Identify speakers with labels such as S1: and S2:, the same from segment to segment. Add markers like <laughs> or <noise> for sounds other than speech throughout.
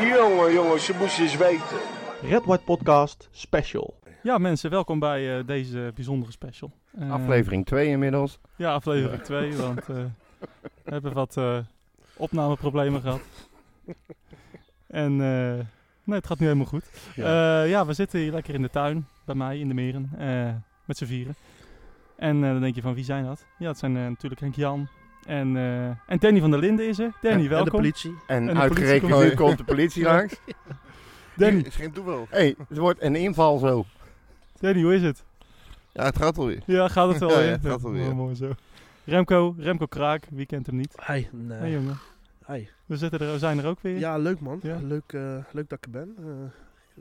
S1: Oh, jongen, jongen, ze moest eens weten.
S2: Red White Podcast Special.
S3: Ja, mensen, welkom bij eh, deze bijzondere special. Eh,
S4: Aflevering 2 inmiddels.
S3: Ja, aflevering 2, want eh, we hebben wat eh, opnameproblemen gehad. En eh, nee, het gaat nu helemaal goed. Ja. ja, we zitten hier lekker in de tuin, bij mij, in de meren, eh, met z'n vieren. En eh, dan denk je van, wie zijn dat? Ja, het zijn eh, natuurlijk Henk Jan en, eh, en Danny van der Linden is er. Danny,
S4: En- en de
S3: welkom.
S5: politie.
S4: En,
S3: en de
S4: uitgerekend
S3: politie
S4: nu komt de politie langs.
S3: Danny,
S5: is geen toeval.
S4: Hé, hey, het wordt een inval zo.
S3: Danny, hoe is het?
S5: Ja, het gaat alweer.
S3: Ja, gaat het wel
S5: Ja,
S3: weer?
S5: ja, het gaat wel
S3: mooi,
S5: weer.
S3: mooi zo. Remco, Remco Kraak, wie kent hem
S6: Eh,
S3: niet?
S5: Hi.
S3: Hé jongen,
S5: Hi.
S3: we zitten er, we zijn er ook weer.
S6: Ja, leuk man.
S3: Ja.
S6: Leuk, eh, leuk dat ik er ben. Eh,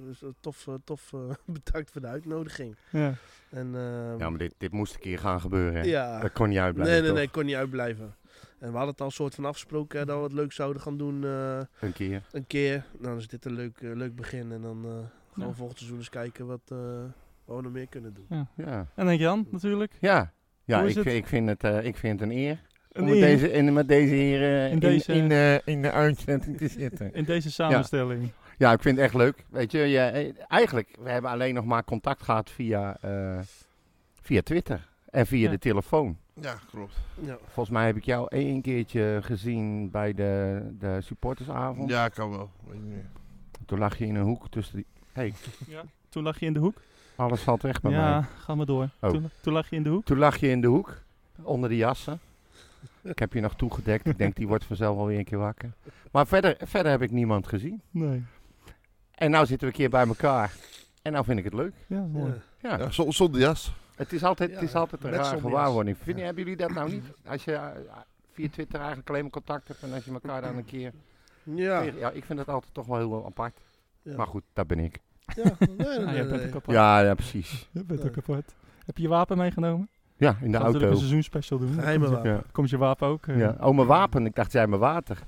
S6: dus, eh, tof, eh, tof eh, <laughs> bedankt voor de uitnodiging.
S3: Ja.
S6: En, ehm,
S4: Ja, maar dit, dit moest een keer gaan gebeuren. hè.
S6: ja.
S4: Dat kon niet uitblijven.
S6: nee, nee,
S4: toch?
S6: nee, ik kon niet uitblijven. En we hadden het al soort van afgesproken eh, dat we het leuk zouden gaan doen eh,
S4: Een keer.
S6: een keer. Nou, dan is dit een leuk, eh, leuk begin. En dan eh, gaan
S3: Ja.
S6: we volgend seizoen eens kijken wat, eh, wat we nog meer kunnen doen.
S4: Ja.
S3: En denk Jan, natuurlijk.
S4: Ja. Ja,
S3: Hoe is
S4: ik,
S3: het?
S4: vind- ik, vind het, eh, ik vind het een eer
S3: Een
S4: om met
S3: eer
S4: deze, in, met deze heren
S3: In
S4: in,
S3: deze-
S4: in, de, in de uitzending te
S3: <laughs>
S4: zitten.
S3: In deze samenstelling.
S4: Ja, ik vind het echt leuk. Weet je, ja, eh, eigenlijk, we hebben alleen nog maar contact gehad via, eh, via Twitter en via
S3: Ja.
S4: de telefoon.
S5: Ja, klopt.
S6: Ja.
S4: Volgens mij heb ik jou één keertje gezien bij de, de supportersavond.
S5: Ja, kan wel. Weet niet meer.
S4: Toen lag je in een hoek tussen die...
S3: Toen lag je in de hoek.
S4: Alles valt weg bij
S3: ja,
S4: mij.
S3: ga maar door.
S4: Oh.
S3: Toen, toen lag je in de hoek.
S4: Toen lag je in de hoek, onder de jassen. ik heb je nog toegedekt. Ik denk, die wordt vanzelf wel weer een keer wakker. Maar verder, verder heb ik niemand gezien.
S3: Nee.
S4: En nou zitten we een keer bij elkaar. En nou vind ik het leuk.
S3: Ja, mooi.
S6: Ja.
S4: Ja,
S5: Ja, zon- zonder jas.
S4: het is altijd, het
S6: Ja,
S4: is altijd een
S6: met
S4: raar
S6: zonder
S4: gewaarwording. Vind, je- Hebben jullie dat nou niet? Als je eh, via Twitter eigenlijk alleen maar contact hebt en als je elkaar dan een keer...
S6: Ja.
S4: tegen- Ja, ik vind dat altijd toch wel heel apart.
S6: Ja.
S4: Maar goed, dat ben ik.
S6: Ja, nee, nee,
S3: Ah,
S6: nee,
S3: jij bent
S6: nee.
S3: ook apart.
S4: Ja, ja, precies.
S3: Je bent ook
S6: Ja.
S3: apart. Heb je je wapen meegenomen?
S4: Ja, in de
S3: Gaan we natuurlijk
S4: auto.
S3: dus een seizoensspecial doen. Dan
S6: Geheime
S3: komt je-
S6: wapen.
S4: Ja.
S3: Komt je wapen ook? eh.
S4: Ja. Oh, mijn wapen. Ik dacht, jij mijn water.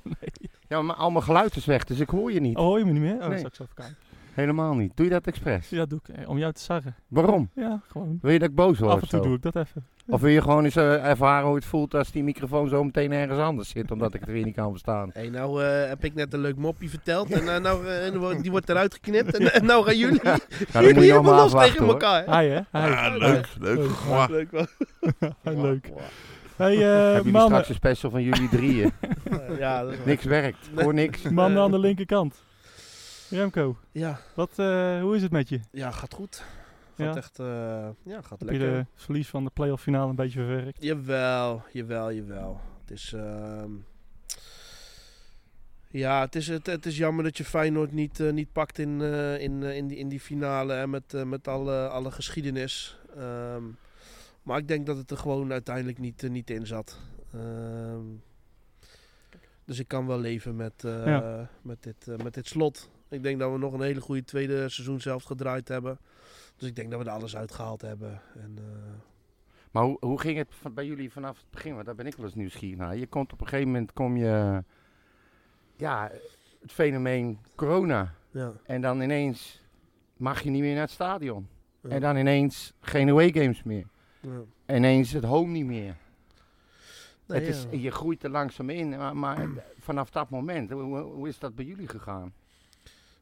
S4: Ja, maar al mijn geluid is weg, dus ik hoor je niet.
S3: Oh, hoor je me niet meer? Oh,
S4: Nee.
S3: straks even kijken.
S4: Helemaal niet. Doe je dat expres?
S3: Ja, doe ik. eh, om jou te zeggen.
S4: Waarom?
S3: Ja, gewoon.
S4: Wil je dat ik boos word
S3: Af
S4: of
S3: en toe
S4: zo?
S3: doe ik dat even.
S4: Of wil je gewoon eens eh, ervaren hoe het voelt als die microfoon zo meteen ergens anders zit, omdat ik het weer niet kan verstaan?
S6: Hey, nou eh, heb ik net een leuk mopje verteld en eh, nou, eh, en wo- die wordt eruit geknipt en, en nou gaan jullie, <laughs>
S4: Nou, dan moet je
S6: jullie
S4: allemaal
S6: helemaal los
S4: afwachten
S6: tegen
S4: hoor. Ah.
S6: elkaar. hè?
S3: Hi, hè? Hi.
S5: Ja, leuk. Leuk. Mwah.
S6: Leuk wel.
S3: Hi,
S4: Wow,
S3: leuk.
S4: wow. <laughs>
S3: Hey, eh,
S4: Hebben jullie
S3: mannen,
S4: straks een special van jullie
S3: <laughs>
S4: drieën? Ah.
S6: Ja, dat is waar.
S4: niks werkt. Ik Hoor niks.
S3: mannen aan de linkerkant. Remco,
S6: Ja,
S3: wat, eh, hoe is het met je?
S6: ja, gaat goed.
S3: Ja.
S6: Gaat echt, eh, ja, gaat
S3: Heb je
S6: lekker.
S3: de verlies van de playoff finale een beetje verwerkt?
S6: Jawel, jawel, jawel. Het is, ehm, ja, het is, het, het is jammer dat je Feyenoord niet, eh, niet pakt in, eh, in, eh, in, die, in die finale hè, met, eh, met alle, alle geschiedenis. Ehm, maar ik denk dat het er gewoon uiteindelijk niet, eh, niet in zat. Ehm, dus ik kan wel leven met, eh,
S3: Ja.
S6: met, dit, eh, met dit slot. Ik denk dat we nog een hele goede tweede seizoen zelf gedraaid hebben. Dus ik denk dat we er alles uitgehaald hebben. En, eh,
S4: Maar hoe, hoe ging het van- bij jullie vanaf het begin? Want daar ben ik wel eens nieuwsgierig naar. Je komt op een gegeven moment, kom je, ja, het fenomeen corona.
S6: ja.
S4: En dan ineens mag je niet meer naar het stadion.
S6: Ja.
S4: En dan ineens geen away games meer.
S6: Ja.
S4: En ineens het home niet meer.
S6: Nee,
S4: het is,
S6: ja.
S4: Je groeit er langzaam in, maar, maar <clears throat> vanaf dat moment, hoe, hoe is dat bij jullie gegaan?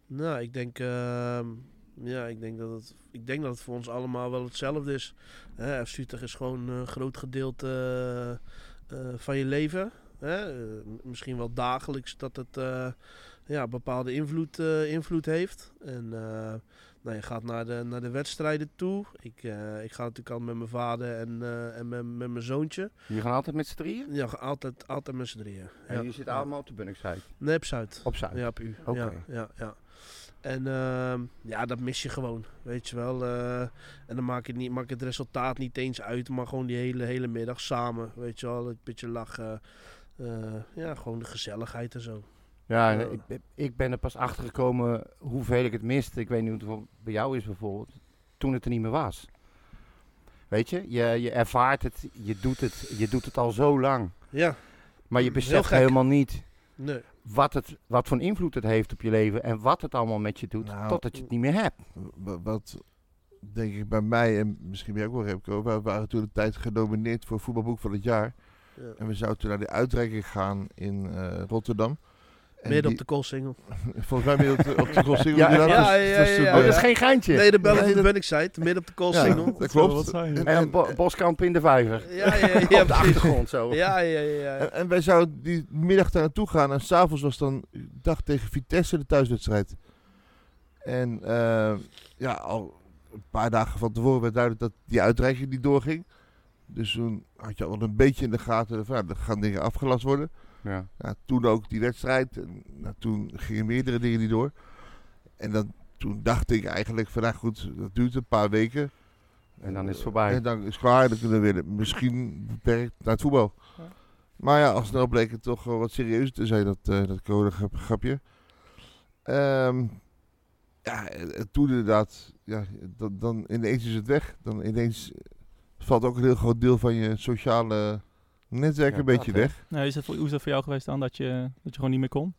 S6: Nou, ik denk, ehm, ja, ik, denk dat het, ik denk dat het voor ons allemaal wel hetzelfde is. Hè, FC Utrecht is gewoon een groot gedeelte eh, eh, van je leven. Hè? Eh, m- misschien wel dagelijks dat het eh, ja, bepaalde invloed, eh, invloed heeft. En eh, nou, je gaat naar de, naar de wedstrijden toe. Ik, eh, ik ga natuurlijk altijd met mijn vader en, eh, en met, met mijn zoontje.
S4: Jullie gaan altijd met z'n drieën?
S6: Ja, altijd, altijd met z'n drieën.
S4: En
S6: ja.
S4: jullie zitten allemaal op de Bunningside.
S6: Nee, op Zuid.
S4: Op Zuid.
S6: Ja, op u.
S4: Oké.
S6: Ja, ja, ja. En ehm, ja, dat mis je gewoon, weet je wel. eh, en dan maakt het, niet, maakt het resultaat niet eens uit, maar gewoon die hele, hele middag samen, weet je wel. Een beetje lachen. Eh, ja, gewoon de gezelligheid en zo.
S4: Ja, en
S6: Ja.
S4: ik, ben- ik ben er pas achter gekomen hoeveel ik het miste. Ik weet niet hoe het bij jou is bijvoorbeeld, toen het er niet meer was. Weet je, je, je ervaart het, je doet het, je doet het al zo lang.
S6: Ja,
S4: Maar je
S6: Heel
S4: beseft
S6: gek.
S4: helemaal niet
S6: nee.
S4: wat, het, wat voor invloed het heeft op je leven en wat het allemaal met je doet,
S5: Nou.
S4: totdat je het niet meer hebt.
S5: Wa- Wat denk ik bij mij, en misschien ben je ook wel Remco, we waren toen de tijd genomineerd voor voetbalboek van het jaar.
S6: Ja.
S5: En we zouden toen naar die uitreiking gaan in eh, Rotterdam. En
S6: Midden
S5: die-
S6: op de koolsingel.
S5: <laughs> Volgens mij midden op de,
S6: <laughs>
S5: op de crossing.
S4: Ja,
S5: inderdaad,
S6: ja,
S5: dus-
S6: ja,
S5: dus toen,
S6: ja,
S4: Oh,
S6: ja.
S5: eh,
S4: dat is geen geintje.
S6: Nee, de Belgische
S5: Nee, dat-
S6: ben ik zei het. Midden op de koolsingel.
S5: dat
S3: zou
S5: klopt.
S3: wat zijn, ja.
S5: En-
S4: en een bo- boskamp in de vijver.
S6: Ja, ja, ja. ja,
S4: op de
S6: precies.
S4: achtergrond zo.
S6: Ja, ja, ja. ja.
S5: En, en wij zouden die middag daar naartoe gaan. En s'avonds was dan ik dacht tegen Vitesse de thuiswedstrijd. En eh, ja, al een paar dagen van tevoren werd duidelijk dat die uitreiking niet doorging. Dus toen had je al wel een beetje in de gaten. Van, ja, er gaan dingen afgelast worden.
S4: Ja.
S5: Ja, Nou, toen ook die wedstrijd. En, nou, toen gingen meerdere dingen niet door. En dan, toen dacht ik eigenlijk van, nou goed, dat duurt een paar weken.
S4: En dan is het voorbij.
S5: En dan is het klaar, dan kunnen we weer misschien beperkt naar het voetbal.
S3: Ja.
S5: Maar ja, al snel bleek het toch wel wat serieuzer te zijn, dat, eh dat corona-grapje. Ehm, ja, en- en toen inderdaad, ja, dan, dan ineens is het weg. Dan ineens valt ook een heel groot deel van je sociale netwerk
S4: Ja,
S5: een beetje
S4: dat, hè.
S5: weg.
S3: Nee, is dat voor, hoe is dat voor jou geweest dan, dat je, dat je gewoon niet meer kon?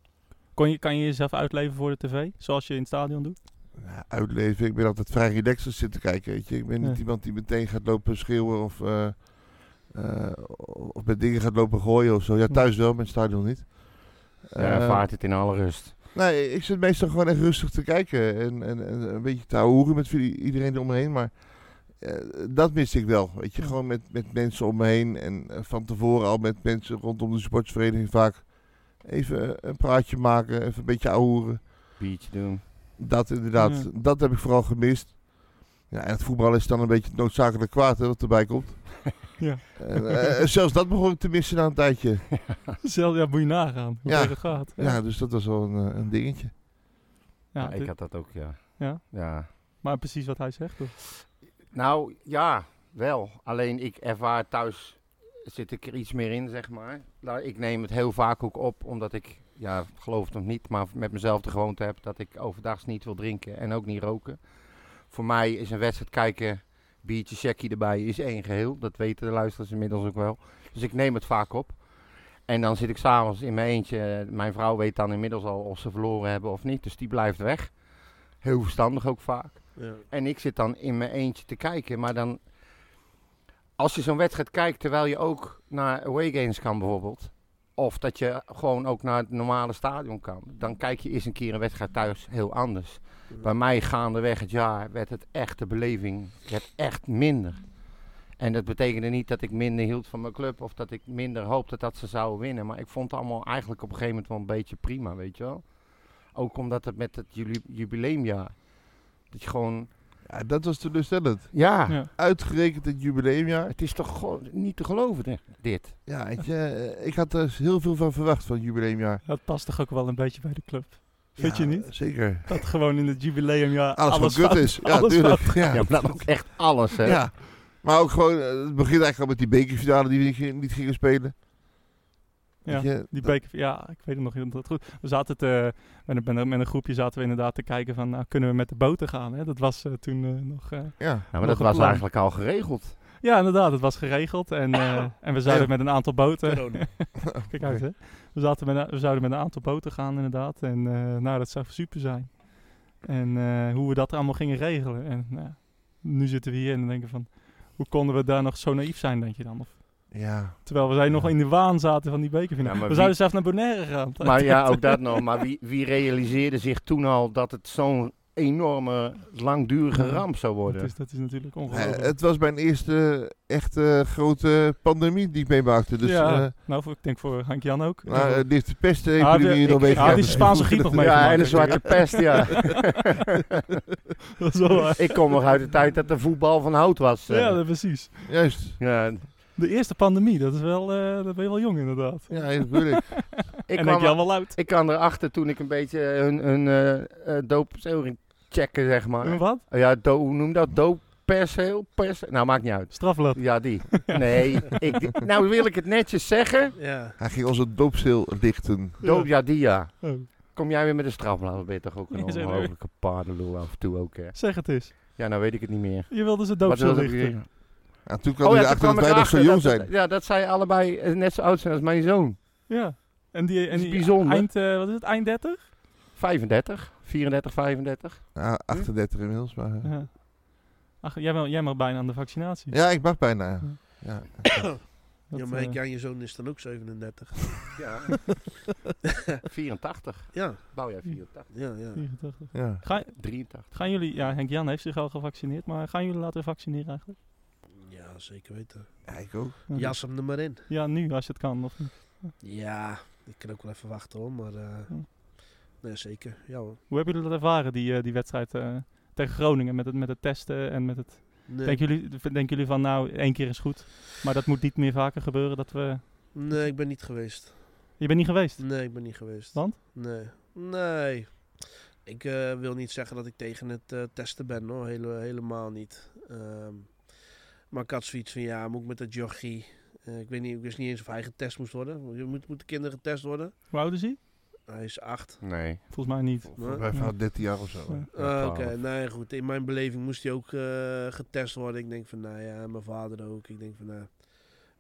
S3: kon je, kan je jezelf uitleven voor de tv, zoals je in het stadion doet?
S5: Ja, Nou, uitleven. Ik ben altijd vrij relaxed als ik zit te kijken, weet je. Ik ben niet
S3: Ja.
S5: iemand die meteen gaat lopen schreeuwen of, eh, eh, of met dingen gaat lopen gooien of zo. Ja, thuis wel, maar in het stadion niet.
S4: Ja,
S5: Eh,
S4: ervaart het in alle rust.
S5: nee, ik zit meestal gewoon echt rustig te kijken en, en, en een beetje te hoeren met vi- iedereen eromheen, maar... eh, dat mis ik wel, weet je,
S3: Ja.
S5: gewoon met, met mensen om me heen en eh, van tevoren al met mensen rondom de sportsvereniging vaak even eh, een praatje maken, even een beetje ouwen.
S4: Biertje doen.
S5: Dat inderdaad,
S3: Ja.
S5: dat heb ik vooral gemist. Ja, en het voetbal is dan een beetje het noodzakelijk kwaad hè, wat erbij komt.
S3: Ja. <laughs>
S5: En, eh, zelfs dat begon ik te missen na een tijdje.
S3: Zelf, ja, moet je nagaan hoe
S5: Ja.
S3: ver het gaat.
S5: Ja, dus dat was wel een, eh, een dingetje.
S3: Ja,
S4: Ja, ik
S3: dit-
S4: had dat ook, ja.
S3: Ja?
S4: ja.
S3: Maar precies wat hij zegt. toch?
S4: Nou, ja, wel. Alleen ik ervaar thuis, zit ik er iets meer in, zeg maar. Nou, ik neem het heel vaak ook op, omdat ik, ja, geloof het of niet, maar met mezelf de gewoonte heb dat ik overdags niet wil drinken en ook niet roken. Voor mij is een wedstrijd kijken, biertje, checkie erbij, is één geheel. Dat weten de luisteraars inmiddels ook wel. Dus ik neem het vaak op. En dan zit ik s'avonds in mijn eentje. Mijn vrouw weet dan inmiddels al of ze verloren hebben of niet. Dus die blijft weg. Heel verstandig ook vaak.
S6: ja.
S4: En ik zit dan in mijn eentje te kijken. Maar dan, als je zo'n wedstrijd kijkt, terwijl je ook naar away games kan bijvoorbeeld. Of dat je gewoon ook naar het normale stadion kan. Dan kijk je eens een keer een wedstrijd thuis heel anders. Bij mij gaandeweg het jaar werd het echt de beleving werd echt minder. En dat betekende niet dat ik minder hield van mijn club of dat ik minder hoopte dat ze zouden winnen. Maar ik vond het allemaal eigenlijk op een gegeven moment wel een beetje prima, weet je wel. Ook omdat het met het juli- jubileumjaar, dat je gewoon...
S5: Ja, dat was teleurstellend.
S4: Ja,
S3: Ja.
S5: Uitgerekend het jubileumjaar.
S4: het is toch gewoon niet te geloven, hè, dit.
S5: Ja, weet je, eh, ik had er heel veel van verwacht van het jubileumjaar.
S3: Dat past toch ook wel een beetje bij de club? Vind
S5: Ja,
S3: je niet?
S5: Zeker.
S3: Dat gewoon in het jubileumjaar
S5: Alles,
S3: alles,
S5: van kut
S3: fout-
S5: is. Ja,
S3: alles
S5: tuurlijk.
S4: Ja,
S5: Ja.
S4: maar dan ook echt alles, hè.
S5: Ja. Maar ook gewoon, eh, het begint eigenlijk al met die bekerfinale die we niet gingen- niet gingen spelen.
S3: Ja,
S5: Weet je,
S3: Die beker, ja, ik weet het nog niet. Dat goed. We zaten te, met, een, met een- met een groepje zaten we inderdaad te kijken van, nou, kunnen we met de boten gaan? Hè? Dat was eh, toen eh, nog... eh,
S5: ja.
S4: Nou, maar
S3: Nog
S4: dat
S3: een
S4: was
S3: plan.
S4: eigenlijk al geregeld.
S3: Ja, inderdaad, het was geregeld. En, eh, en we zouden
S5: Ja.
S3: met een aantal boten...
S6: Corona.
S3: Kijk uit, hè. We, zaten met, een- we zouden met een aantal boten gaan, inderdaad. En eh, nou, dat zou super zijn. En eh, hoe we dat allemaal gingen regelen. En nou ja, nu zitten we hier en denken van... Hoe konden we daar nog zo naïef zijn, denk je dan? Of,
S5: Ja.
S3: terwijl we zij nog in de waan zaten van die bekerfinale.
S4: Ja, maar
S3: we
S4: wie-
S3: zouden zelf naar Bonaire gaan.
S4: <laughs> Maar ja, ook dat nog. Maar wie, wie realiseerde zich toen al dat het zo'n enorme, langdurige ramp zou
S3: Dat
S4: worden?
S3: is, dat is natuurlijk
S5: Eh,
S3: ongelooflijk.
S5: het was mijn eerste echte grote pandemie die ik meemaakte. Dus
S3: ja,
S5: eh,
S3: nou, voor- ik denk voor Henk Jan ook.
S5: nou, eh, die heeft de
S3: Ah, die-
S5: pestepidemie in
S3: ik-
S5: Noorwegen.
S3: ah, die is Spaanse griep nog meegemaakt.
S4: Ja, en de zwarte pest, <laughs> ja.
S3: Dat is wel waar.
S4: Ik kom nog uit de tijd dat de voetbal van hout was. eh.
S3: ja, dat- precies.
S5: Juist.
S4: Ja,
S3: De eerste pandemie, dat is wel, eh dat ben je wel jong inderdaad.
S5: Ja, dat bedoel ik.
S4: ik,
S3: en
S4: kwam
S3: Henk Jan wel oud.
S4: ik kwam erachter toen ik een beetje hun, hun eh, eh, doopperseel checken, zeg
S3: En
S4: maar.
S3: wat?
S4: Oh, Ja, do, hoe noem je dat? Doopperseel? Pers, nou, maakt niet uit.
S3: Strafblad.
S4: <laughs> Ja, die. Nee, ik, die- nou wil ik het netjes zeggen.
S6: Ja.
S5: <laughs> Hij ging onze doopzeel dichten.
S4: Doop, ja, die ja.
S3: Oh,
S4: Kom jij weer met een strafblad? Dan ben je toch ook een
S3: Ja, zeker.
S4: ongelofelijke paardenlul af en toe ook, hè?
S3: zeg het eens.
S4: Ja, nou weet ik het niet meer.
S3: Je wilde ze
S4: Wat
S3: doopsel
S4: wilde ik
S3: richten.
S4: zeggen?
S5: Ja, toen kwam hij
S4: Oh toen
S5: erachter dat
S4: kwam ik
S5: wij nog zo
S4: erachter
S5: jong
S4: dat-
S5: zijn.
S4: Ja, dat zij allebei eh, net zo oud zijn als mijn zoon.
S3: Ja. En die, en
S4: is
S3: die
S4: bijzonder.
S3: eind, eh, wat is het, eind 30?
S4: 35, 34, 35.
S5: Ja, 38 inmiddels, maar... eh.
S3: Ja. Ach, jij, wel, jij mag bijna aan de vaccinatie.
S5: Ja, ik mag bijna. Ja.
S3: Dat,
S6: ja, maar
S3: eh,
S6: ik, ja, je zoon is dan ook 37.
S4: Ja. 84.
S6: <laughs> Ja,
S4: Bouw jij 84?
S6: ja, ja.
S3: 84.
S5: Ja.
S3: eh, Ga,
S4: 83.
S3: gaan jullie, ja, Henk Jan heeft zich al gevaccineerd, maar gaan jullie laten vaccineren eigenlijk?
S6: Ja, zeker weten.
S5: ja, ik ook.
S6: Jas hem er maar in.
S3: Ja, nu als je het kan. Of niet.
S6: Ja, ik kan ook wel even wachten hoor, maar... eh,
S3: Hm.
S6: nee, zeker. Ja hoor.
S3: Hoe hebben jullie dat ervaren, die, eh, die wedstrijd eh, tegen Groningen met het, met het testen en met het
S6: Nee.
S3: Denken jullie, denken jullie van nou, één keer is goed, maar dat moet niet meer vaker gebeuren dat we...
S6: nee, ik ben niet geweest.
S3: Je bent niet geweest.
S6: Nee, ik ben niet geweest.
S3: Want?
S6: Nee. Nee. Ik eh, wil niet zeggen dat ik tegen het eh, testen ben hoor. Hele, helemaal niet. Ehm, maar ik had zoiets van ja, moet ik met dat jochie... Eh, ik, weet niet, ik wist niet eens of hij getest moest worden. Moet, moeten kinderen getest worden?
S3: Hoe oud is hij?
S6: Hij is acht.
S4: Nee.
S3: Volgens mij niet.
S6: Nee.
S5: Bij vrouw 13 jaar of zo. hè.
S3: Ja.
S6: Ah,
S4: Ja,
S6: Oké,
S4: twaalf.
S6: nou ja, goed. In mijn beleving moest hij ook eh, getest worden. Ik denk van, nou ja, mijn vader ook. Ik denk van, nou,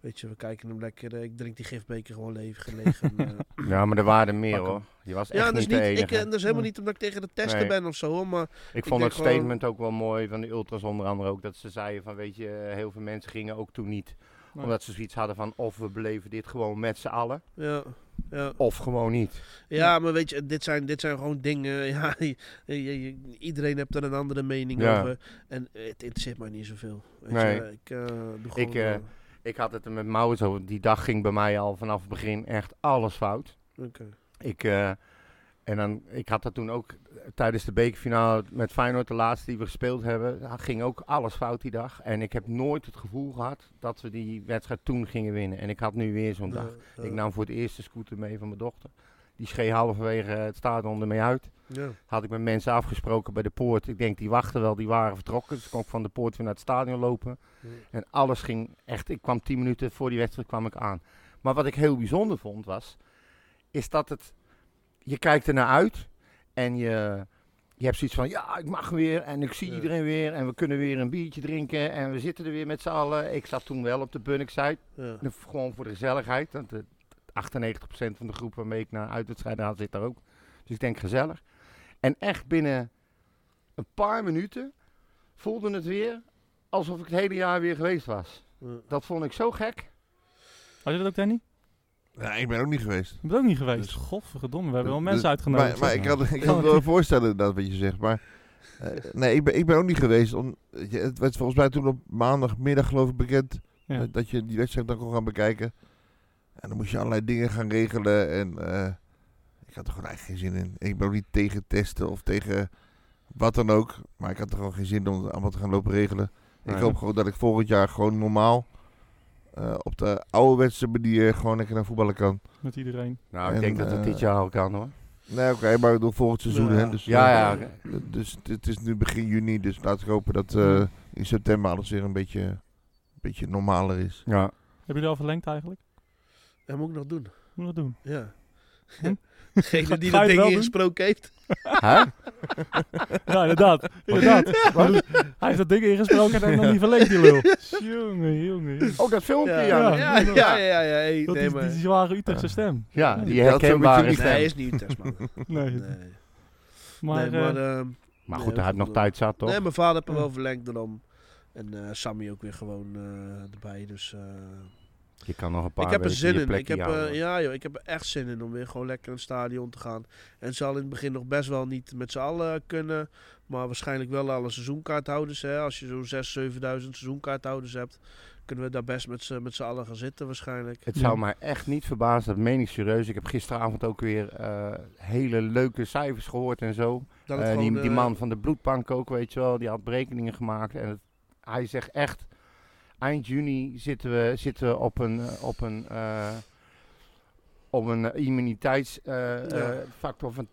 S6: weet je, we kijken hem lekker. eh, ik drink die gifbeker gewoon leeg gelegen.
S4: <laughs>
S6: eh.
S4: Ja, maar er waren er meer
S6: Pak hem.
S4: hoor. Je was echt
S6: ja, dat is,
S4: niet de
S6: niet, ik,
S4: enige.
S6: eh, dat is helemaal
S3: Nee.
S6: niet omdat ik tegen de testen
S4: Nee.
S6: ben of zo, hoor, maar
S4: Ik vond
S6: denk
S4: het
S6: gewoon-
S4: statement ook wel mooi van de ultras onder andere ook. Dat ze zeiden van weet je, eh, heel veel mensen gingen ook toen niet.
S3: Nee.
S4: Omdat ze zoiets hadden van of we beleven dit gewoon met z'n allen.
S6: ja. Ja.
S4: Of gewoon niet.
S6: ja, maar weet je, dit zijn, dit zijn gewoon dingen. <laughs> Ja, je- je- je- iedereen heeft er een andere mening
S4: Ja.
S6: over. En eh, het interesseert mij niet zoveel. Weet
S4: Nee.
S6: je, ik eh, doe gewoon.
S4: Ik, eh,
S6: eh,
S4: Ik had het er met Maurits over. Die dag ging bij mij al vanaf het begin echt alles fout.
S6: Oké.
S4: Ik, eh, en dan, ik had dat toen ook eh, tijdens de bekerfinale met Feyenoord, de laatste die we gespeeld hebben, daar ging ook alles fout die dag. En ik heb nooit het gevoel gehad dat we die wedstrijd toen gingen winnen. En ik had nu weer zo'n dag.
S6: Ja,
S4: Ik nou- nam voor het eerst de scooter mee van mijn dochter. Die schee halverwege eh, het stadion ermee uit.
S6: ja.
S4: Had ik met mensen afgesproken bij de poort. Ik denk, die wachten wel, die waren vertrokken. Dus kon ik van de poort weer naar het stadion lopen.
S6: Ja.
S4: En alles ging echt. Ik kwam tien minuten voor die wedstrijd kwam ik aan. Maar wat ik heel bijzonder vond was, is dat het. Je kijkt ernaar uit en je, je hebt zoiets van, ja, ik mag weer en ik zie
S6: Ja.
S4: iedereen weer en we kunnen weer een biertje drinken en we zitten er weer met z'n allen. Ik zat toen wel op de Bunnikzijde,
S6: Ja.
S4: gewoon voor de gezelligheid. Want de 98% van de groep waarmee ik naar uitwedstrijden haal zit daar ook. Dus ik denk gezellig. En echt binnen een paar minuten voelde het weer alsof ik het hele jaar weer geweest was.
S6: Ja.
S4: Dat vond ik zo gek.
S3: Had je dat ook, Danny?
S5: Ja, ik ben ook niet geweest.
S3: Je bent ook niet geweest.
S5: Dus-
S3: Godverdomme, we hebben wel
S5: Dus-
S3: mensen uitgenodigd.
S5: Maar, maar ik kan ik kan het
S3: <laughs>
S5: wel voorstellen inderdaad wat je zegt. Maar eh, nee, ik ben, ik ben ook niet geweest. Om, je- het werd volgens mij toen op maandagmiddag geloof ik bekend
S3: Ja.
S5: eh, dat je die wedstrijd dan kon gaan bekijken. En dan moest je allerlei dingen gaan regelen. En eh, ik had er gewoon eigenlijk geen zin in. Ik ben ook niet tegen testen of tegen wat dan ook. Maar ik had er gewoon geen zin om het allemaal te gaan lopen regelen. Ik
S4: Nee.
S5: hoop gewoon dat ik volgend jaar gewoon normaal eh, op de ouderwetse manier gewoon lekker naar voetballen kan.
S3: Met iedereen.
S4: Nou, ik
S5: En,
S4: denk dat het
S5: eh,
S4: dit jaar al kan hoor.
S5: Nee, oké, maar ik bedoel volgend seizoen.
S6: Ja.
S5: Hè, dus,
S4: Ja,
S5: eh,
S4: ja.
S6: ja.
S4: oké.
S5: Dus het- het is nu begin juni, dus laten we hopen dat eh, in september alles weer een beetje, een beetje normaler is.
S4: ja.
S3: Hebben jullie al verlengd eigenlijk?
S6: Dat moet ik nog doen.
S3: Hoe moet dat doen? <laughs>
S6: Ja.
S3: Hm?
S6: <laughs> Degene
S3: Ga-
S6: die dat
S3: ga je het
S6: ding
S3: wel doen?
S6: ingesproken heeft.
S4: Hè?
S3: Ja, inderdaad. inderdaad. Maar Hij heeft dat ding ingesproken en hij heeft nog niet verlengd, die lul. Jongen, jongen. jongen.
S4: Oh, dat filmpje, ja.
S3: Ja.
S4: Ja,
S6: ja, ja, ja. ja, hey,
S3: Dat
S6: nee,
S3: is
S6: maar...
S3: die zware Utrechtse stem.
S4: die
S5: Dat
S4: herkenbare
S5: zo'n beetje
S4: stem.
S6: Nee, is niet Utrecht,
S3: <laughs>
S6: man.
S3: Nee.
S6: Nee,
S3: Maar,
S6: nee, maar,
S3: eh,
S6: ehm,
S4: Maar
S6: Nee,
S4: goed, hij had nog
S6: dat-
S4: tijd zat toch?
S6: nee, mijn vader heeft hem
S3: Ja.
S6: wel verlengd daarom. En eh, Sammy ook weer gewoon eh, erbij. Dus eh,
S4: Je kan nog een paar
S6: ik heb er
S4: weken
S6: zin
S4: je
S6: in. Ik
S4: plekje
S6: heb, eh,
S4: houden.
S6: ja, joh, ik heb er echt zin in om weer gewoon lekker naar het stadion te gaan. En het zal in het begin nog best wel niet met z'n allen kunnen. Maar waarschijnlijk wel alle seizoenkaarthouders. Hè. Als je zo'n 6, 7000 seizoenkaarthouders hebt, kunnen we daar best met z'n- met z'n allen gaan zitten waarschijnlijk.
S4: Het
S3: Ja.
S4: zou mij echt niet verbazen, dat meen ik serieus. Ik heb gisteravond ook weer eh, hele leuke cijfers gehoord en zo.
S6: Dat het
S4: Eh,
S6: gewoon,
S4: die, die
S6: eh,
S4: man van de bloedbank ook, weet je wel, die had berekeningen gemaakt. En het, hij zegt echt, eind juni zitten we, zitten we op een, eh, op een, eh, op een eh,
S6: Ja.
S4: immuniteitsfactor eh, van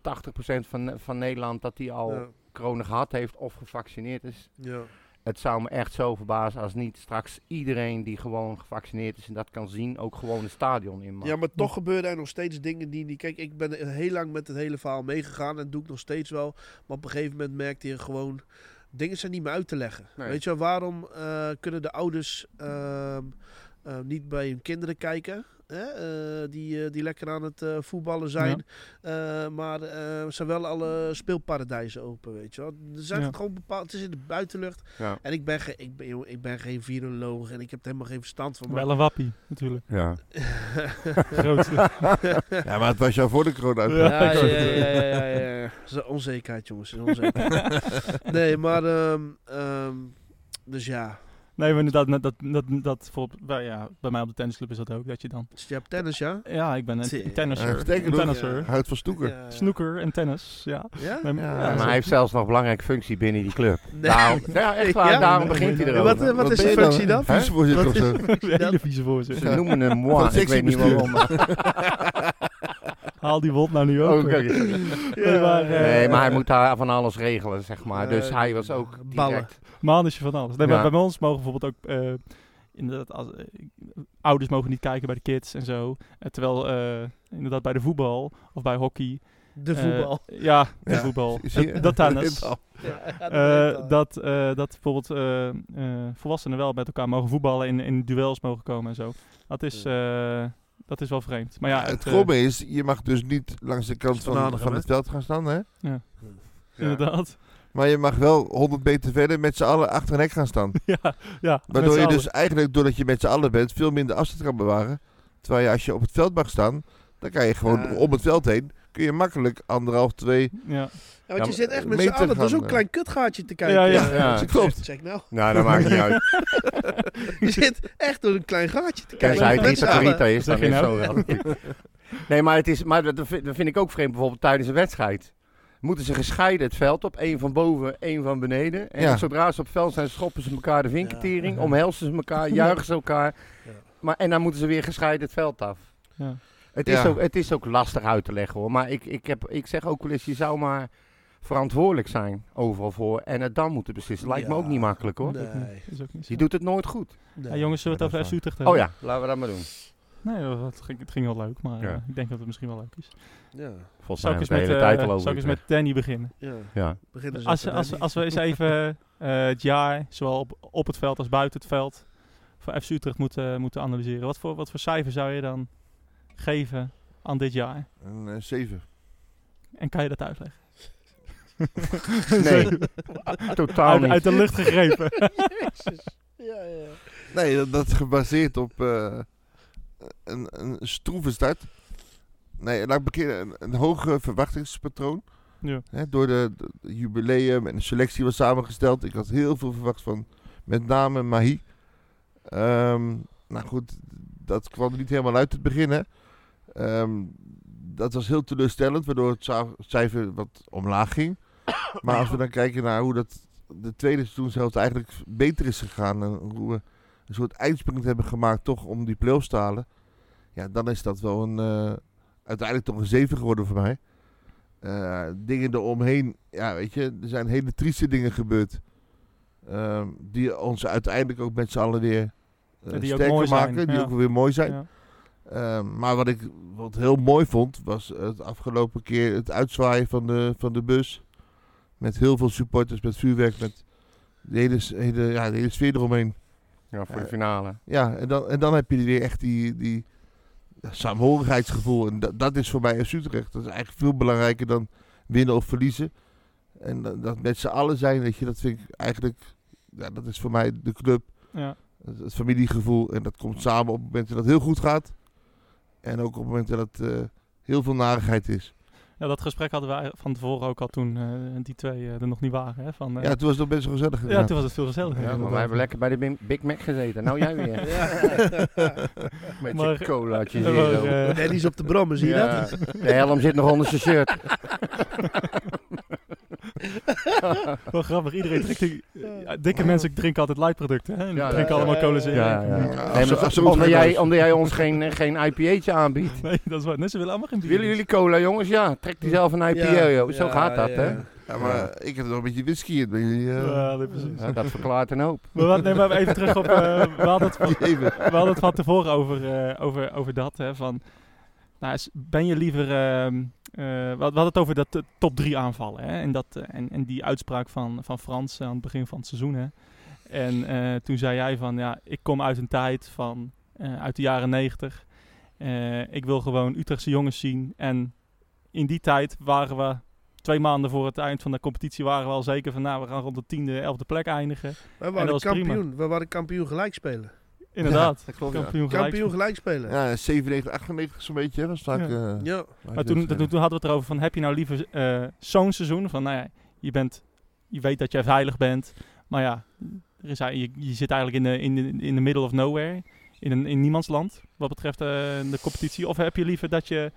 S4: 80% van, van Nederland dat die al
S6: ja,
S4: corona gehad heeft of gevaccineerd is.
S6: ja.
S4: Het zou me echt zo verbazen als niet straks iedereen die gewoon gevaccineerd is en dat kan zien, ook gewoon het stadion in mag.
S6: Ja, maar toch gebeuren er nog steeds dingen die niet... Kijk, ik ben heel lang met het hele verhaal meegegaan en doe ik nog steeds wel. Maar op een gegeven moment merkte je gewoon... Dingen zijn niet meer uit te leggen.
S4: Nee.
S6: Weet je wel, waarom eh, kunnen de ouders ehm, eh, niet bij hun kinderen kijken? hè, eh, die, eh, die lekker aan het eh, voetballen zijn. Eh, maar eh zijn wel alle speelparadijzen open, weet je wel. Er zijn
S3: Ja.
S6: gewoon bepaald, het is in de buitenlucht.
S4: Ja.
S6: En ik ben, ge- ik, ben, joh, ik ben geen viroloog en ik heb er helemaal geen verstand van. Maar
S3: Wel een wappie, natuurlijk.
S4: Ja.
S5: <laughs>
S6: <laughs>
S3: Grootste.
S5: Ja, maar het was jou voor de corona.
S3: Ja.
S5: uitbraak.
S6: ja, ja, ja,
S3: ik hoor
S6: ja, ja, ja, ja. Dat is een onzekerheid, jongens. dat is
S5: <laughs>
S6: een onzekerheid. nee, maar... ehm, ehm, dus ja,
S3: Nee, maar inderdaad, net dat, dat, dat voor, bij, ja, bij mij op de tennisclub is dat ook, dat je dan...
S6: dus je hebt tennis, ja?
S3: Ja, ik ben
S6: Tering.
S3: een tennisser.
S5: Eh, betekent
S3: Een
S5: ook-
S3: tennisser.
S5: Houdt van stoeker.
S6: Ja.
S3: Snoeker en tennis, ja.
S6: Ja?
S3: Nee, maar-
S5: Ja,
S3: ja,
S4: maar
S3: zo-
S4: hij heeft zelfs nog een belangrijke functie binnen die club.
S6: Nee.
S5: Nou,
S4: Daarom, Nou, <laughs> ja, echt waar,
S6: Ja?
S4: daarom begint hij
S3: Ja,
S4: erover.
S6: Wat, eh, wat is de functie dan?
S4: Hè?
S5: Vicevoorzitter
S6: Wat
S5: of zo.
S3: <laughs> een hele vieze voorzet.
S4: Dus Ze noemen hem moi,
S5: Van
S4: ik weet niet
S5: sectiebestuur.
S4: waarom. maar-
S3: Haal die wond nou nu ook.
S4: Oh, kijk eens.
S3: Nee, maar, eh,
S4: Nee, maar hij moet daar van alles regelen, zeg maar. Dus
S6: Eh,
S4: hij was ook
S6: ballen.
S4: direct...
S3: Manetje van alles. Nee, maar
S4: Ja.
S3: bij ons mogen bijvoorbeeld ook... eh, inderdaad, als, eh, ouders mogen niet kijken bij de kids en zo. Eh, terwijl eh, inderdaad bij de voetbal of bij hockey...
S6: De
S3: eh,
S6: voetbal.
S3: ja, de
S5: Ja. <laughs>
S3: voetbal.
S5: Zie je?
S3: Dat- Dat tennis.
S6: Ja, ja,
S3: Eh,
S6: dat-
S3: dat, eh, dat bijvoorbeeld eh, eh, volwassenen wel met elkaar mogen voetballen en in duels mogen komen en zo. Dat is, eh, dat is wel vreemd. Maar ja,
S5: het
S3: eh,
S5: kromme is, je mag dus niet langs de kant van,
S6: Vanavond,
S5: van
S6: hè?
S5: het veld gaan staan, hè?
S3: inderdaad. <laughs>
S5: Maar je mag wel 100 meter verder met z'n allen achter een hek gaan staan.
S3: Ja, ja, met
S5: Waardoor
S3: z'n
S5: je
S3: allen.
S5: dus eigenlijk, doordat je met z'n allen bent, veel minder afstand kan bewaren. Terwijl je als je op het veld mag staan, dan kan je gewoon
S6: Ja.
S5: om het veld heen, kun je makkelijk anderhalf, twee...
S3: Ja.
S6: Ja, want je
S4: Ja,
S6: zit echt met z'n
S5: meter
S6: allen door
S5: gaan,
S6: zo'n
S5: eh.
S6: klein kutgaatje te kijken.
S3: Ja, ja.
S6: eh,
S4: Ja.
S5: Dat klopt. <laughs>
S6: Check nou.
S4: Nou, dat maakt niet uit.
S6: Je zit echt door een klein gaatje te
S4: Kijk,
S6: kijken.
S4: als hij
S6: Met
S4: geen
S6: z'n allen.
S4: Sakarita is,
S3: Zeg
S4: dan
S3: je
S4: is het zo
S3: nou?
S4: wel. <laughs> Nee, maar, het is, maar dat, dat vind dat vind ik ook vreemd, bijvoorbeeld tijdens een wedstrijd. Moeten ze gescheiden het veld op, één van boven, één van beneden. En
S5: Ja.
S4: zodra ze op het veld zijn, schoppen ze elkaar de vinkertering, omhelzen ze elkaar, juichen ze elkaar.
S6: Ja.
S4: Maar, en dan moeten ze weer gescheiden het veld af.
S3: Ja.
S4: Het is,
S5: Ja.
S4: ook, het is ook lastig uit te leggen hoor. Maar ik, ik, heb, ik zeg ook wel eens, je zou maar verantwoordelijk zijn overal voor. En het dan moeten beslissen. Lijkt me
S6: Ja.
S4: ook niet makkelijk hoor.
S6: Nee.
S3: Is ook niet- is ook niet zo.
S4: Je doet het nooit goed.
S6: Nee.
S3: Ja, jongens, zullen we het
S4: Ja,
S3: over
S4: dat
S3: FC Utrecht
S4: Oh
S3: hebben?
S4: ja, laten we dat maar doen.
S3: Nee, hoor, het ging, het ging wel leuk, maar
S4: Ja.
S3: eh, ik denk dat het misschien wel leuk is.
S6: Ja,
S4: Volgens
S3: Zou
S4: mij
S3: ik eens
S4: hebben we
S3: met,
S4: de hele tijd
S3: eh,
S4: al over.
S3: zou ik eens
S4: Utrecht.
S3: met Danny beginnen?
S6: ja.
S4: Ja.
S6: Beginnen ze
S3: Als,
S6: even
S3: als,
S6: bij
S3: als we eens even eh, het jaar, zowel op, op het veld als buiten het veld, voor FC Utrecht moeten, eh, moeten analyseren. Wat voor, wat voor cijfer zou je dan geven aan dit jaar?
S5: Een eh, zeven.
S3: En kan je dat uitleggen?
S4: <laughs> Nee, <laughs> totaal
S3: uit,
S4: niet.
S3: uit de lucht
S4: <laughs>
S3: gegrepen.
S6: Jezus. Ja, ja.
S5: Nee, dat, dat is gebaseerd op eh, een, een stroeve start. Nee, laat ik bekennen, een, een hoge verwachtingspatroon.
S3: Ja.
S5: Hè, door de, de jubileum en de selectie was samengesteld. Ik had heel veel verwacht van met name Mahi. Ehm, nou goed, dat kwam er niet helemaal uit het begin. Hè. Ehm, dat was heel teleurstellend, waardoor het za- cijfer wat omlaag ging. Maar als we dan kijken naar hoe dat de tweede seizoenshelft eigenlijk beter is gegaan. En hoe we een soort eindsprint hebben gemaakt toch om die play-offs te halen. Ja, dan is dat wel een... eh, uiteindelijk toch een 7 geworden voor mij. Eh, dingen eromheen. Ja, weet je, er zijn hele trieste dingen gebeurd. ehm, die ons uiteindelijk ook met z'n allen weer eh,
S3: Ja, die ook
S5: sterker
S3: mooi zijn,
S5: maken. Die
S3: ja.
S5: ook weer mooi zijn.
S3: Ja.
S5: Ehm, maar wat ik wat heel mooi vond, was het afgelopen keer het uitzwaaien van de, van de bus. Met heel veel supporters, met vuurwerk, met de hele, s- hele, ja, de hele sfeer eromheen.
S4: Ja, voor de finale.
S5: Ja, en dan, en dan heb je weer echt die, die ja, saamhorigheidsgevoel. En da- dat is voor mij FC Utrecht. Dat is eigenlijk veel belangrijker dan winnen of verliezen. En dat, dat met z'n allen zijn, weet je, dat vind ik eigenlijk... Ja, dat is voor mij de club
S3: Ja.
S5: het, het familiegevoel. En dat komt samen op momenten dat het heel goed gaat. En ook op momenten dat eh, heel veel narigheid is.
S3: ja, dat gesprek hadden wij van tevoren ook al toen eh, die twee eh, er nog niet waren. Hè? Van, eh,
S5: ja, toen was het nog best wel gezellig.
S3: ja,
S5: gedaan.
S3: toen was het veel gezelliger. eh,
S4: Ja, maar
S3: inderdaad.
S4: wij hebben lekker bij de Bim- Big Mac gezeten. Nou
S6: <laughs> Ja.
S4: jij weer.
S6: <laughs>
S4: Met
S3: Maar-
S4: je colaatje
S3: Ja, maar,
S4: zero.
S3: eh,
S6: Danny is op de brommen, <laughs> zie je dat?
S4: Ja, De helm zit nog onder zijn shirt.
S3: wel grappig, iedereen drinkt... die- ja, dikke mensen drinken altijd light producten. Hè? En
S4: Ja,
S3: drinken
S4: Nou, ja,
S3: allemaal
S6: ja,
S3: cola
S6: ja,
S3: zero.
S4: Ja, ja.
S5: Ja,
S4: Nee,
S5: als-
S4: maar
S5: als ze ons
S4: omdat,
S5: gaan
S4: jij,
S5: luisteren.
S4: omdat jij ons geen, eh, geen IPA'tje
S6: <laughs>
S4: aanbiedt.
S3: Nee, dat is waar. Nee, ze willen allemaal geen bier.
S4: Willen jullie cola, jongens? Ja, trek die zelf een IPA. joh. Zo
S6: Ja,
S4: gaat dat,
S6: ja.
S4: hè?
S5: Ja, maar ik heb er nog een beetje whisky in. Maar jullie, eh, <laughs>
S3: Ja, nee, precies.
S4: Ja, dat verklaart een hoop.
S3: Maar, wat- nee, maar even terug op... eh, we, hadden het van,
S5: even.
S3: we hadden het van tevoren over, eh, over, over dat. Hè, van, nou, is- ben je liever... ehm, eh, we, had- we hadden het over dat eh, top 3 aanvallen. Hè, en, dat, eh, en, en die uitspraak van, van Frans aan het begin van het seizoen. Hè. En eh, toen zei jij van... Ja, ik kom uit een tijd van... eh, uit de jaren 90. Eh, ik wil gewoon Utrechtse jongens zien. En in die tijd waren we twee maanden voor het eind van de competitie waren we al zeker van nou, we gaan rond de tiende, elfde plek eindigen.
S6: We
S3: dat
S6: waren
S3: was prima.
S6: kampioen. We waren kampioen gelijk spelen.
S3: Inderdaad.
S5: dat klopt. Ja.
S3: kampioen gelijk.
S6: Kampioen gelijk spelen. Ja.
S5: Ja, 97, 98 zo'n beetje hè, was vaak.
S3: Ja.
S5: eh,
S3: Maar
S5: vaak
S3: toen,
S5: wedstrijden.
S3: toen, toen hadden we het erover van, heb je nou liever eh, zo'n seizoen? Van, nou ja, je, bent, je weet dat jij veilig bent. Maar ja, er is, ei- je, je zit eigenlijk in de, in, de, in de middle of nowhere. In, een, in niemands land, wat betreft eh, de competitie. Of heb je liever dat je,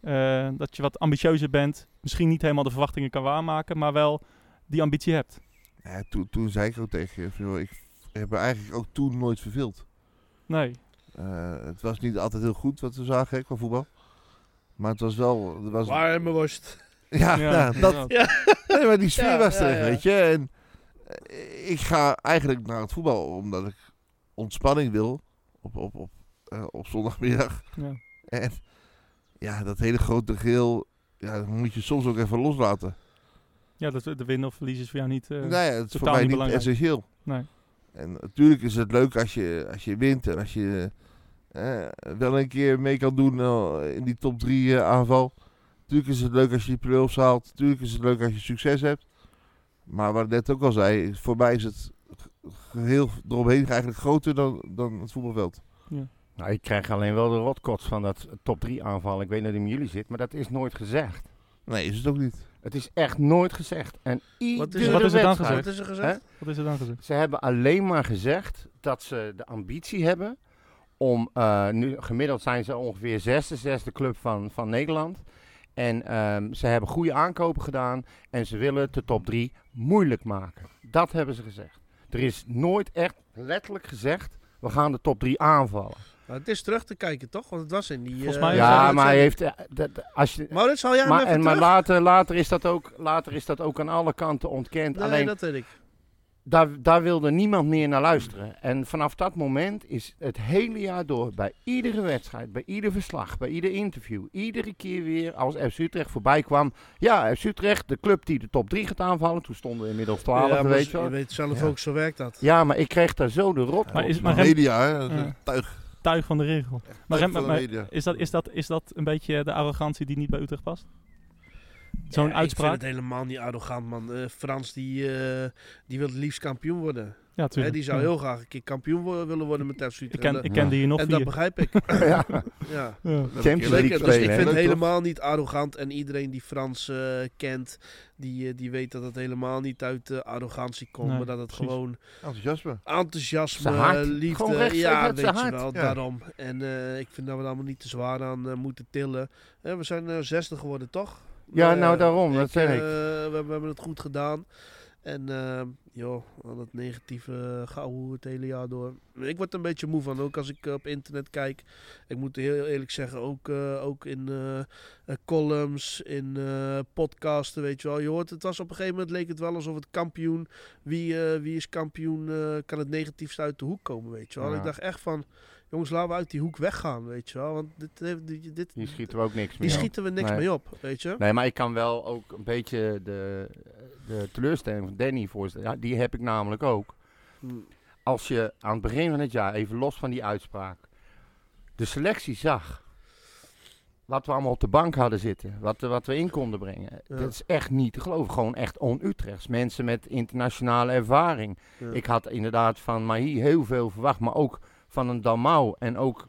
S3: eh, dat je wat ambitieuzer bent. Misschien niet helemaal de verwachtingen kan waarmaken, maar wel die ambitie hebt.
S5: Ja, toen, toen zei ik ook tegen je, van, joh, ik heb me eigenlijk ook toen nooit verveeld.
S3: Nee,
S5: Eh, het was niet altijd heel goed wat we zagen hè, qua voetbal. Maar het was wel... Het was,
S6: Warme worst.
S5: ja, ja,
S3: Ja,
S5: Ah, nou, dat,
S3: inderdaad.
S6: <laughs>
S5: nee, maar die sfeer
S6: Ja,
S5: was er,
S6: ja, ja.
S5: weet je. En eh, ik ga eigenlijk naar het voetbal omdat ik ontspanning wil op, op, op, eh, op zondagmiddag. <laughs>
S3: ja.
S5: En ja, dat hele grote geel, ja, dat moet je soms ook even loslaten.
S3: ja dat, de winnen of verliezen is voor jou niet... eh,
S5: nou ja, het is voor
S3: totaal
S5: mij niet
S3: niet belangrijk.
S5: essentieel.
S3: Nee.
S5: En natuurlijk is het leuk als je, als je wint en als je eh, wel een keer mee kan doen eh, in die top 3 aanval. Natuurlijk is het leuk als je die play-offs haalt. Natuurlijk is het leuk als je succes hebt. Maar wat ik net ook al zei, voor mij is het ge- geheel eromheen eigenlijk groter dan, dan het voetbalveld.
S4: Nou, ik krijg alleen wel de rotkots van dat top 3 aanval. Ik weet dat hij in jullie zit, maar dat is nooit gezegd.
S5: Nee, is het ook niet.
S4: Het is echt nooit gezegd. En
S6: Wat
S4: iedere
S6: is- wat
S3: is er dan
S4: wedstrijd-
S3: gezegd?
S6: Wat is er gezegd?
S3: Wat is er dan gezegd?
S4: Ze hebben alleen maar gezegd dat ze de ambitie hebben om, eh, nu gemiddeld zijn ze ongeveer zesde, zesde club van, van Nederland. En ehm, ze hebben goede aankopen gedaan en ze willen het de top drie moeilijk maken. Dat hebben ze gezegd. Er is nooit echt letterlijk gezegd, we gaan de top drie aanvallen.
S6: Maar het is terug te kijken, toch? Want het was in die... eh,
S3: Volgens mij is
S4: ja,
S3: dat-
S4: maar hij heeft, eh, dat- als je,
S6: Maurits, haal jij hem
S4: maar,
S6: even
S4: en, maar
S6: terug?
S4: later, later, is dat ook, later is dat ook aan alle kanten ontkend.
S6: nee,
S4: Alleen
S6: dat weet ik.
S4: daar, daar wilde niemand meer naar luisteren. En vanaf dat moment is het hele jaar door, bij iedere wedstrijd, bij ieder verslag, bij ieder interview, iedere keer weer als FC Utrecht voorbij kwam. Ja, FC Utrecht, de club die de top 3 gaat aanvallen. Toen stonden we inmiddels 12,
S6: ja, maar
S4: weet je wel.
S6: weet zelf
S5: Ja.
S6: ook, zo werkt dat.
S4: Ja, maar ik kreeg daar zo de rot.
S3: Maar
S5: Op
S3: is-
S5: de
S3: maar
S4: <laughs>
S3: heb-
S5: media, hè, dat is
S3: Ja.
S5: een tuig,
S3: Tuig van de regel. Maar,
S5: tuig
S3: Rem,
S5: van de
S3: maar-
S5: media.
S3: Is dat, is, dat, is dat een beetje de arrogantie die niet bij Utrecht past? Zo'n
S6: Ja, Ik
S3: uitspraak?
S6: vind het helemaal niet arrogant, man. Eh, Frans, die, eh, die wil het liefst kampioen worden.
S3: ja,
S6: Hè,
S3: tuurlijk.
S6: die zou
S3: Ja.
S6: heel graag een keer kampioen wo- willen worden met FC Utrecht.
S3: ik
S6: En
S3: ken,
S6: dat-
S3: ik ken
S5: Ja.
S3: die hier nog
S6: en dat
S3: vier.
S6: begrijp ik.
S4: Ja.
S6: ja.
S3: Ja.
S4: Champions
S6: Zeker,
S4: League
S6: dus ik
S4: spelen, hè?
S6: vind het
S5: Leuk, toch?
S6: helemaal niet arrogant. En iedereen die Frans eh, kent, die, eh, die weet dat het helemaal niet uit eh, arrogantie komt.
S3: Nee,
S6: maar dat het
S3: precies.
S6: gewoon
S5: Enthousiasme.
S6: enthousiasme,
S4: Zijn hart. Gewoon
S6: liefde.
S4: rechtstreeks
S6: Ja,
S4: uit
S6: weet
S4: zijn
S6: je
S4: hart,
S6: wel,
S5: ja.
S6: daarom. En eh, ik vind dat we er allemaal niet te zwaar aan eh, moeten tillen. Eh, we zijn eh 60 geworden, toch?
S4: Ja,
S6: Eh,
S4: nou daarom, dat zeg
S6: eh,
S4: ik.
S6: we, we hebben het goed gedaan. En eh, joh, al dat negatieve eh, gauw het hele jaar door. Ik word er een beetje moe van, ook als ik eh, op internet kijk. Ik moet heel eerlijk zeggen, ook, eh, ook in eh, eh, columns, in eh, podcasten, weet je wel. Je hoort, het was op een gegeven moment leek het wel alsof het kampioen, wie, eh, wie is kampioen, eh, kan het negatiefst uit de hoek komen, weet je wel.
S4: Ja.
S6: Ik dacht echt van, jongens, laten we uit die hoek weggaan, weet je wel. Want dit, heeft- dit, dit,
S4: Hier schieten we ook niks
S6: die
S4: meer op.
S6: schieten we niks
S4: Nee.
S6: mee op, weet je.
S4: Nee, maar ik kan wel ook een beetje de, de teleurstelling van Danny voorstellen. Ja, die heb ik namelijk ook.
S6: Hm.
S4: als je aan het begin van het jaar, even los van die uitspraak, de selectie zag. Wat we allemaal op de bank hadden zitten, wat, we- wat we in konden brengen.
S6: Ja.
S4: Dat is echt niet te geloven. Gewoon echt on-Utrechts. Mensen met internationale ervaring.
S6: Ja.
S4: Ik had inderdaad van Mahi heel veel verwacht, maar ook van een Dalmau en ook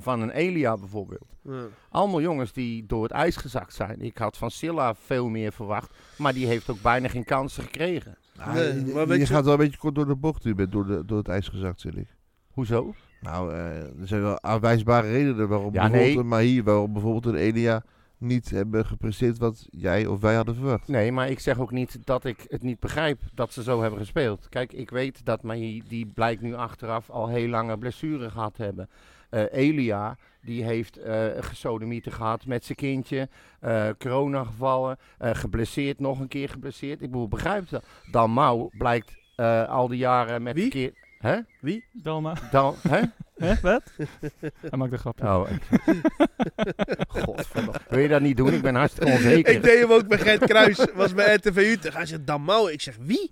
S4: van een Elia bijvoorbeeld.
S6: Ja.
S4: Allemaal jongens die door het ijs gezakt zijn. Ik had van Silla veel meer verwacht, maar die heeft ook bijna geen kansen gekregen.
S5: Ah,
S6: Nee,
S5: je-
S6: maar
S5: je,
S6: weet je-
S5: gaat wel een beetje kort door de bocht. Je bent door, de, door het ijs gezakt, zeg ik.
S4: Hoezo?
S5: Nou, eh, er zijn wel aanwijsbare redenen waarom
S4: Ja,
S5: bijvoorbeeld
S4: nee.
S5: een Mahi, waarom bijvoorbeeld een Elia niet hebben gepresteerd wat jij of wij hadden verwacht.
S4: Nee, maar ik zeg ook niet dat ik het niet begrijp dat ze zo hebben gespeeld. Kijk, ik weet dat Mahi, die blijkt nu achteraf al heel lange blessure gehad hebben. Eh, Elia, die heeft eh gesodemieten gehad met zijn kindje. eh, corona gevallen, eh, geblesseerd, nog een keer geblesseerd. Ik bedoel, begrijp dat. Dan Mau blijkt eh, al die jaren met...
S6: Wie?
S4: Keer, hè?
S6: <laughs>
S3: Dalma.
S4: Dan, hè?
S3: Hè, wat? Hij maakt een grapje.
S4: <laughs> Oh, ik... <laughs> Godverdomme. Wil je dat niet doen? Ik ben hartstikke
S6: <laughs>
S4: onzeker.
S6: Ik deed hem ook bij Gert Kruis, was bij RTV Utrecht. Hij zegt, Damau. Ik zeg, wie?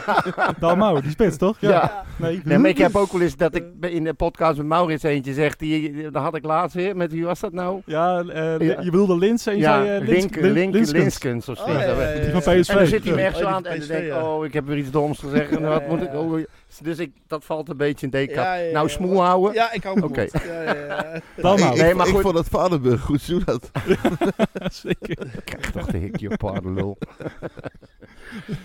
S3: <laughs> Dalmau, die spits toch?
S4: Ja.
S3: Nee,
S4: Nee, maar ik heb ook wel eens dat ik
S6: Eh.
S4: in de podcast met Maurits eentje zeg, die, dat had ik laatst weer, met wie was dat nou?
S3: Ja, eh,
S4: Ja.
S3: je bedoelde Lins en je zei eh, Lins-
S4: Link,
S3: Lin-
S4: Link,
S3: Linskens.
S4: Linskens of zoiets.
S6: Oh, ja, ja, Oh, ja, ja.
S3: Die van PSV.
S4: En dan zit hij me
S3: Ja.
S4: echt zo aan en dan denk ik, oh, ik heb weer iets doms gezegd. En
S6: Ja,
S4: wat
S6: ja,
S4: moet ik,
S6: ja.
S4: oh, dus ik, dat valt een beetje in deken.
S6: Ja, ja, ja.
S4: Nou, smoel houden.
S6: Ja, ik hou hem
S4: Oké.
S6: goed. Ja, ja, ja.
S3: Dalmau.
S5: ik,
S3: <laughs>
S4: Nee,
S5: ik-
S4: maar
S5: ik
S4: goed.
S5: vond dat Valenburg goed zo
S4: <laughs>
S5: dat.
S3: Zeker.
S4: Ik krijg toch de hikje op harde lul. <laughs>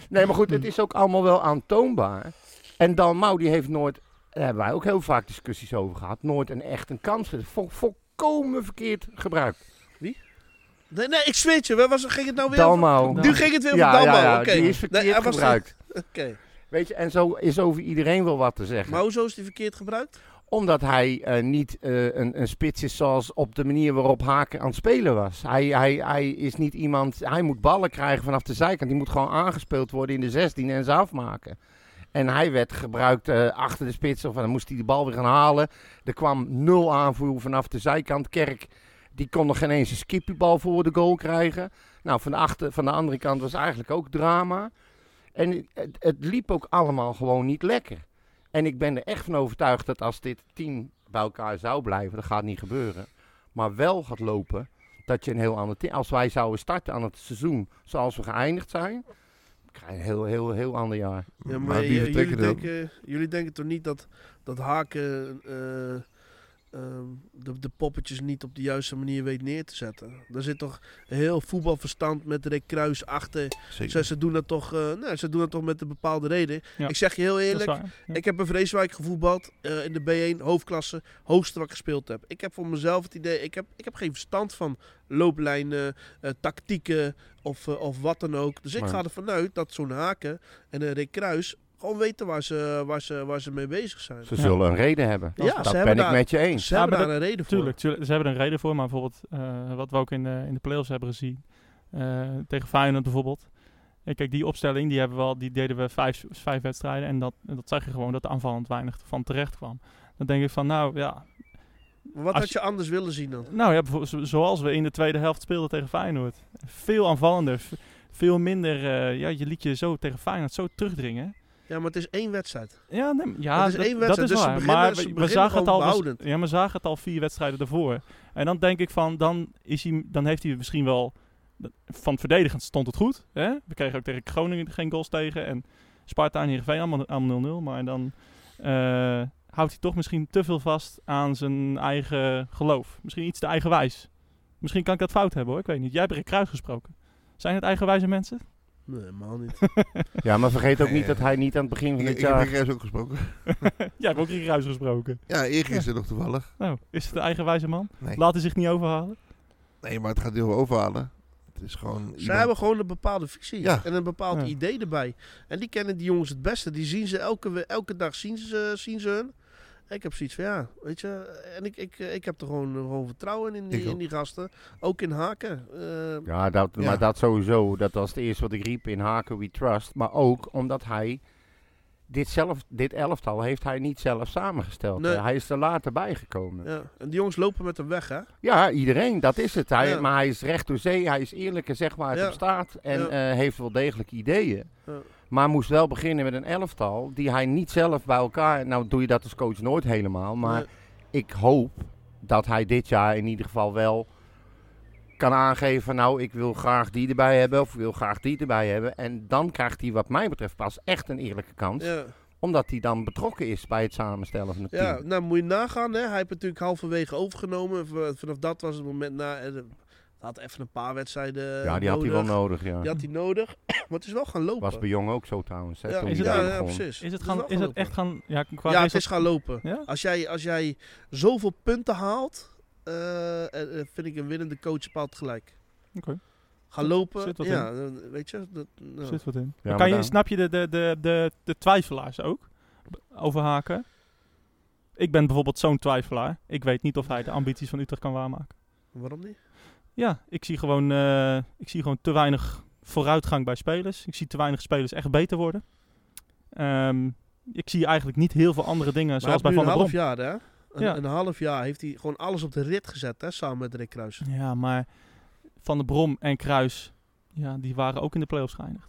S4: nee, maar goed, het is ook allemaal wel aantoonbaar. En Dalmau, die heeft nooit, daar hebben wij ook heel vaak discussies over gehad, nooit een echt een kans. Vo- volkomen verkeerd gebruikt.
S6: Nee, nee, ik zweer het je. Waar was, ging het nou weer over?
S4: Dalmau.
S6: Nu ging het weer
S4: Ja,
S6: over Damau.
S4: ja, ja,
S6: Oké.
S4: die is verkeerd
S6: Nee, hij was-
S4: gebruikt.
S6: Oké.
S4: Weet je, en zo is over iedereen wel wat te zeggen.
S6: Maar hoezo is die verkeerd gebruikt?
S4: Omdat hij eh, niet eh, een, een spits is zoals op de manier waarop Haken aan het spelen was. Hij, hij, hij is niet iemand. Hij moet ballen krijgen vanaf de zijkant. Die moet gewoon aangespeeld worden in de 16 en ze afmaken. En hij werd gebruikt eh, achter de spits. Of dan moest hij de bal weer gaan halen. Er kwam nul aanvoer vanaf de zijkant. Kerk die kon nog geen eens een skippiebal voor de goal krijgen. Nou, van de, achter, van de andere kant was eigenlijk ook drama. En het, het liep ook allemaal gewoon niet lekker. En ik ben er echt van overtuigd dat als dit team bij elkaar zou blijven, dat gaat niet gebeuren, maar wel gaat lopen, dat je een heel ander team. Als wij zouden starten aan het seizoen zoals we geëindigd zijn, krijg je een heel, heel, heel ander jaar.
S6: Ja,
S5: maar
S6: j-
S5: wie
S6: jullie,
S5: vertrekken dan?
S6: denken, jullie denken toch niet dat, dat Haken eh, ehm, de, de poppetjes niet op de juiste manier weet neer te zetten? Daar zit toch heel voetbalverstand met Rick Kruis achter. Ze, ze, doen dat toch, eh, nee, ze doen dat toch met een bepaalde reden.
S3: Ja.
S6: Ik zeg je heel
S3: Dat is
S6: eerlijk,
S3: waar. Ja.
S6: ik heb in Vreeswijk gevoetbald eh, in de B1, hoofdklasse, hoogste wat ik gespeeld heb. Ik heb voor mezelf het idee, ik heb, ik heb geen verstand van looplijnen, eh, tactieken of, eh, of wat dan ook. Dus ik
S4: Nee.
S6: ga ervan uit dat zo'n Haken en een Rick Kruis gewoon weten waar ze, waar ze, waar ze mee bezig zijn.
S4: Ze
S3: Ja.
S4: zullen een reden hebben.
S6: Ja, ze
S4: dat
S6: hebben
S4: ben ik
S6: daar-
S4: met je eens.
S6: Ze hebben
S3: maar
S6: daar een reden voor.
S3: Tuurlijk, tuurlijk, ze hebben er een reden voor, maar bijvoorbeeld eh, wat we ook in de, in de play-offs hebben gezien, eh, tegen Feyenoord bijvoorbeeld. En kijk, die opstelling die hebben we al, die deden we vijf, vijf wedstrijden en dat, dat zag je gewoon dat aanvallend weinig van terecht kwam. Dan denk ik van, nou ja,
S6: Maar wat
S3: Als
S6: had je anders willen zien dan?
S3: nou, ja bijvoorbeeld zo- zoals we in de tweede helft speelden tegen Feyenoord. Veel aanvallender, v- veel minder, eh, ja, je liet je zo tegen Feyenoord zo terugdringen.
S6: Ja, maar het is één wedstrijd.
S3: Ja, nee, maar- ja
S6: Dat is één wedstrijd, dus ze
S3: waar.
S6: beginnen-
S3: maar
S6: ze
S3: we- we,
S6: beginnen
S3: zagen het
S6: gewoon
S3: al, we,
S6: behoudend.
S3: ja, we zagen het al vier wedstrijden ervoor. En dan denk ik van, dan, is hij, dan heeft hij misschien wel... Van het verdedigend stond het goed. Hè? We kregen ook tegen Groningen geen goals tegen. En Sparta en Heerenveen allemaal allemaal 0-0. Maar dan eh, houdt hij toch misschien te veel vast aan zijn eigen geloof. Misschien iets te eigenwijs. Misschien kan ik dat fout hebben hoor, ik weet niet. Jij hebt Rick Kruijs gesproken. Zijn het eigenwijze mensen? <laughs>
S6: Nee, helemaal niet.
S4: <laughs> Ja, maar vergeet ook
S5: Ja,
S4: niet
S5: ja.
S4: dat hij niet aan het begin van
S5: Ik,
S4: dit
S5: ik heb
S4: jaar...
S5: Rick Rijs ook gesproken.
S3: Jij hebt ook Rick Kruijs gesproken.
S5: Ja, eergisteren nog toevallig.
S3: Nou, is het een eigenwijze man?
S5: Nee.
S3: Laat hij zich niet overhalen?
S5: Nee, maar het gaat heel veel overhalen. Het is gewoon.
S6: Ze
S5: iemand-
S6: hebben gewoon een bepaalde visie
S5: Ja.
S6: en een bepaald
S3: Ja.
S6: idee erbij. En die kennen die jongens het beste. Die zien ze elke, we- elke dag, zien ze, zien ze hun. Ik heb zoiets van, ja, weet je. En ik, ik, ik heb er gewoon, eh, gewoon vertrouwen in die,
S5: Ik ook.
S6: in die gasten. Ook in haken. Eh,
S4: Ja, dat,
S5: Ja.
S4: maar dat sowieso. Dat was het eerste wat ik riep in Haken We Trust. Maar ook omdat hij... Dit, zelf, dit elftal heeft hij niet zelf samengesteld.
S6: Nee.
S4: Hij is er later bijgekomen.
S6: ja. En die jongens lopen met hem weg, hè.
S4: Ja, iedereen, dat is het. Hij,
S6: Ja.
S4: Maar hij is recht door zee, hij is eerlijk en zegt waar het
S6: Ja.
S4: op staat. En
S6: Ja.
S4: eh, heeft wel degelijk ideeën.
S6: Ja.
S4: Maar moest wel beginnen met een elftal die hij niet zelf bij elkaar... Nou doe je dat als coach nooit helemaal. Maar
S6: Eh,
S4: ik hoop dat hij dit jaar in ieder geval wel kan aangeven van... Nou, ik wil graag die erbij hebben of ik wil graag die erbij hebben. En dan krijgt hij wat mij betreft pas echt een eerlijke kans.
S6: Eh, ja.
S4: Omdat hij dan betrokken is bij het samenstellen van het
S6: ja,
S4: team.
S6: nou moet je nagaan, hè. Hij heeft natuurlijk halverwege overgenomen. V- Vanaf dat was het moment na... en, eh, had even een paar wedstrijden eh,
S4: Ja, die had hij wel nodig, ja.
S6: Die had hij nodig. <coughs> maar het is wel gaan lopen.
S4: Was bij Jong ook zo trouwens, hè,
S6: ja,
S4: toen
S3: is
S6: ja,
S4: hij
S3: het-
S4: daar
S6: ja,
S4: begon.
S6: precies.
S3: Is het,
S6: wel
S3: gaan, is het
S6: lopen.
S3: echt gaan... Ja, qua
S6: Ja, het
S3: result-
S6: is gaan lopen.
S3: Ja?
S6: Als jij, als jij zoveel punten haalt, eh, eh, eh, vind ik een winnende coach bepaald gelijk.
S3: Oké.
S6: Ga lopen,
S3: zit wat
S6: ja, eh, weet je. Dat, nou.
S3: Zit wat in.
S4: Ja,
S3: Dan
S4: maar
S3: kan je,
S4: dan-
S3: snap je de, de, de, de, de twijfelaars ook? Overhaken. Ik ben bijvoorbeeld zo'n twijfelaar. Ik weet niet of hij de ambities van Utrecht kan waarmaken.
S6: Waarom niet?
S3: Ja, ik zie gewoon, eh, ik zie gewoon te weinig vooruitgang bij spelers. Ik zie te weinig spelers echt beter worden. Ehm, ik zie eigenlijk niet heel veel andere dingen
S6: Maar
S3: zoals
S6: hij
S3: bij
S6: heeft nu
S3: Van der
S6: een half
S3: Brom.
S6: jaar, hè? Een,
S3: Ja.
S6: een half jaar heeft hij gewoon alles op de rit gezet, hè, samen met Rick Kruis.
S3: Ja, maar Van der Brom en Kruis, ja, die waren ook in de play-offs geëindigd.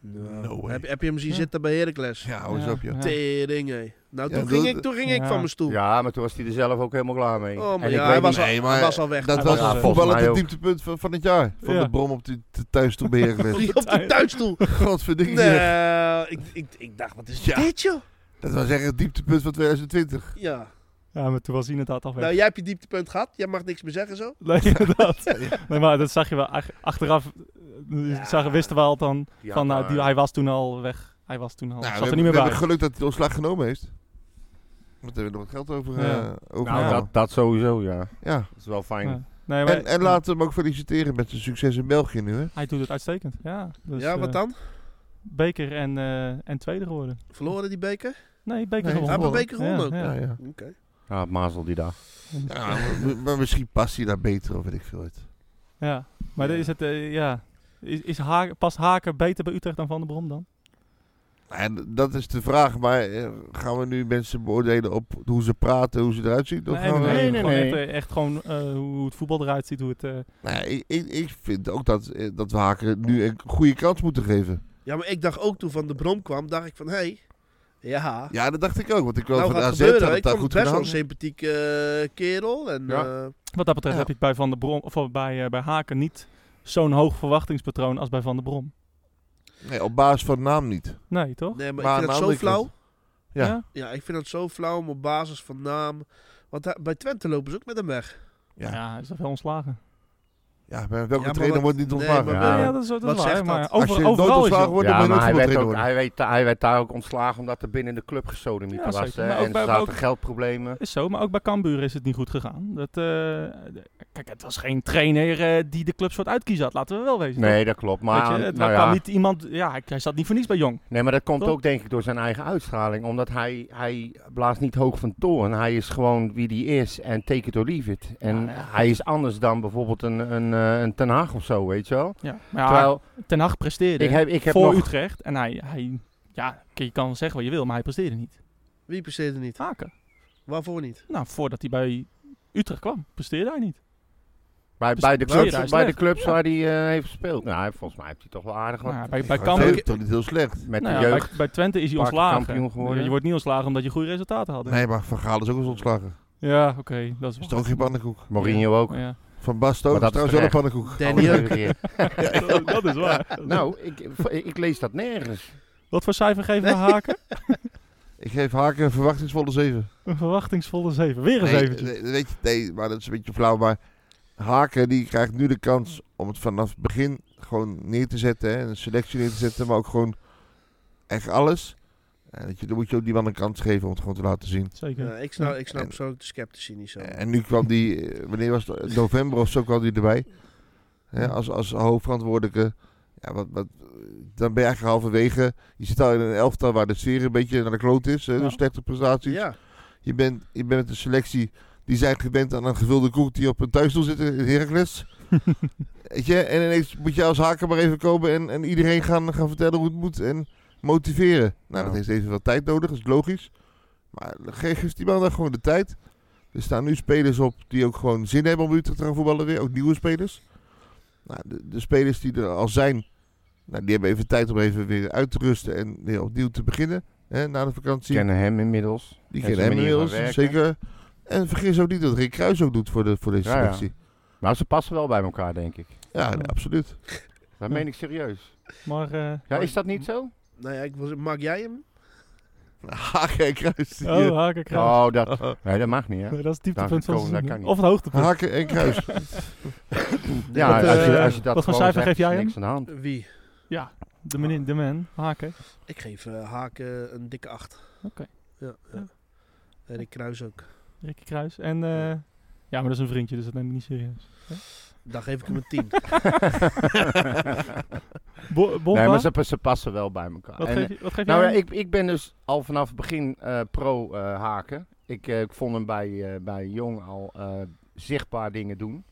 S5: No way.
S6: Nou, Heb, je- heb je hem zien
S3: Ja.
S6: zitten bij Heracles?
S5: Ja, hou eens
S3: Ja,
S5: op, joh.
S3: ja.
S6: Tering, hé. Nou,
S5: Ja,
S6: toen
S5: dat-
S6: ging, ik, toen ging ik
S3: Ja.
S6: van mijn stoel.
S4: Ja, maar toen was hij er zelf ook helemaal klaar mee.
S6: Oh, maar
S4: en ik
S6: ja,
S4: weet
S6: hij was,
S4: niet-
S5: Nee,
S6: al,
S5: maar
S6: hij was al weg.
S5: Dat
S3: Ja,
S5: was
S3: volgens
S5: voetballend
S4: mij
S5: het
S4: ook.
S5: dieptepunt van, van het jaar. Van
S3: Ja.
S5: de brom op de, de thuis toen ben je
S4: <laughs>
S5: geweest.
S6: Op
S3: <laughs>
S6: de
S5: <laughs>
S6: thuisstoel.
S5: Godverdikkie.
S6: Nee, eh, ik, ik, ik dacht, wat is
S5: Ja.
S6: dit, joh?
S5: Dat was echt het dieptepunt van 2020.
S6: Ja.
S3: Ja, maar toen was hij inderdaad al weg.
S6: Nou, jij hebt je dieptepunt gehad. Jij mag niks meer zeggen zo.
S3: <laughs> Nee, inderdaad. Nee, maar dat zag je wel. Ach- Achteraf eh,
S6: Ja.
S3: zagen, wisten we al dan
S4: Ja,
S3: van, nou, die,
S4: maar-
S3: hij was toen al weg. Hij was toen al,
S5: Nou, we
S3: zat er
S5: hebben-
S3: niet meer
S5: we
S3: bij.
S5: hebben geluk dat hij de ontslag genomen heeft. Want daar hebben we nog wat geld over. eh
S3: Ja.
S5: over
S4: Nou,
S5: gehaald.
S4: dat, dat sowieso, ja.
S5: ja.
S4: Dat is wel fijn.
S3: Ja. Nee, maar,
S5: En, en laten we hem ook feliciteren met zijn succes in België nu. Hè?
S3: Hij doet het uitstekend, ja. Dus,
S6: ja, wat
S3: eh,
S6: dan?
S3: beker en, eh, en tweede geworden.
S6: Verloren die beker?
S3: Nee, beker
S5: Nee,
S3: gewonnen.
S5: hebben we
S6: beker gewonnen
S3: Ja,
S5: Ja,
S3: ja.
S5: ja.
S6: Oké.
S4: Ja, het mazel die dag.
S5: Ja, maar, maar misschien past hij daar beter of weet ik veel. Het.
S3: Ja. Maar dan is het, eh, ja... Is, is Haak- past Haken beter bij Utrecht dan Van der Brom dan?
S5: En dat is de vraag, maar eh, gaan we nu mensen beoordelen op hoe ze praten, hoe ze eruit zien? Of gaan we-
S4: nee, nee,
S3: gewoon
S4: nee.
S3: Echt, eh, echt gewoon eh, hoe het voetbal eruit ziet, hoe het... eh,
S5: Nou, ik, ik, ik vind ook dat, eh, dat we Haken nu een goede kans moeten geven.
S6: Ja, maar ik dacht ook toen Van de Brom kwam, dacht ik van, hé, hey, ja,
S5: Ja, dat dacht ik ook, want ik kwam
S6: nou
S5: van de
S6: gaat
S5: AZ, had
S6: gebeuren.
S5: het
S6: Ik
S5: daar
S6: vond
S5: goed
S6: het best
S5: gedaan.
S6: wel een sympathieke eh, kerel. En,
S4: Ja.
S6: eh,
S3: wat dat betreft
S5: Ja.
S3: heb ik bij Van der Brom, of bij, eh, bij Haken niet zo'n hoog verwachtingspatroon als bij Van der Brom.
S5: Nee, op basis van naam niet.
S3: Nee, toch?
S6: nee, maar,
S5: Maar
S6: ik
S5: aan
S6: vind het
S5: de
S6: zo
S5: andere
S6: flauw.
S5: kant- Ja.
S6: Ja, ik vind het zo flauw om op basis van naam... Want daar- bij Twente lopen ze ook met hem weg.
S3: Ja,
S5: Ja.
S3: hij is toch wel ontslagen.
S5: Ja, bij
S6: Ja,
S5: welke
S6: maar
S5: trainer
S6: wat-
S5: wordt niet
S6: nee,
S5: ontvangen?
S6: maar
S4: Ja.
S3: Ja,
S6: wel-
S3: dat is, dat is
S6: wat
S3: waar.
S6: zegt
S3: Maar
S6: dat?
S5: Als
S3: over,
S5: je nooit
S3: overal is
S5: ontslagen
S3: het.
S5: wordt, dan
S4: Ja,
S5: ben je
S4: maar
S5: nooit
S4: hij werd,
S5: voetbaltrainer
S4: ook,
S5: worden.
S4: hij, werd, hij werd daar ook ontslagen omdat er binnen de club gesodemiet
S3: Ja,
S4: was.
S3: zeker.
S4: Hè?
S3: Maar ook
S4: En
S3: bij-
S4: er
S3: ook-
S4: zaten geldproblemen.
S3: Is zo, maar ook bij Cambuur is het niet goed gegaan. Dat, eh, de- kijk, het was geen trainer eh, die de club soort uitkiezen had, laten we wel wezen.
S4: Nee, dat klopt.
S3: toch?
S4: Maar,
S3: Weet je, het
S4: nou
S3: kwam
S4: ja.
S3: niet iemand, ja, hij- hij zat niet voor niets bij Jong.
S4: nee, maar dat komt
S3: Toch?
S4: ook denk ik door zijn eigen uitstraling. Omdat hij, hij blaast niet hoog van toren. Hij is gewoon wie hij is en take it or leave it. En
S3: Ja, ja.
S4: hij is anders dan bijvoorbeeld een, een, eh, een Ten Hag of zo, weet je wel.
S3: Ja, maar ja,
S4: Terwijl,
S3: Ten Hag presteerde
S4: ik heb, ik heb
S3: Ah, voor
S4: nog...
S3: Utrecht en hij, hij, ja, je kan zeggen wat je wil, maar hij presteerde niet.
S6: Wie presteerde niet?
S3: Haken.
S6: Waarvoor niet?
S3: Nou, voordat hij bij Utrecht kwam, presteerde hij niet.
S4: Bij,
S3: Dus
S4: bij de
S3: bij
S4: clubs,
S3: Utrecht
S4: bij de
S3: slecht.
S4: clubs
S3: Ja.
S4: waar hij eh, heeft gespeeld. Nou, hij- volgens mij heeft hij toch wel aardig wat
S3: Nou, ja, bij, bij,
S5: Maar
S3: Cambuur,
S5: Twente toch niet heel slecht.
S4: met
S3: nou,
S4: de
S3: ja,
S4: jeugd.
S3: bij, bij Twente is hij
S4: Paar keer
S3: ontslagen.
S4: kampioen geworden.
S3: Je, wordt niet ontslagen omdat je goede resultaten had.
S5: Nee, maar Van Gaal is ook eens ontslagen.
S3: Ja, oké, dat is
S5: Is toch ook geen pannenkoek?
S4: Mourinho <laughs> ook.
S3: Ja.
S5: Van Basten ook
S4: Maar
S5: is
S4: dat
S5: trouwens
S4: is
S5: wel een pannenkoek.
S6: Danny ook.
S3: dat is waar.
S4: <laughs> Nou, ik, ik lees dat nergens.
S3: Wat voor cijfer geven we Haken?
S5: Ik geef Haken een verwachtingsvolle 7.
S3: Een verwachtingsvolle 7. Weer eens
S5: Nee,
S3: eventjes.
S5: nee, weet je, nee, maar dat is een beetje flauw. Maar Haken die krijgt nu de kans om het vanaf het begin gewoon neer te zetten. Hè, een selectie neer te zetten, maar ook gewoon echt alles. En dat je, dan moet je ook die man een kans geven om het gewoon te laten zien.
S3: Zeker.
S6: Ja, ik snap, ik snap
S5: En-
S6: persoonlijk de sceptici niet zo.
S5: En nu kwam die, eh, wanneer was het? November of zo kwam die erbij. Hè, als, als hoofdverantwoordelijke. Ja, wat, wat, dan ben je eigenlijk halverwege. Je zit al in een elftal waar de sfeer een beetje naar de kloot is. Hè,
S3: Ja.
S5: Door slechte prestaties.
S6: Ja,
S5: Je bent, je bent met een selectie. Die zijn gewend aan een gevulde koek die op een thuisstoel zit in Heracles. Weet je? En ineens moet je als haker maar even komen en, en iedereen gaan, gaan vertellen hoe het moet en motiveren. Nou,
S4: Ja.
S5: dat heeft even wat tijd nodig, dat is logisch. Maar geef geef die man dan gewoon de tijd. Er staan nu spelers op die ook gewoon zin hebben om Utrecht te gaan voetballen weer. Ook nieuwe spelers. Nou, de, de spelers die er al zijn, nou, die hebben even tijd om even weer uit te rusten en weer opnieuw te beginnen. Hè, na de vakantie.
S4: kennen hem inmiddels.
S5: Die
S4: En
S5: kennen
S4: zijn
S5: hem
S4: manier van
S5: inmiddels,
S4: werken.
S5: zeker. En vergis ook niet dat Rick Kruis ook doet voor, de, voor deze
S4: Ja, ja.
S5: selectie.
S4: Maar ze passen wel bij elkaar, denk ik.
S5: Ja, nee, absoluut. <laughs>
S4: Dat
S3: Ja.
S4: meen ik serieus.
S3: Maar
S4: <laughs>
S3: eh,
S4: Ja, is dat niet zo?
S6: nou ja, ik was, maak jij hem?
S5: Haken en Kruis. die,
S3: oh,
S5: eh,
S3: Haken krijgt.
S4: Oh, dat, nee, dat mag niet, hè?
S3: Nee, dat is het
S4: Daar
S3: dieptepunt van
S4: komen,
S3: het
S4: dat
S3: seizoen.
S4: kan niet.
S3: Of het hoogtepunt.
S5: Haken en Kruis.
S4: <laughs> Ja,
S3: Wat,
S4: als je,
S3: eh,
S4: als je dat
S3: wat voor
S4: gewoon
S3: cijfer geef
S4: zegt,
S3: jij
S4: is
S3: hem?
S4: niks aan de
S3: <laughs>
S4: hand. <laughs>
S6: Wie?
S3: De, menin, de man, Haken.
S6: Ik geef eh, Haken een dikke acht.
S3: Oké.
S6: Ja, ja.
S3: Ja.
S6: En ik kruis ook.
S3: Ricky Kruis. En eh, ja, maar dat is een vriendje, dus dat neem ik niet serieus.
S6: Dan geef ik hem een tien.
S3: Bo Bomba,
S4: Nee, maar ze, ze passen wel bij elkaar.
S3: wat,
S4: En,
S3: geef je, wat geef
S4: nou ja,
S3: jij? hem?
S4: ik, ik ben dus al vanaf het begin eh, pro eh, haken. Ik, eh, ik vond hem bij, eh, bij Jong al eh, zichtbaar dingen doen.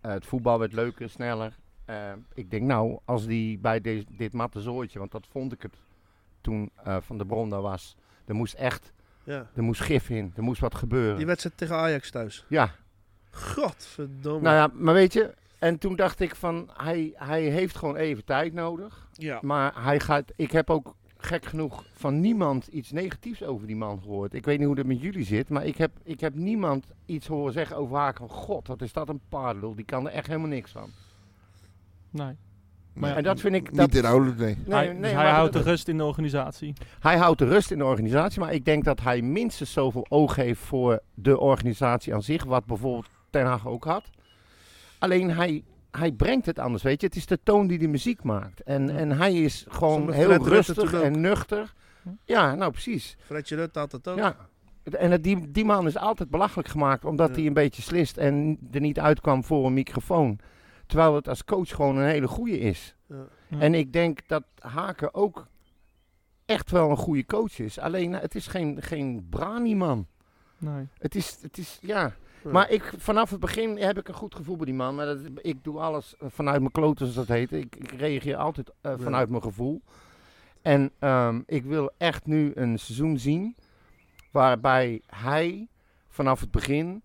S4: Eh, het voetbal werd leuker, sneller. Eh, ik denk nou, als die bij deze dit matte zooitje, want dat vond ik het toen eh, Van de Bron daar was. Er moest echt
S6: Ja.
S4: Er moest gif in, er moest wat gebeuren.
S6: Die wedstrijd tegen Ajax thuis.
S4: Ja,
S6: Godverdomme.
S4: nou ja, maar weet je, en toen dacht ik van, hij, hij heeft gewoon even tijd nodig.
S6: ja.
S4: Maar hij gaat, ik heb ook gek genoeg van niemand iets negatiefs over die man gehoord. Ik weet niet hoe dat met jullie zit, maar ik heb, ik heb niemand iets horen zeggen over Haken. God, wat is dat een paardel, die kan er echt helemaal niks van.
S3: Nee.
S5: Maar
S3: Maar
S4: En
S3: ja,
S4: dat vind ik... Dat,
S5: Niet inhoudelijk, nee.
S4: nee,
S3: hij,
S4: nee,
S3: dus hij
S4: maar
S3: houdt de
S4: dat-
S3: rust in de organisatie.
S4: Hij houdt de rust in de organisatie, maar ik denk dat hij minstens zoveel oog heeft voor de organisatie aan zich, wat bijvoorbeeld Ten Hag ook had. Alleen hij, hij brengt het anders, weet je. Het is de toon die de muziek maakt. En, en hij is gewoon
S6: Zonder
S4: heel
S6: Fred Rutte
S4: rustig
S6: natuurlijk
S4: en nuchter.
S3: Hm.
S4: Ja, nou precies.
S6: Fredje Rutte had dat ook.
S4: Ja. En het- die, die man is altijd belachelijk gemaakt, omdat
S6: Ja.
S4: hij een beetje slist en er niet uitkwam voor een microfoon. Terwijl het als coach gewoon een hele goeie is.
S6: Ja.
S3: Ja.
S4: En ik denk dat Haken ook echt wel een goede coach is. Alleen nou, het is geen, geen Brani-man.
S3: Nee.
S4: Het is, het is, ja.
S6: Ja.
S4: Maar ik, vanaf het begin heb ik een goed gevoel bij die man. Maar dat, ik doe alles eh, vanuit mijn kloten, zoals dat heet. Ik, ik reageer altijd eh,
S6: Ja.
S4: vanuit mijn gevoel. En ehm, ik wil echt nu een seizoen zien waarbij hij vanaf het begin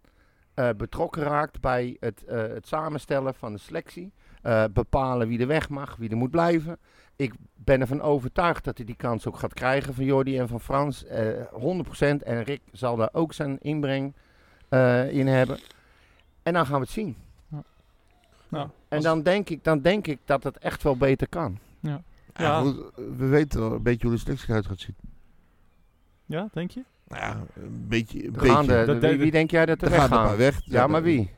S4: eh, betrokken raakt bij het, eh, het samenstellen van de selectie. Eh, bepalen wie er weg mag, wie er moet blijven. Ik ben ervan overtuigd dat hij die kans ook gaat krijgen van Jordi en van Frans. eh 100% en Rick zal daar ook zijn inbreng eh, in hebben. En dan gaan we het zien.
S3: Nou,
S4: En
S3: als-
S4: dan denk, ik, dan denk ik dat het echt wel beter kan.
S3: Ja.
S5: Ja, goed, we weten al een beetje hoe de selectie eruit gaat zien.
S3: ja, denk je?
S5: Nou ja, een beetje. Een
S4: Er
S5: beetje.
S4: gaan de-
S3: Dat
S4: de- wie,
S3: deed-
S4: wie denk jij dat er
S5: er gaan er
S4: weggaan?
S5: maar weg.
S4: Ja, maar wie?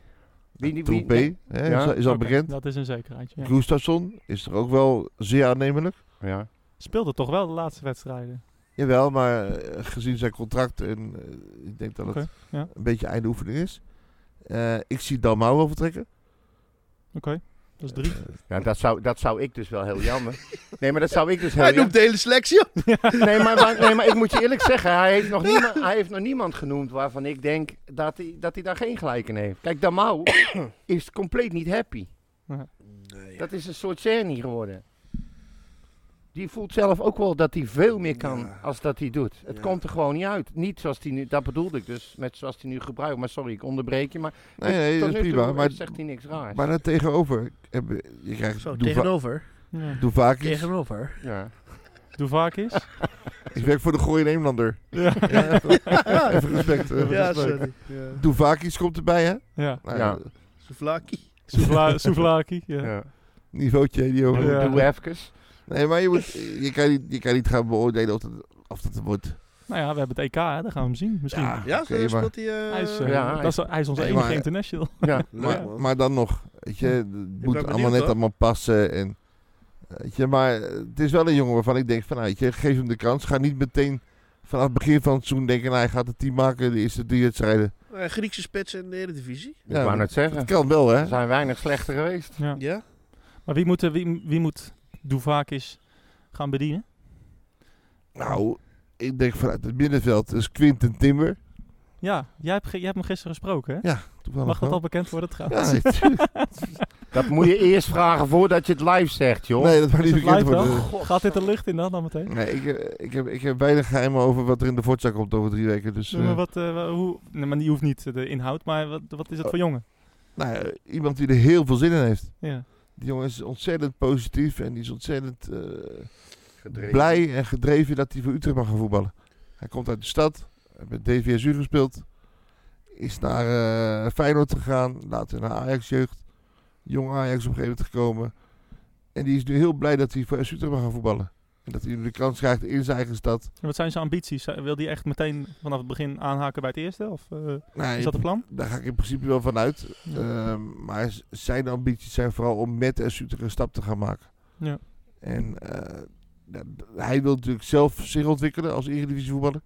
S4: Wie, wie,
S5: Troep B
S4: wie-
S5: hè,
S4: Ja.
S5: is, al- is al
S3: Oké,
S5: bekend.
S3: Dat is een zekerheidje. Ja.
S5: Gustafsson is er ook wel zeer aannemelijk.
S4: Ja.
S3: Speelde toch wel de laatste wedstrijden.
S5: Jawel, maar eh, gezien zijn contract en eh, ik denk dat het
S3: Oké, ja.
S5: een beetje einde oefening is. Eh, ik zie Dalmau wel vertrekken.
S3: Oké, dat is drie.
S4: Ja, dat zou, dat zou ik dus wel heel jammer. Nee, maar dat zou ik dus heel
S6: Hij
S4: jammer.
S6: noemt de hele selectie op.
S4: Nee maar, maar- nee, maar ik moet je eerlijk zeggen, hij heeft nog, niema- hij heeft nog niemand genoemd waarvan ik denk dat hij, dat hij daar geen gelijk in heeft. Kijk, Damau is compleet niet happy.
S6: Nee.
S4: Dat is een soort Cerny geworden. Die voelt zelf ook wel dat hij veel meer kan
S6: Ja.
S4: als dat hij doet. Het
S6: Ja.
S4: komt er gewoon niet uit. Niet zoals hij nu, dat bedoelde ik dus, met zoals hij nu gebruikt. Maar sorry, ik onderbreek je, maar
S5: Nee, nee,
S4: tot
S5: dat is
S4: nu toe
S5: prima. Maar,
S4: zegt hij niks raars.
S5: maar daar tegenover. heb je- je krijgt
S6: Zo,
S5: Duva-
S6: tegenover.
S3: Ja.
S5: Duvakis.
S6: Tegenover.
S4: ja.
S3: Doe vaak eens.
S5: Ik werk voor de Gooi Nederlander.
S3: ja.
S5: Ja, <laughs> even respect. eh,
S6: Ah. Ja,
S5: respect.
S6: sorry. Ja.
S5: Duvakis komt erbij, hè?
S3: ja.
S5: Nou,
S4: Ja.
S6: Souvlaki.
S3: Souvla- Souvlaki. Ja.
S4: Ja.
S5: Niveautje, die over.
S4: Doe,
S3: Ja.
S4: doe even.
S5: Nee, maar je, moet, je, kan niet, je kan niet gaan beoordelen of dat, of dat het wordt.
S3: Nou ja, we hebben het EK, hè. daar gaan we hem zien misschien.
S6: Ja,
S5: oké,
S6: zo
S5: maar,
S6: speelt hij... eh,
S3: Hij is, eh,
S4: Ja, hij
S3: dat is, hij is onze
S5: Nee,
S3: enige
S5: maar-
S3: international.
S4: Ja.
S6: leuk,
S5: maar,
S6: man.
S5: maar dan nog. Weet je, het moet
S6: benieuwd,
S5: allemaal net
S6: hoor.
S5: allemaal passen. En, weet je, maar het is wel een jongen waarvan ik denk: van, nou, weet je, geef hem de kans. Ga niet meteen vanaf het begin van het seizoen denken: nou, hij gaat het team maken. De eerste drie wedstrijden.
S6: eh, Griekse spits in de Eredivisie.
S4: Ik wou net
S5: Het
S4: zeggen,
S5: kan wel, hè?
S4: er zijn weinig slechter geweest.
S3: Ja.
S6: Ja.
S3: Maar wie moet, eh, wie, wie moet Duvakis gaan bedienen?
S5: Nou, ik denk vanuit het middenveld is Quinten Timber.
S3: Ja, jij hebt, ge- jij hebt hem gisteren gesproken, hè?
S5: Toevallig
S3: Mag dat
S5: wel.
S3: al bekend worden trouwens?
S5: Ja, natuurlijk.
S4: Dat moet
S5: <laughs>
S4: je eerst vragen voordat je het live zegt, joh.
S5: nee, dat mag
S3: Is
S5: niet
S3: het live
S5: bekend
S3: dan?
S5: worden.
S3: Gaat dit er licht in dan, dan meteen?
S5: Nee, ik, eh, ik, heb, ik heb weinig geheimen over wat er in de voortzak komt over drie weken. Dus,
S3: Nee, maar
S5: eh,
S3: wat, eh, wa- hoe, nee, maar die hoeft niet eh, de inhoud, maar wat, wat is het voor jongen?
S5: nou, ja, iemand die er heel veel zin in heeft.
S3: Ja.
S5: Die jongen is ontzettend positief en die is ontzettend eh, blij en gedreven dat hij voor Utrecht mag gaan voetballen. Hij komt uit de stad, heeft met DVSU gespeeld, is naar eh, Feyenoord gegaan, later naar Ajax-jeugd, jong Ajax op een gegeven moment gekomen. En die is nu heel blij dat hij voor SC Utrecht mag gaan voetballen. En dat hij nu de kans krijgt in zijn eigen stad.
S3: En wat zijn zijn ambities? Zij- Wil hij echt meteen vanaf het begin aanhaken bij het eerste? Of eh,
S5: Nou,
S3: is dat het plan?
S5: Daar ga ik in principe wel van uit.
S4: Eh.
S5: Ehm, maar z- zijn ambities zijn vooral om met SC Utrecht een stap te gaan maken.
S3: Ja.
S5: En eh, ja, d- hij wil natuurlijk zelf zich ontwikkelen als Eredivisie voetballer.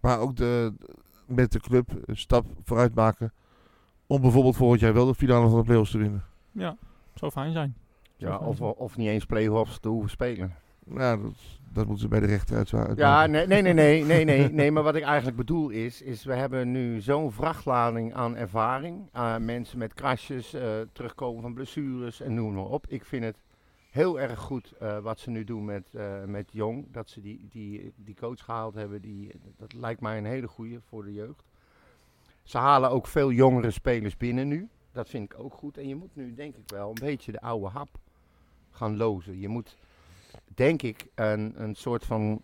S5: Maar ook de, met de club een stap vooruit maken. Om bijvoorbeeld volgend jaar wel de finale van de play-offs te winnen.
S3: ja, zou fijn zijn.
S4: Ja, of, of niet eens play-offs te hoeven spelen.
S5: Nou, dat, dat moeten ze bij de rechter uitzwaaien.
S4: Ja, nee, nee, nee, nee, nee, nee, nee. Maar wat ik eigenlijk bedoel is, is we hebben nu zo'n vrachtlading aan eh, ervaring. aan mensen met crashes, eh, terugkomen van blessures en noem maar op. Ik vind het heel erg goed eh, wat ze nu doen met, eh, met Jong. Dat ze die, die, die coach gehaald hebben, die, dat lijkt mij een hele goede voor de jeugd. Ze halen ook veel jongere spelers binnen nu. Dat vind ik ook goed. En je moet nu denk ik wel een beetje de oude hap gaan lozen. Je moet denk ik een, een soort van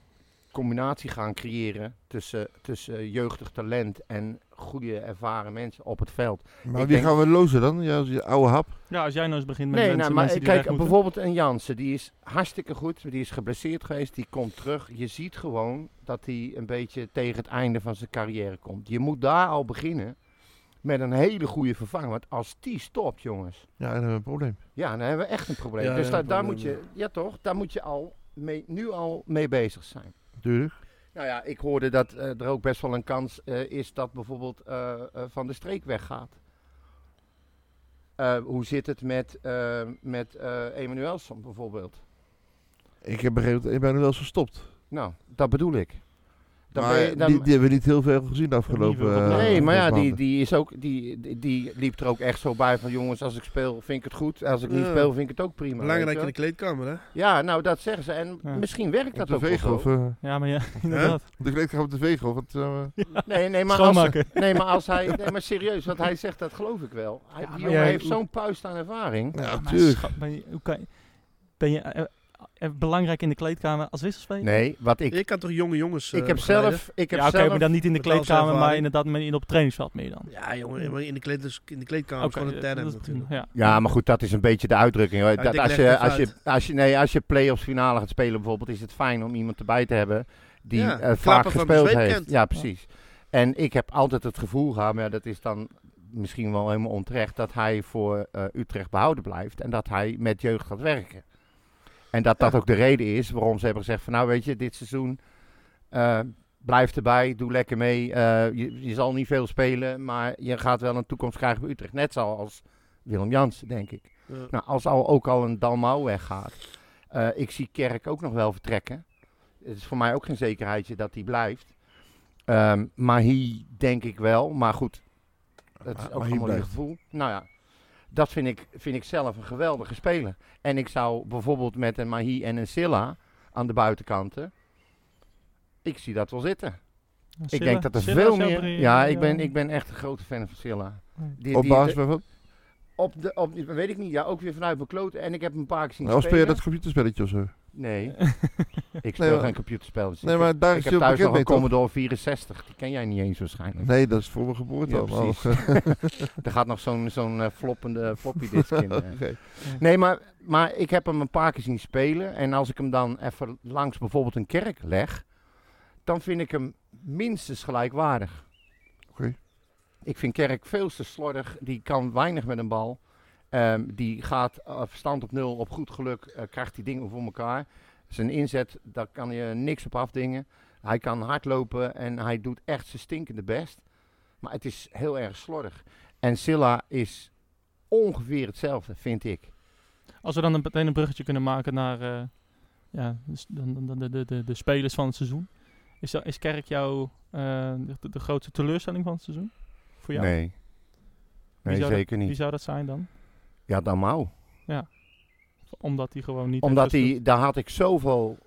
S4: combinatie gaan creëren tussen, tussen jeugdig talent en goede ervaren mensen op het veld.
S5: Maar
S4: Ik
S5: wie
S4: denk-
S5: gaan we lozen dan? Ja, je oude hap.
S3: Ja, als jij nou eens begint met
S4: Nee,
S3: mensen,
S4: nou, maar
S3: mensen die
S4: kijk,
S3: weg moeten.
S4: bijvoorbeeld een Jansen, die is hartstikke goed, die is geblesseerd geweest, die komt terug. Je ziet gewoon dat hij een beetje tegen het einde van zijn carrière komt. Je moet daar al beginnen met een hele goede vervanger, want als die stopt, jongens,
S5: Ja, dan hebben we een probleem.
S4: ja, dan hebben we echt een probleem.
S6: Ja,
S4: dus
S6: ja,
S4: daar-
S6: een
S4: daar moet
S6: probleem,
S4: je, ja toch, daar moet je al mee, nu al mee bezig zijn.
S5: Tuurlijk.
S4: Nou ja, ik hoorde dat eh, er ook best wel een kans eh, is dat bijvoorbeeld eh, eh, Van de Streek weggaat. Eh, hoe zit het met, eh, met eh Emanuelson bijvoorbeeld?
S5: Ik heb begrepen dat ik ben nu wel eens gestopt.
S4: Nou, dat bedoel ik. Dan
S5: maar
S4: ben je- dan-
S5: die, die hebben we niet heel veel gezien de
S3: Niet
S5: afgelopen
S3: veel.
S5: eh,
S4: nee, maar ja,
S5: maanden.
S4: die, die, is ook, die, die, die liep er ook echt zo bij van jongens, als ik speel vind ik het goed. Als ik niet
S6: Ja.
S4: speel vind ik het ook prima. weet
S6: Belangrijk
S4: je
S6: in
S4: wel.
S6: de kleedkamer, hè?
S4: Ja, nou dat zeggen ze. En
S3: Ja.
S4: misschien werkt
S5: Op
S4: dat
S5: de
S4: ook wel
S5: vegel.
S4: zo.
S5: Of, eh,
S3: Ja, maar ja, <laughs> inderdaad.
S5: de kleedkamer op de vegel. Want, eh,
S4: Nee, nee, maar als,
S3: Schoonmaken.
S4: nee, maar als hij, nee, maar serieus, wat hij zegt, dat geloof ik wel. Hij, die
S3: maar
S4: jongen
S3: jij-
S4: heeft zo'n puist aan ervaring.
S5: ja,
S3: Maar
S5: tuurlijk.
S3: schat, ben je, hoe kan je, ben je eh, eh, belangrijk in de kleedkamer als wisselspeler?
S4: Nee, wat ik.
S6: Ik kan toch jonge jongens. eh,
S4: ik heb
S6: begeleiden?
S4: zelf. Ik heb
S3: ja, oké,
S4: zelf
S3: maar dan niet in de
S6: Met al zijn
S3: kleedkamer, maar
S6: ervaring.
S3: inderdaad in, op het trainingsveld meer dan.
S6: Ja, jongen, maar in de, kleed, dus in de kleedkamer
S3: Oké,
S6: is gewoon een
S3: eh,
S6: tandem
S3: dat-
S6: natuurlijk.
S3: Ja.
S4: ja, maar goed, dat is een beetje de uitdrukking. hoor.
S6: ik
S4: Dat
S6: denk
S4: als,
S6: leg
S4: je,
S6: het
S4: als, je,
S6: uit.
S4: als, je, nee, als je play-offs finale gaat spelen bijvoorbeeld, is het fijn om iemand erbij te hebben die
S6: Ja,
S4: eh,
S6: klappen
S4: vaak
S6: van de
S4: gespeeld
S6: zweep
S4: heeft.
S6: kent.
S4: Ja, precies. En ik heb altijd het gevoel gehad, maar ja, dat is dan misschien wel helemaal onterecht, dat hij voor eh, Utrecht behouden blijft en dat hij met jeugd gaat werken. En dat dat ook de reden is waarom ze hebben gezegd van nou weet je, dit seizoen eh, blijf erbij, doe lekker mee. Eh, je, je zal niet veel spelen, maar je gaat wel een toekomst krijgen bij Utrecht. Net zoals Willem Jansen, denk ik.
S6: Ja.
S4: Nou, als al, ook al een Dalmau weggaat. eh, ik zie Kerk ook nog wel vertrekken. Het is voor mij ook geen zekerheidje dat hij blijft. Ehm maar hier denk ik wel. Maar goed, dat
S5: Maar-
S4: is ook
S5: maar hij
S4: allemaal een
S5: blijft.
S4: gevoel. Nou ja, dat vind ik, vind ik zelf een geweldige speler. En ik zou bijvoorbeeld met een Mahi en een Silla aan de buitenkanten. Ik zie dat wel zitten. ik denk dat er veel meer. Ja,
S3: eh,
S4: ik ben, ik ben echt een grote fan van Silla.
S3: Hmm.
S4: Die-
S5: Op
S4: die-
S5: basis waarvan?
S4: op de, op, weet ik niet, ja, ook weer vanuit mijn kloot. En ik heb hem een paar keer zien
S5: Nou, speel je
S4: spelen.
S5: dat computerspelletje of zo?
S4: Nee, <laughs> ik speel
S5: Nee, maar-
S4: geen computerspel. Dus
S5: Nee,
S4: ik-
S5: maar daar
S4: ik
S5: is
S4: heb
S5: je
S4: thuis
S5: bekend
S4: nog
S5: mee,
S4: een
S5: toch?
S4: Commodore 64. Die ken jij niet eens waarschijnlijk.
S5: Nee, Oh, dat is voor mijn geboorte
S4: Ja,
S5: allemaal.
S4: precies. <laughs> Er gaat nog zo'n zo'n eh, floppende floppy disk
S5: <laughs>
S4: in. eh.
S5: Oké.
S4: Nee, maar, maar ik heb hem een paar keer zien spelen. En als ik hem dan even langs bijvoorbeeld een kerk leg, dan vind ik hem minstens gelijkwaardig.
S5: Oké.
S4: Ik vind Kerk veel te slordig. Die kan weinig met een bal. Ehm, die gaat eh, verstand op nul. Op goed geluk eh, krijgt hij dingen voor elkaar. Zijn inzet, daar kan je niks op afdingen. Hij kan hardlopen en hij doet echt zijn stinkende best. Maar het is heel erg slordig. En Silla is ongeveer hetzelfde, vind ik.
S3: Als we dan een- meteen een bruggetje kunnen maken naar eh, ja, dus dan, dan, dan de, de, de, de spelers van het seizoen. Is, dat- is Kerk jouw eh, de, de grootste teleurstelling van het seizoen? Voor jou?
S4: Nee.
S3: Wie
S4: Nee,
S3: zou dat-
S4: zeker
S3: Wie
S4: niet.
S3: zou dat zijn dan?
S4: Ja, dan Mau.
S3: Omdat hij gewoon niet...
S4: Omdat
S3: heeft gespeeld.
S4: hij, daar had ik zoveel...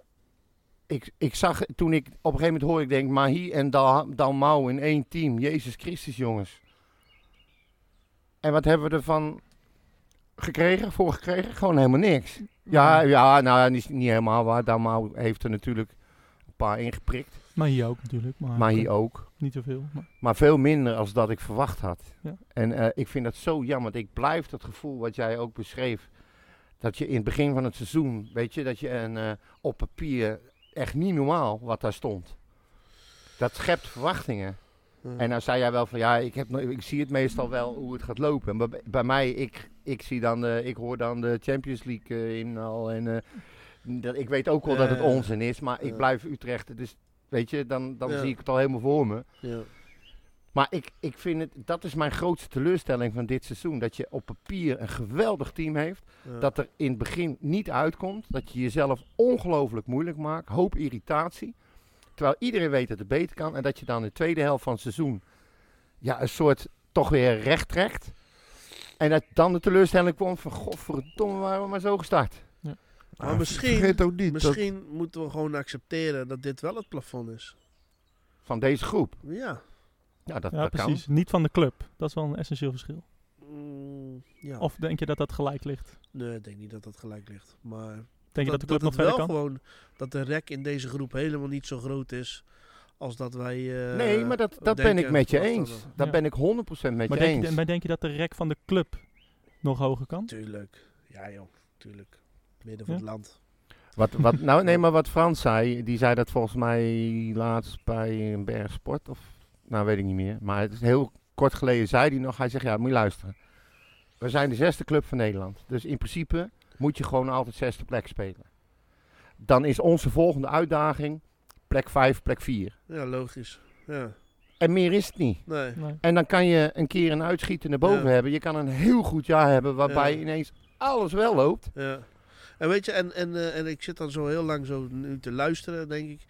S4: Ik, ik zag, toen ik op een gegeven moment hoor ik denk, Mahi en Dal- Dalmau in één team. Jezus Christus, jongens. En wat hebben we ervan gekregen, voor gekregen? Gewoon helemaal niks. Ja, ja nou, dat is niet helemaal waar. Dalmau heeft er natuurlijk een paar ingeprikt.
S3: Maar hier ook natuurlijk. Maar,
S4: Mahi
S3: Ah, oké,
S4: ook.
S3: Niet zoveel. Maar,
S4: Maar veel minder als dat ik verwacht had.
S3: Ja.
S4: En eh, ik vind dat zo jammer. want Ik blijf dat gevoel wat jij ook beschreef. Dat je in het begin van het seizoen, weet je, dat je een, eh, op papier echt niet normaal wat daar stond. Dat schept verwachtingen.
S6: Ja.
S4: En dan zei jij wel van ja, ik, heb, no- ik zie het meestal wel hoe het gaat lopen. Maar bij, bij mij, ik, ik, zie dan de, ik hoor dan de Champions League eh, in al. En, eh, dat, ik weet ook wel dat het
S6: Ja.
S4: onzin is, maar ik
S6: Ja.
S4: blijf Utrecht. Dus weet je, dan, dan
S6: Ja.
S4: zie ik het al helemaal voor me.
S6: Ja.
S4: Maar ik, ik vind het, dat is mijn grootste teleurstelling van dit seizoen. Dat je op papier een geweldig team heeft.
S6: Ja.
S4: Dat er in het begin niet uitkomt. Dat je jezelf ongelooflijk moeilijk maakt. Hoop irritatie. Terwijl iedereen weet dat het beter kan. En dat je dan de tweede helft van het seizoen ja, een soort toch weer recht trekt. En dat dan de teleurstelling kwam van godverdomme, waarom maar zo gestart.
S3: Ja.
S6: Maar
S5: Ah,
S6: misschien-
S5: Vergeet ook niet dat
S6: Misschien moeten we gewoon accepteren dat dit wel het plafond is.
S4: Van deze groep.
S6: Ja.
S4: Ja, dat,
S3: Ja,
S4: dat kan.
S3: precies. Niet van de club. Dat is wel een essentieel verschil.
S6: Mm, ja.
S3: Of denk je dat dat gelijk ligt?
S6: Nee, ik denk niet dat dat gelijk ligt. Maar
S3: Denk je dat de club nog
S6: het
S3: verder
S6: wel
S3: kan?
S6: gewoon dat de rek in deze groep helemaal niet zo groot is als dat wij. eh,
S4: nee, maar dat, dat ben
S6: denken
S4: ik met je
S6: of dat
S4: eens.
S6: dan-
S4: Dat
S3: Ja.
S4: ben ik 100% met
S3: Maar
S4: je
S3: denk,
S4: eens.
S3: je, maar denk je dat de rek van de club nog hoger kan?
S6: Tuurlijk. Ja, joh, tuurlijk. Midden van
S3: Ja.
S6: het land.
S4: Wat, wat, nou, nee, maar wat Frans zei, die zei dat volgens mij laatst bij een berg sport of, nou weet ik niet meer. Maar het is heel kort geleden zei hij nog, hij zegt ja, moet je luisteren. We zijn de zesde club van Nederland, dus in principe moet je gewoon altijd zesde plek spelen. Dan is onze volgende uitdaging plek 5, plek 4.
S6: Ja, logisch. Ja,
S4: En meer is het niet.
S6: nee.
S3: Nee.
S4: En dan kan je een keer een uitschieter naar boven
S6: Ja.
S4: hebben. Je kan een heel goed jaar hebben waarbij
S6: Ja.
S4: ineens alles wel loopt.
S6: Ja. En weet je, en, en, eh, en ik zit dan zo heel lang zo nu te luisteren, denk ik.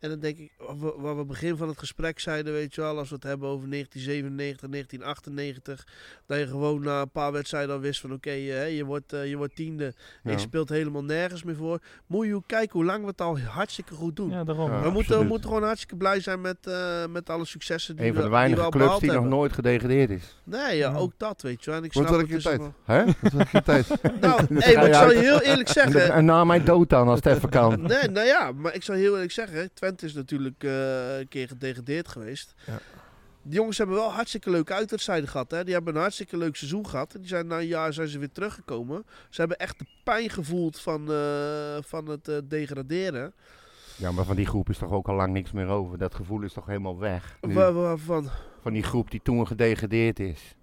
S6: En dan denk ik, wat we, wat we begin van het gesprek zeiden, weet je wel, als we het hebben over 1997, 1998. Dat je gewoon na een paar wedstrijden al wist van oké, eh, hè, je, wordt, eh, je wordt tiende. En je
S4: Ja.
S6: speelt helemaal nergens meer voor. Moet je kijken hoe lang we het al hartstikke goed doen.
S3: Ja, daarom.
S4: Ja.
S6: we, moeten, we
S5: absoluut.
S6: moeten gewoon hartstikke blij zijn met, eh, met alle successen die
S4: Een van
S6: we,
S4: de weinige
S6: die we al
S4: clubs
S6: behaald
S4: die nog
S6: hebben.
S4: nooit gedegradeerd is.
S6: Nee, ja,
S3: Ja.
S6: ook dat, weet je wel. En ik
S5: Wordt
S6: snap
S5: wel een
S6: het
S5: keer
S6: is
S5: tijd.
S4: Hè?
S5: dat is geen
S4: <laughs>
S5: tijd.
S6: allemaal- Nou,
S4: Dan
S6: hey,
S4: ga
S6: maar ik
S4: je
S6: zal
S4: uit-
S6: je heel eerlijk
S4: <laughs> En,
S6: zeggen.
S4: en na mijn dood dan, als het even
S6: <laughs>
S4: kan. <laughs>
S6: Nee, nou ja, maar ik zou heel eerlijk zeggen, Twente is natuurlijk eh, een keer gedegradeerd geweest.
S5: Ja.
S6: Die jongens hebben wel hartstikke leuke uitwedstrijden gehad. Hè? Die hebben een hartstikke leuk seizoen gehad. Die zijn na een jaar zijn ze weer teruggekomen. Ze hebben echt de pijn gevoeld van, eh, van het eh, degraderen.
S4: Ja, maar van die groep is toch ook al lang niks meer over. Dat gevoel is toch helemaal weg. nu?
S6: Waar- Waarvan?
S4: Van die groep die toen gedegradeerd is.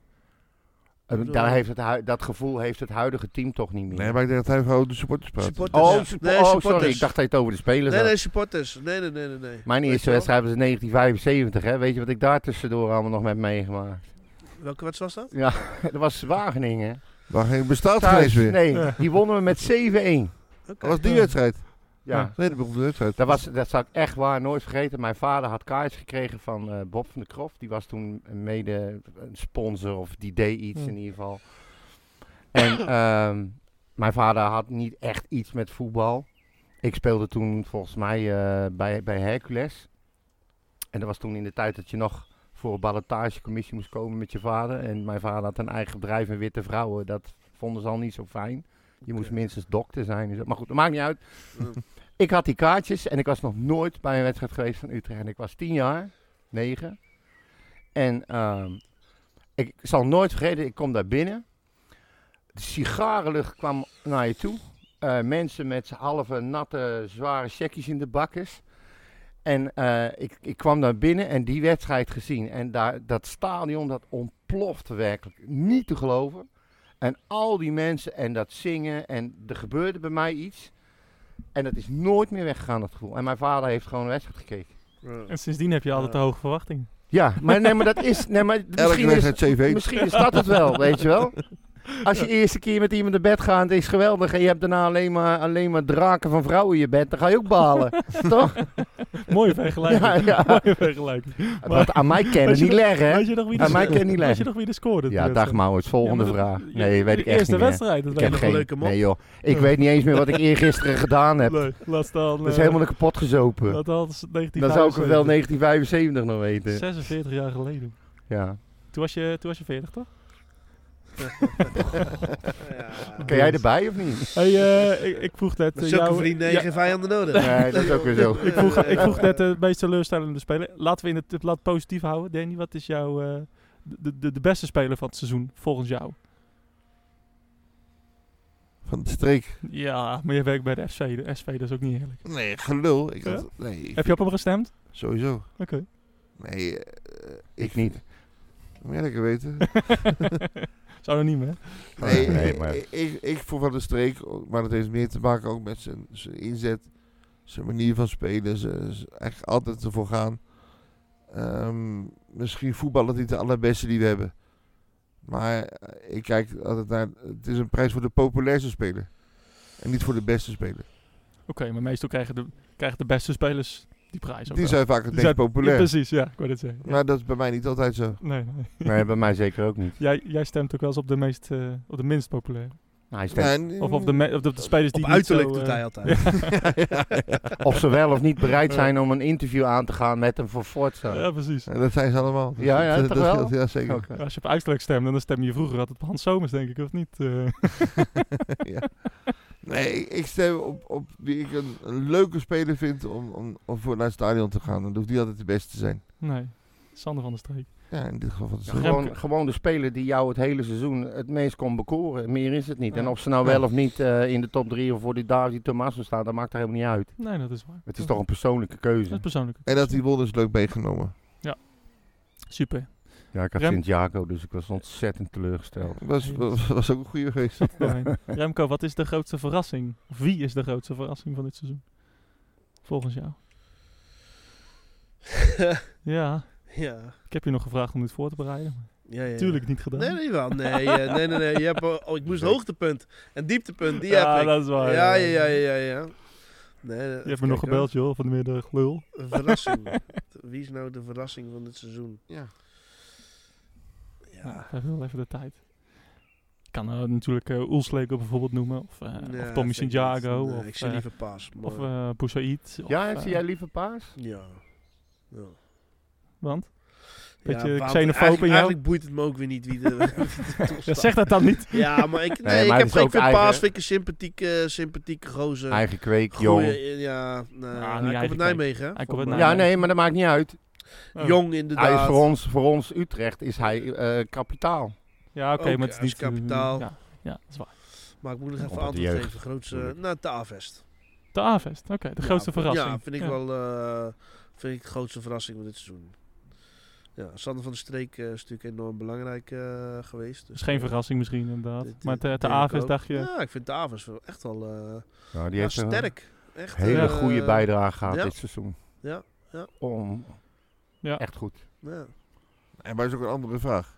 S4: Eh,
S6: Bedoel-
S4: Daar heeft het hui- dat gevoel heeft het huidige team toch niet meer.
S5: Nee, maar ik denk dat hij gewoon de supporters praat.
S6: Supporters.
S4: oh,
S6: Ja.
S4: sup-
S6: Nee,
S4: oh, sorry,
S6: supporters.
S4: ik dacht dat je het over de spelers
S6: Nee,
S4: had.
S6: nee, supporters. Nee, nee, nee, nee. nee.
S4: Mijn
S6: Weet
S4: eerste
S6: je wel?
S4: wedstrijd was in 1975. Hè? Weet je wat ik daar tussendoor allemaal nog met meegemaakt? <laughs>
S6: Welke wedstrijd was dat?
S4: Ja, dat was Wageningen.
S5: Waar ging bestaat
S4: Thuis,
S5: geweest weer?
S4: Nee,
S3: Ja.
S4: die wonnen we met 7-1.
S6: Oké.
S5: Dat was die
S3: Ja.
S5: wedstrijd.
S4: Ja.
S5: Nee, dat begon de wedstrijd.
S4: eh, Dat, was, dat zou ik echt waar nooit vergeten. Mijn vader had kaartjes gekregen van eh, Bob van der Krof. Die was toen mede een sponsor of die deed iets
S3: Hmm.
S4: in ieder geval. En ehm, mijn vader had niet echt iets met voetbal. Ik speelde toen volgens mij eh, bij, bij Hercules. En dat was toen in de tijd dat je nog voor een ballotagecommissie moest komen met je vader. En mijn vader had een eigen bedrijf in Witte Vrouwen. Dat vonden ze al niet zo fijn. Je moest
S6: Oké.
S4: minstens dokter zijn. en zo. Maar goed, dat maakt niet uit.
S6: Ja.
S4: Ik had die kaartjes en ik was nog nooit bij een wedstrijd geweest van Utrecht. En ik was tien jaar, negen. En ehm, ik zal nooit vergeten, ik kom daar binnen. De sigarenlucht kwam naar je toe. Eh, mensen met z'n halve natte, zware checkies in de bakkers. En eh, ik, ik kwam daar binnen en die wedstrijd gezien. En daar, dat stadion, dat ontplofte werkelijk. Niet te geloven. En al die mensen en dat zingen. En er gebeurde bij mij iets. En dat is nooit meer weggegaan, dat gevoel. En mijn vader heeft gewoon een wedstrijd gekeken.
S6: <laughs>
S3: En sindsdien heb je altijd te hoge verwachtingen.
S4: Ja, maar nee, maar dat is... Nee, maar
S5: Elke
S4: misschien, is,
S5: wedstrijd 7
S4: misschien is dat het wel, weet je wel. Als je eerste keer met iemand naar bed gaat, het is geweldig. En je hebt daarna alleen maar, alleen maar draken van vrouwen in je bed. Dan ga je ook balen, toch?
S3: Mooie vergelijking.
S4: Ja, ja.
S3: Mooie vergelijking.
S4: Want aan mij kennen
S3: Weet je
S4: niet
S3: nog-
S4: leggen, hè?
S3: Weet je nog wie de
S4: Aan mij
S3: scoorde?
S4: kennen niet
S3: Weet je
S4: leggen.
S3: nog wie de scoorde?
S4: Ja, dag Maurits. Volgende vraag. Nee, weet ik echt
S3: eerste
S4: niet meer.
S3: wedstrijd. Dat
S4: Ik
S3: weet
S4: heb
S6: nog
S4: geen...
S6: een leuke mop?
S4: Nee joh, ik weet niet eens meer wat ik eergisteren
S3: <laughs>
S4: gedaan heb.
S3: Nee, laat staan.
S4: Dat is
S3: eh,
S4: helemaal kapot gezopen.
S3: Dat had ze-
S4: Dan zou ik
S3: 1975.
S4: hem wel 1975 nog weten.
S3: 46 jaar geleden.
S4: Ja.
S3: Toen was je, toen was je 40, toch?
S6: Ja.
S4: Kan jij erbij of niet?
S3: Hey, eh, ik, ik vroeg net...
S6: Met
S3: eh,
S6: zulke
S3: jou-
S6: vrienden
S3: ja,
S6: en geen vijanden nodig.
S4: Nee, dat is ook weer zo.
S3: <laughs> ik,
S6: <laughs>
S3: vroeg, ik vroeg net eh, de meest teleurstellende speler. Laten we in het, het blad positief houden. Danny, wat is jouw... eh, de, de, de beste speler van het seizoen, volgens jou?
S5: van de streek.
S3: Ja, maar je werkt bij de FC. De SV, dat is ook niet eerlijk.
S5: Nee, gelul. Ik
S3: Ja?
S5: had, nee, ik-
S3: Heb je op hem gestemd?
S5: sowieso.
S3: Oké. <laughs>
S5: Nee, eh,
S4: Ik niet.
S5: moet jij lekker weten.
S3: Anoniem, hè?
S5: Nee,
S4: Nee,
S5: ik-
S4: maar-
S5: ik, ik, ik vond Van de Streek, ook- maar dat heeft meer te maken ook met zijn, zijn inzet, zijn manier van spelen, zijn, zijn- eigenlijk altijd ervoor gaan. Ehm, misschien voetballen niet de allerbeste die we hebben. Maar eh, ik kijk altijd naar, het is een prijs voor de populairste speler. En niet voor de beste speler.
S3: Oké, maar meestal krijgen de, krijgen de beste spelers die prijs.
S5: Die
S3: ook wel.
S5: zijn vaak het
S3: Die
S5: meest
S3: zijn- Ja,
S5: populair.
S3: precies, ja. Ik wou het zeggen. Ja.
S5: Maar dat is bij mij niet altijd zo.
S3: Nee, nee.
S4: Nee, bij mij zeker ook niet.
S3: Jij, jij stemt ook wel eens op de, meest, eh, op de minst populaire.
S4: Nou, hij is
S5: Ja,
S4: denk-
S5: en-
S3: Of op de, me- of op de spelers die
S6: Op
S3: niet
S6: uiterlijk
S3: zo,
S6: doet
S3: eh,
S6: hij altijd.
S4: of ze wel of niet bereid zijn om een interview aan te gaan met hem voor Forza.
S3: Ja, precies.
S5: Ja, dat zijn ze allemaal. Dat-
S4: Ja, ja,
S5: dat,
S4: toch
S5: dat
S4: wel?
S5: scheelt, Ja, zeker.
S4: Oké.
S3: Als je op uiterlijk stemt, dan stem je vroeger altijd op Hans Somers, denk ik, of niet? Eh,
S5: Nee, ik- ik stem op, op wie ik een, een leuke speler vind om, om, om voor naar het stadion te gaan. Dan hoeft niet altijd de beste te zijn.
S3: nee, Sander van der Streek.
S5: Ja, in dit geval van de
S4: Ja,
S5: Streek.
S4: gewoon,
S3: Remke.
S4: gewoon de speler die jou het hele seizoen het meest kon bekoren. Meer is het niet.
S3: Ja.
S4: En of ze nou
S5: Ja.
S4: wel of niet eh, in de top 3 of voor die David Tommaso staan, dat maakt er helemaal niet uit.
S3: Nee, dat is waar.
S4: Het is toch een persoonlijke keuze.
S3: een persoonlijke.
S5: En dat die won is leuk meegenomen.
S3: Super.
S4: Ja, ik had
S3: Rem-
S4: Sint-Jaco, dus ik was ontzettend teleurgesteld.
S5: Was, was, <laughs> was ook een goede geweest.
S3: Fijn. Remco, wat is de grootste verrassing? Of wie is de grootste verrassing van dit seizoen? Volgens
S6: <laughs>
S3: jou. Ja,
S6: <laughs> ja.
S3: ik heb je nog gevraagd om dit voor te bereiden. maar
S6: Ja, ja, ja.
S3: Tuurlijk niet gedaan.
S6: Nee, nee, wel. Nee, eh, nee, nee, nee. Je hebt, eh, oh, ik moest hoogtepunt en dieptepunt. Die
S3: ja,
S6: heb ik.
S3: dat is waar.
S6: ja, ja, ja, ja, ja. Nee, eh,
S3: Je
S6: even
S3: hebt me nog
S6: kijken, hoor.
S3: gebeld, joh, van de middag. Lul.
S6: Een verrassing. <laughs> Wie is nou de verrassing van dit seizoen?
S5: Ja.
S3: Ja.
S6: Ja.
S3: Geef wel even de tijd. Ik kan eh, natuurlijk eh Oelsleker bijvoorbeeld noemen. Of, eh,
S6: Ja, dat
S3: of Tommy
S6: denk ik niet.
S3: Santiago.
S6: Nee,
S3: of
S6: ik zie
S3: eh,
S6: liever Paas. maar-
S3: of eh Boussaïd. of,
S4: Ja,
S3: eh,
S4: zie jij liever Paas?
S6: ja. ja.
S3: Want?
S6: Ja,
S3: Beetje
S6: want
S3: xenofoob
S6: eigenlijk-
S3: in jou?
S6: Eigenlijk boeit het me ook weer niet wie de. <laughs> wie de
S3: Ja, zeg dat dan niet.
S6: <laughs> Ja, maar ik, nee,
S4: <laughs> Nee,
S6: ik,
S4: maar
S6: heb, ik
S4: het is ook
S6: vind
S4: eigen-
S6: Paas vind ik een sympathieke, sympathieke gozer.
S4: Eigen kweek,
S6: Goeie-
S4: jong.
S6: Ja, nee,
S3: niet
S6: hij komt
S3: eigen
S6: uit Nijmegen. hè,
S3: Hij komt
S6: volgens mij.
S3: uit
S4: Ja, nee, maar dat maakt niet uit.
S3: Oh.
S6: Jong
S4: Hij
S6: inderdaad.
S4: is voor, ons, voor ons Utrecht is hij eh, kapitaal.
S3: Ja, oké,
S6: Ook
S3: maar het is
S6: als
S3: niet... eh,
S6: kapitaal.
S3: Ja, ja, dat is waar.
S6: Maar ik moet nog
S4: Ja,
S6: even
S4: wat de
S6: antwoord
S4: jeugd,
S6: geven. Grootste,
S4: natuurlijk.
S6: nou, de Avest.
S3: De A-vest, oké. de grootste
S6: ja,
S3: verrassing.
S6: Ja, vind ik wel eh, vind ik de grootste verrassing van dit seizoen. Ja, Sander van der Streek eh, is natuurlijk enorm belangrijk eh, geweest.
S3: Dat
S6: Dus,
S3: is geen
S6: eh,
S3: verrassing misschien, inderdaad.
S6: dit-
S3: maar
S6: dit
S3: de, de
S6: denk ik
S3: A-vest
S6: ook.
S3: dacht je...
S6: Ja, ik vind de Avest wel echt wel eh,
S4: Nou, die
S6: ja,
S4: heeft een
S6: sterk. Echt,
S4: hele
S6: eh,
S4: goede bijdrage gehad
S6: ja.
S4: dit seizoen.
S6: Ja, ja.
S4: Om,
S3: Ja.
S4: Echt goed.
S6: ja.
S5: En maar is ook een andere vraag.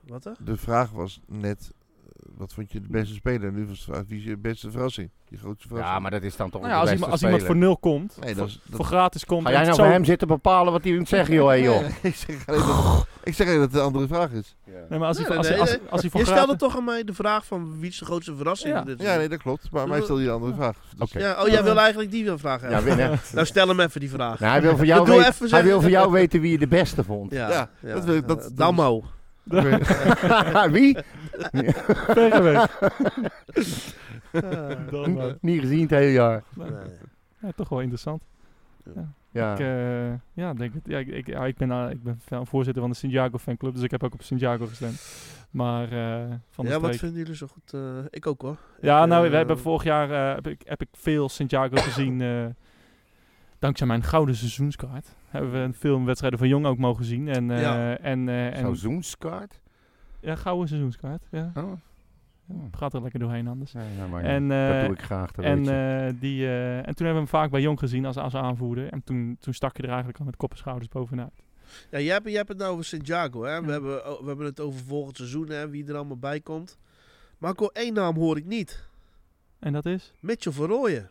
S6: Wat hè?
S5: De vraag was net, eh, wat vond je de beste speler? En nu was de vraag, wie is je beste verrassing? Je grootste verrassing?
S4: Ja, maar dat is dan toch
S3: Nou ja,
S4: de
S3: als,
S4: beste
S3: iemand, als iemand
S4: speler.
S3: voor nul komt,
S5: Nee, dat
S3: voor,
S5: is- dat-
S3: voor gratis komt...
S4: Ga
S3: en
S4: jij
S3: het
S4: nou bij
S3: zo-
S4: hem zitten bepalen wat hij moet zeggen, joh, hé,
S3: <laughs>
S4: joh.
S5: Nee, ik, zeg alleen dat, ik zeg alleen dat het een andere vraag is.
S3: Nee, maar als
S6: Nee,
S3: hij voor- als
S6: nee,
S3: hij- als-
S6: nee.
S3: als hij voor
S6: Je stelde
S3: gratis...
S6: toch aan mij de vraag van wie is de grootste verrassing
S3: Ja.
S6: van dit
S5: Ja, nee,
S6: seizoen?
S5: dat klopt. Maar mij stelde je een andere vraag. Dus-
S4: Oké.
S6: ja, oh, jij wil eigenlijk die vraag hebben?
S4: Ja, winnen.
S6: Nou, stel hem even die vraag.
S4: Nou, hij wil van jou,
S6: Doe
S4: weten,
S6: even
S4: hij
S6: zeggen.
S4: wil van jou weten wie je de beste vond.
S6: Ja,
S5: Ja, dat wil ik- dat-
S6: Eh,
S5: dat
S6: Dammo.
S3: <laughs>
S5: Oké.
S4: <laughs> wie?
S3: Ver weg.
S6: <laughs> Eh,
S3: Dan, eh,
S4: Niet gezien het hele jaar.
S6: nee.
S3: ja, toch wel interessant.
S4: Ja.
S3: Ik, eh, ja, denk het. Ja, ik, ik, ja, ik ben, eh, ik ben fan- voorzitter van de Santiago fanclub, dus ik heb ook op Santiago gestemd. Maar eh, van de
S6: Ja, wat
S3: streek.
S6: vinden jullie zo goed? Eh, ik ook hoor.
S3: Ja,
S6: Ik,
S3: nou,
S6: eh,
S3: we hebben vorig jaar eh, heb, ik, heb ik veel Santiago
S4: <coughs>
S3: gezien. eh, dankzij mijn gouden seizoenskaart hebben we een film wedstrijden van Jong ook mogen zien. En, eh,
S6: Ja.
S3: en, eh, en
S4: Seizoenskaart?
S3: ja, gouden seizoenskaart. Ja.
S4: Oh.
S3: Gaat er lekker doorheen anders.
S4: Nee, nou, maar
S3: En,
S4: dat
S3: eh,
S4: doe ik graag. Dat
S3: En,
S4: weet je.
S3: eh, die, eh, en toen hebben we hem vaak bij Jong gezien als, als aanvoerder. En toen, toen stak je er eigenlijk al met kop en schouders bovenuit.
S6: Ja, jij hebt, jij hebt het nou over Santiago. Hè? We, hebben, oh, we hebben het over volgend seizoen hè, wie er allemaal bij komt. Maar ik hoor één naam hoor ik niet.
S3: En dat is?
S6: Mitchell Verrooyen.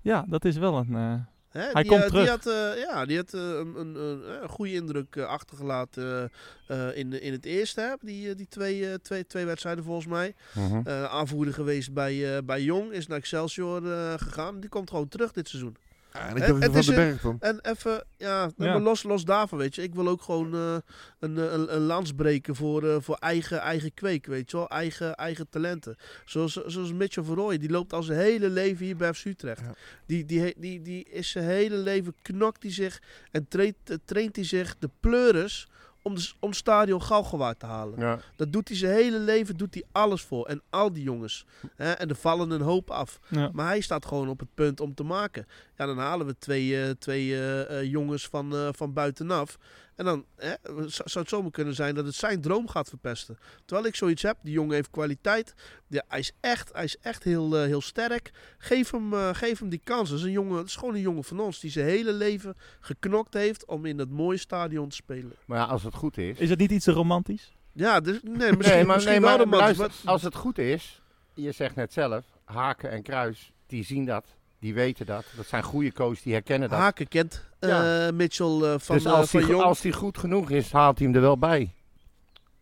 S3: Ja, dat is wel een... eh,
S6: Hè?
S3: Hij
S6: die,
S3: komt
S6: eh,
S3: terug.
S6: Die had, eh, ja, die had eh, een, een, een, een goede indruk eh, achtergelaten eh, eh, in, in het eerste. Hè? Die, eh, die twee, eh, twee, twee wedstrijden volgens mij.
S4: Mhm.
S6: Eh, aanvoerder geweest bij, eh, bij Jong. Is naar Excelsior eh, gegaan. Die komt gewoon terug dit seizoen.
S5: Ja, en ik
S6: Het-
S5: dacht
S6: het
S5: van
S6: is
S5: de
S6: een-
S5: berg dan.
S6: En even, ja,
S3: Ja.
S6: maar Los, los daarvan, weet je. Ik wil ook gewoon eh, een, eh, een, een lans breken voor, eh, voor eigen, eigen kweek, weet je wel. Eigen, eigen talenten. Zoals, zoals Mitchell Verrooy, die loopt al zijn hele leven hier bij FC Utrecht.
S5: Ja.
S6: Die, die, he- die, die is zijn hele leven, knokt hij zich en traint, eh, traint hij zich de pleuris om, de, s- om stadion Galgenwaard te halen.
S4: ja.
S6: Dat doet hij zijn hele leven, doet hij alles voor. En al die jongens. Hè? En er vallen een hoop af.
S3: ja.
S6: Maar hij staat gewoon op het punt om te maken. Ja, dan halen we twee, eh, twee eh, eh, jongens van, eh, van buitenaf. En dan hè, z- zou het zomaar kunnen zijn dat het zijn droom gaat verpesten. Terwijl ik zoiets heb, die jongen heeft kwaliteit. Ja, hij, is echt, hij is echt heel, eh, heel sterk. Geef hem, eh, geef hem die kans. Dat is, een jongen, dat is gewoon een jongen van ons die zijn hele leven geknokt heeft om in dat mooie stadion te spelen.
S4: Maar ja, als het goed is.
S3: Is het niet iets te romantisch?
S6: Ja, dus, nee, misschien,
S4: nee, maar,
S6: misschien wel
S4: nee, maar, eh,
S6: de man.
S4: luister,
S6: maar-
S4: als het goed is, je zegt net zelf, Haken en Kruis, die zien dat, die weten dat. Dat zijn goede coaches, die herkennen dat.
S6: Haken kent eh,
S4: Ja.
S6: Mitchell eh, van,
S4: dus
S6: eh,
S4: als,
S6: van
S4: die, go-
S6: Jong.
S4: als die goed genoeg is, haalt hij hem er wel bij.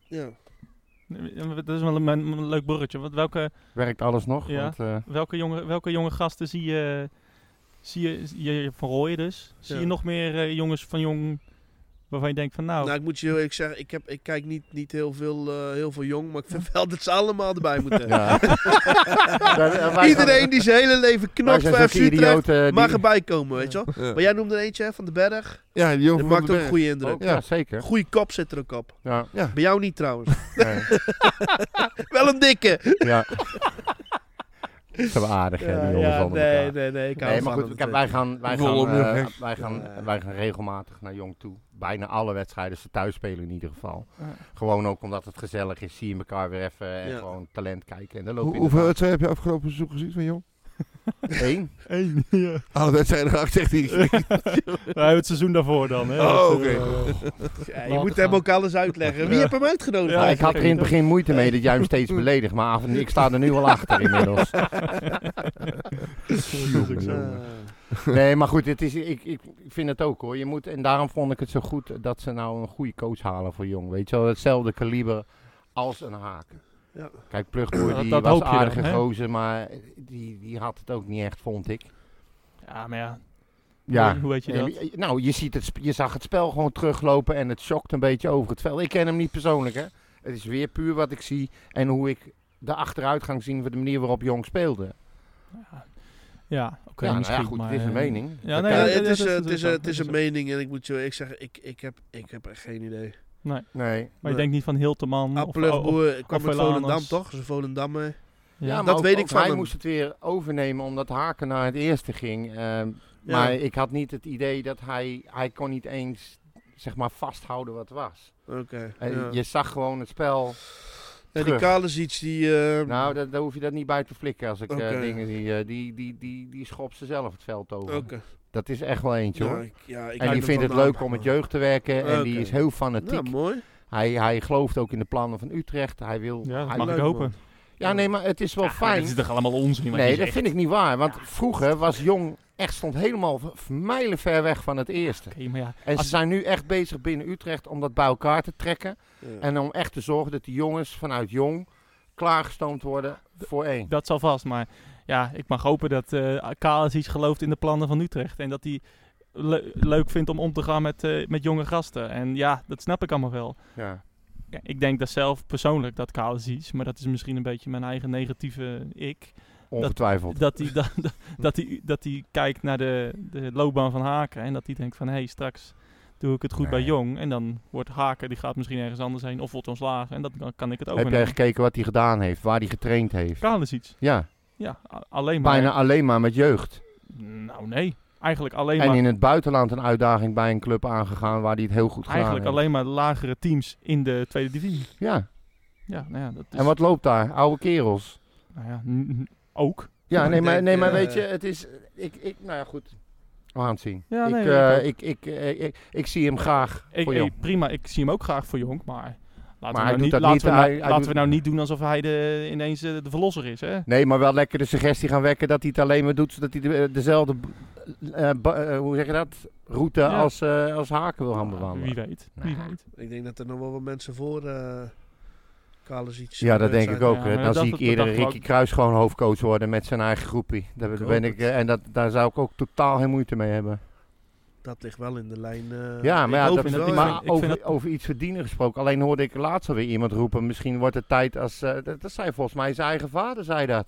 S6: Ja.
S3: Dat is wel een, een leuk borretje. Want welke,
S4: Werkt alles nog?
S3: Ja.
S4: Want,
S3: <laughs>
S4: eh,
S3: welke, jonge, welke jonge gasten zie je, zie je, je je- van Rooyen dus? Zie
S6: Ja.
S3: je nog meer eh, jongens van jong waarvan je denkt van nou, <laughs>
S6: Nou, ik moet je heel eerlijk zeggen, ik, heb, ik kijk niet, niet heel, veel, eh, heel veel jong, maar ik vind <laughs> wel dat ze allemaal erbij moeten.
S4: ja. Daar- eh, wij
S6: Iedereen die zijn hele leven
S4: zijn- wij
S6: knokt
S4: zijn
S6: voor
S4: zulke
S6: FC Utrecht,
S4: idioten die-
S6: mag erbij komen, weet je wel.
S5: Ja,
S6: Maar jij noemde er eentje, hè, Van de Berg.
S5: ja die
S6: Dat
S5: jongen van
S6: maakt
S5: de
S6: ook
S5: berg.
S6: een goede indruk.
S4: Ook, ja, zeker.
S6: Goeie kop zit er ook op.
S4: Ja,
S6: Bij jou niet trouwens.
S4: nee,
S6: <laughs> wel een dikke.
S4: ja. Zo aardig, hè, die jongens onder
S6: nee,
S4: elkaar.
S6: nee, nee. Ik hou
S4: Nee,
S6: van
S4: maar goed,
S6: hem.
S4: kijk, wij gaan, wij, gaan,
S5: Roll
S4: eh,
S5: hem, hè.
S4: wij, gaan,
S6: Ja.
S4: wij gaan regelmatig naar Jong toe. Bijna alle wedstrijden, ze thuis spelen in ieder geval.
S3: Ja.
S4: Gewoon ook omdat het gezellig is, zie je elkaar weer even en
S6: Ja.
S4: gewoon talent kijken. En dan loop
S5: Hoe-
S4: je
S5: hoeveel wedstrijden heb je afgelopen seizoen gezien van jong?
S4: inderdaad- één.
S3: één.
S4: <laughs>
S3: ja.
S5: Alle wedstrijden erachter,
S3: <laughs>
S5: zegt hij.
S3: Nou, het seizoen daarvoor dan. Hè.
S5: Oh,
S3: Dat,
S5: oké.
S3: eh,
S6: Ja, je
S3: Laten
S6: moet
S3: gaan.
S6: hem ook alles uitleggen. Wie
S3: Ja.
S6: heeft hem uitgenodigd?
S3: Ja,
S4: ik had er in het begin moeite mee dat jij hem steeds beledigt, maar af- ik sta er nu al achter inmiddels.
S3: dat is ook zo.
S6: Eh,
S4: Nee, maar goed, het is, ik, ik vind het ook hoor. Je moet, en daarom vond ik het zo goed dat ze nou een goede coach halen voor Jong. Weet je wel, hetzelfde kaliber als een haken.
S6: Ja.
S4: Kijk, Plugboer,
S3: Dat-
S4: die
S3: dat
S4: was
S3: hoop je dan,
S4: aardige
S3: hè?
S4: gozer, maar die, die had het ook niet echt, vond ik.
S3: Ja, maar ja.
S4: Ja.
S3: Hoe, hoe weet je dat?
S4: En, eh, nou, je, ziet het, sp- je zag het spel gewoon teruglopen en het shockt een beetje over het veld. Ik ken hem niet persoonlijk, hè. Het is weer puur wat ik zie en hoe ik de achteruitgang zie van de manier waarop Jong speelde.
S3: Ja, oké,
S4: ja, nou
S3: misschien.
S4: ja, goed,
S3: maar,
S4: het is een
S3: eh,
S4: mening.
S3: ja,
S4: Dat
S3: nee,
S6: ja,
S4: kan-
S3: dat-
S6: het is,
S3: dat
S6: eh,
S3: is
S6: het is,
S3: zo,
S6: eh,
S3: dat
S6: het is
S3: is
S6: een
S3: zo.
S6: mening en ik moet je ik zeggen, ik, ik, heb, ik heb echt geen idee.
S4: nee.
S3: Maar je denkt niet van Hilteman Hm, of... of-
S6: Appelugboer kwam
S3: of
S6: uit
S3: Helanas.
S6: Volendam toch? Ze Volendam mee.
S4: Ja,
S3: ja,
S4: maar
S6: dat
S4: ook-
S6: weet ik
S4: ook
S6: van
S4: hij
S6: hem.
S4: moest het weer overnemen omdat Haken naar het eerste ging. ehm,
S6: Ja.
S4: Maar ik had niet het idee dat hij... Hij kon niet eens, zeg maar, vasthouden wat was.
S6: Oké.
S4: Eh,
S6: ja.
S4: Je zag gewoon het spel.
S6: Ja, die
S4: terug.
S6: Kalesic, die... eh,
S4: Nou, dat- daar hoef je dat niet bij te flikken als ik eh,
S6: Oké.
S4: dingen zie. eh, die, die, die, die schopt ze zelf het veld over.
S6: Oké.
S4: Dat is echt wel eentje,
S6: Ja,
S4: hoor.
S6: ik- ja, ik hou
S4: En die
S6: er
S4: vindt
S6: van
S4: het
S6: aan.
S4: leuk om met jeugd te werken. En die
S6: Oké.
S4: is heel
S6: Nou,
S4: fanatiek.
S6: mooi.
S4: hij, hij gelooft ook in de plannen van Utrecht. Hij wil...
S3: Ja, dat
S4: hij-
S3: mag ik
S6: leuk,
S3: hopen.
S6: man.
S4: ja nee, maar het is wel
S3: Ja, maar
S4: fijn.
S3: dit is toch allemaal onzin? wat je
S4: Nee, dat
S3: zegt?
S4: vind ik niet waar. Want vroeger was Jong echt stond helemaal v- v- mijlenver weg van het eerste.
S3: Oké, maar ja.
S4: En ze
S3: Als-
S4: zijn nu echt bezig binnen Utrecht om dat bij elkaar te trekken.
S6: Ja.
S4: En om echt te zorgen dat die jongens vanuit Jong klaargestoomd worden voor één.
S3: Dat zal vast, maar ja, ik mag hopen dat eh Kalis iets gelooft in de plannen van Utrecht. En dat hij le- leuk vindt om om te gaan met, eh, met jonge gasten. En ja, dat snap ik allemaal wel.
S4: Ja.
S3: Ja, ik denk dat zelf persoonlijk dat Kalis iets, maar dat is misschien een beetje mijn eigen negatieve ik.
S4: Ongetwijfeld.
S3: Dat hij,
S4: <laughs>
S3: da- da- dat hij, dat hij kijkt naar de, de loopbaan van Haken en dat hij denkt van hé, hey, straks doe ik het goed bij
S4: Nee.
S3: Jong. En dan wordt Haken, die gaat misschien ergens anders heen of wordt ontslagen. En dat dan kan ik het
S4: Heb jij
S3: overnemen.
S4: gekeken wat hij gedaan heeft? Waar hij getraind heeft?
S3: Kalis iets.
S4: Ja,
S3: Ja, a- alleen maar.
S4: bijna alleen maar met jeugd.
S3: Nou nee, eigenlijk alleen
S4: En
S3: maar,
S4: in het buitenland een uitdaging bij een club aangegaan waar hij het heel goed gedaan
S3: eigenlijk
S4: heeft.
S3: alleen maar lagere teams in de tweede divisie.
S4: Ja,
S3: Ja, nou ja, dat is,
S4: en wat loopt daar? Oude kerels.
S3: nou ja, n- n- ook.
S4: Ja,
S6: Ik
S4: nee, maar,
S6: denk,
S4: nee, maar
S6: eh,
S4: weet je, het is. Ik, ik, nou ja, goed. We gaan het zien.
S3: Ja, nee,
S4: ik,
S3: weet
S4: eh,
S3: ik ook.
S4: ik, ik, eh, ik, ik zie hem graag.
S3: Ik,
S4: voor
S3: ik-
S4: Jong.
S3: prima, ik zie hem ook graag voor Jong, maar laten,
S4: hij
S3: we, nou
S4: doet
S3: niet,
S4: dat
S3: laten,
S4: niet,
S3: we,
S4: hè,
S3: nou,
S4: hij- hij
S3: laten
S4: doet-
S3: we nou niet doen alsof hij de, ineens eh, de verlosser is, hè?
S4: Nee, maar wel lekker de suggestie gaan wekken dat hij het alleen maar doet. Zodat hij de- dezelfde. eh, ba- eh, hoe zeg je dat? Route
S3: Ja.
S4: als, eh, als haken wil gaan
S3: Wie
S4: bewandelen.
S3: weet, wie
S4: Nee.
S3: weet.
S6: Ik denk dat er nog wel wat mensen voor eh Kalesic
S4: Ja, dat
S6: eh,
S4: denk
S6: zijn.
S4: ik ook.
S3: Ja,
S4: hè.
S3: maar
S4: Dan
S3: dat
S4: zie
S3: dacht
S4: ik
S3: ik- dat
S4: eerder
S3: dacht ik
S4: Ricky
S3: ook.
S4: Kruis gewoon hoofdcoach worden met zijn eigen groepie. Daar
S6: Ik
S4: ben
S6: hoop
S4: ik, eh, en dat, daar zou ik ook totaal geen moeite mee hebben.
S6: Dat ligt wel in de lijn. eh,
S4: Ja, maar,
S6: ik
S4: ja,
S6: hoop
S4: dat,
S6: het
S3: vind
S6: wel,
S3: ik-
S6: ja.
S4: maar
S3: vind
S4: over,
S3: dat-
S4: over iets verdienen gesproken. Alleen hoorde ik laatst alweer iemand roepen. Misschien wordt het tijd als. eh, dat, dat zei volgens mij zijn eigen vader, zei dat.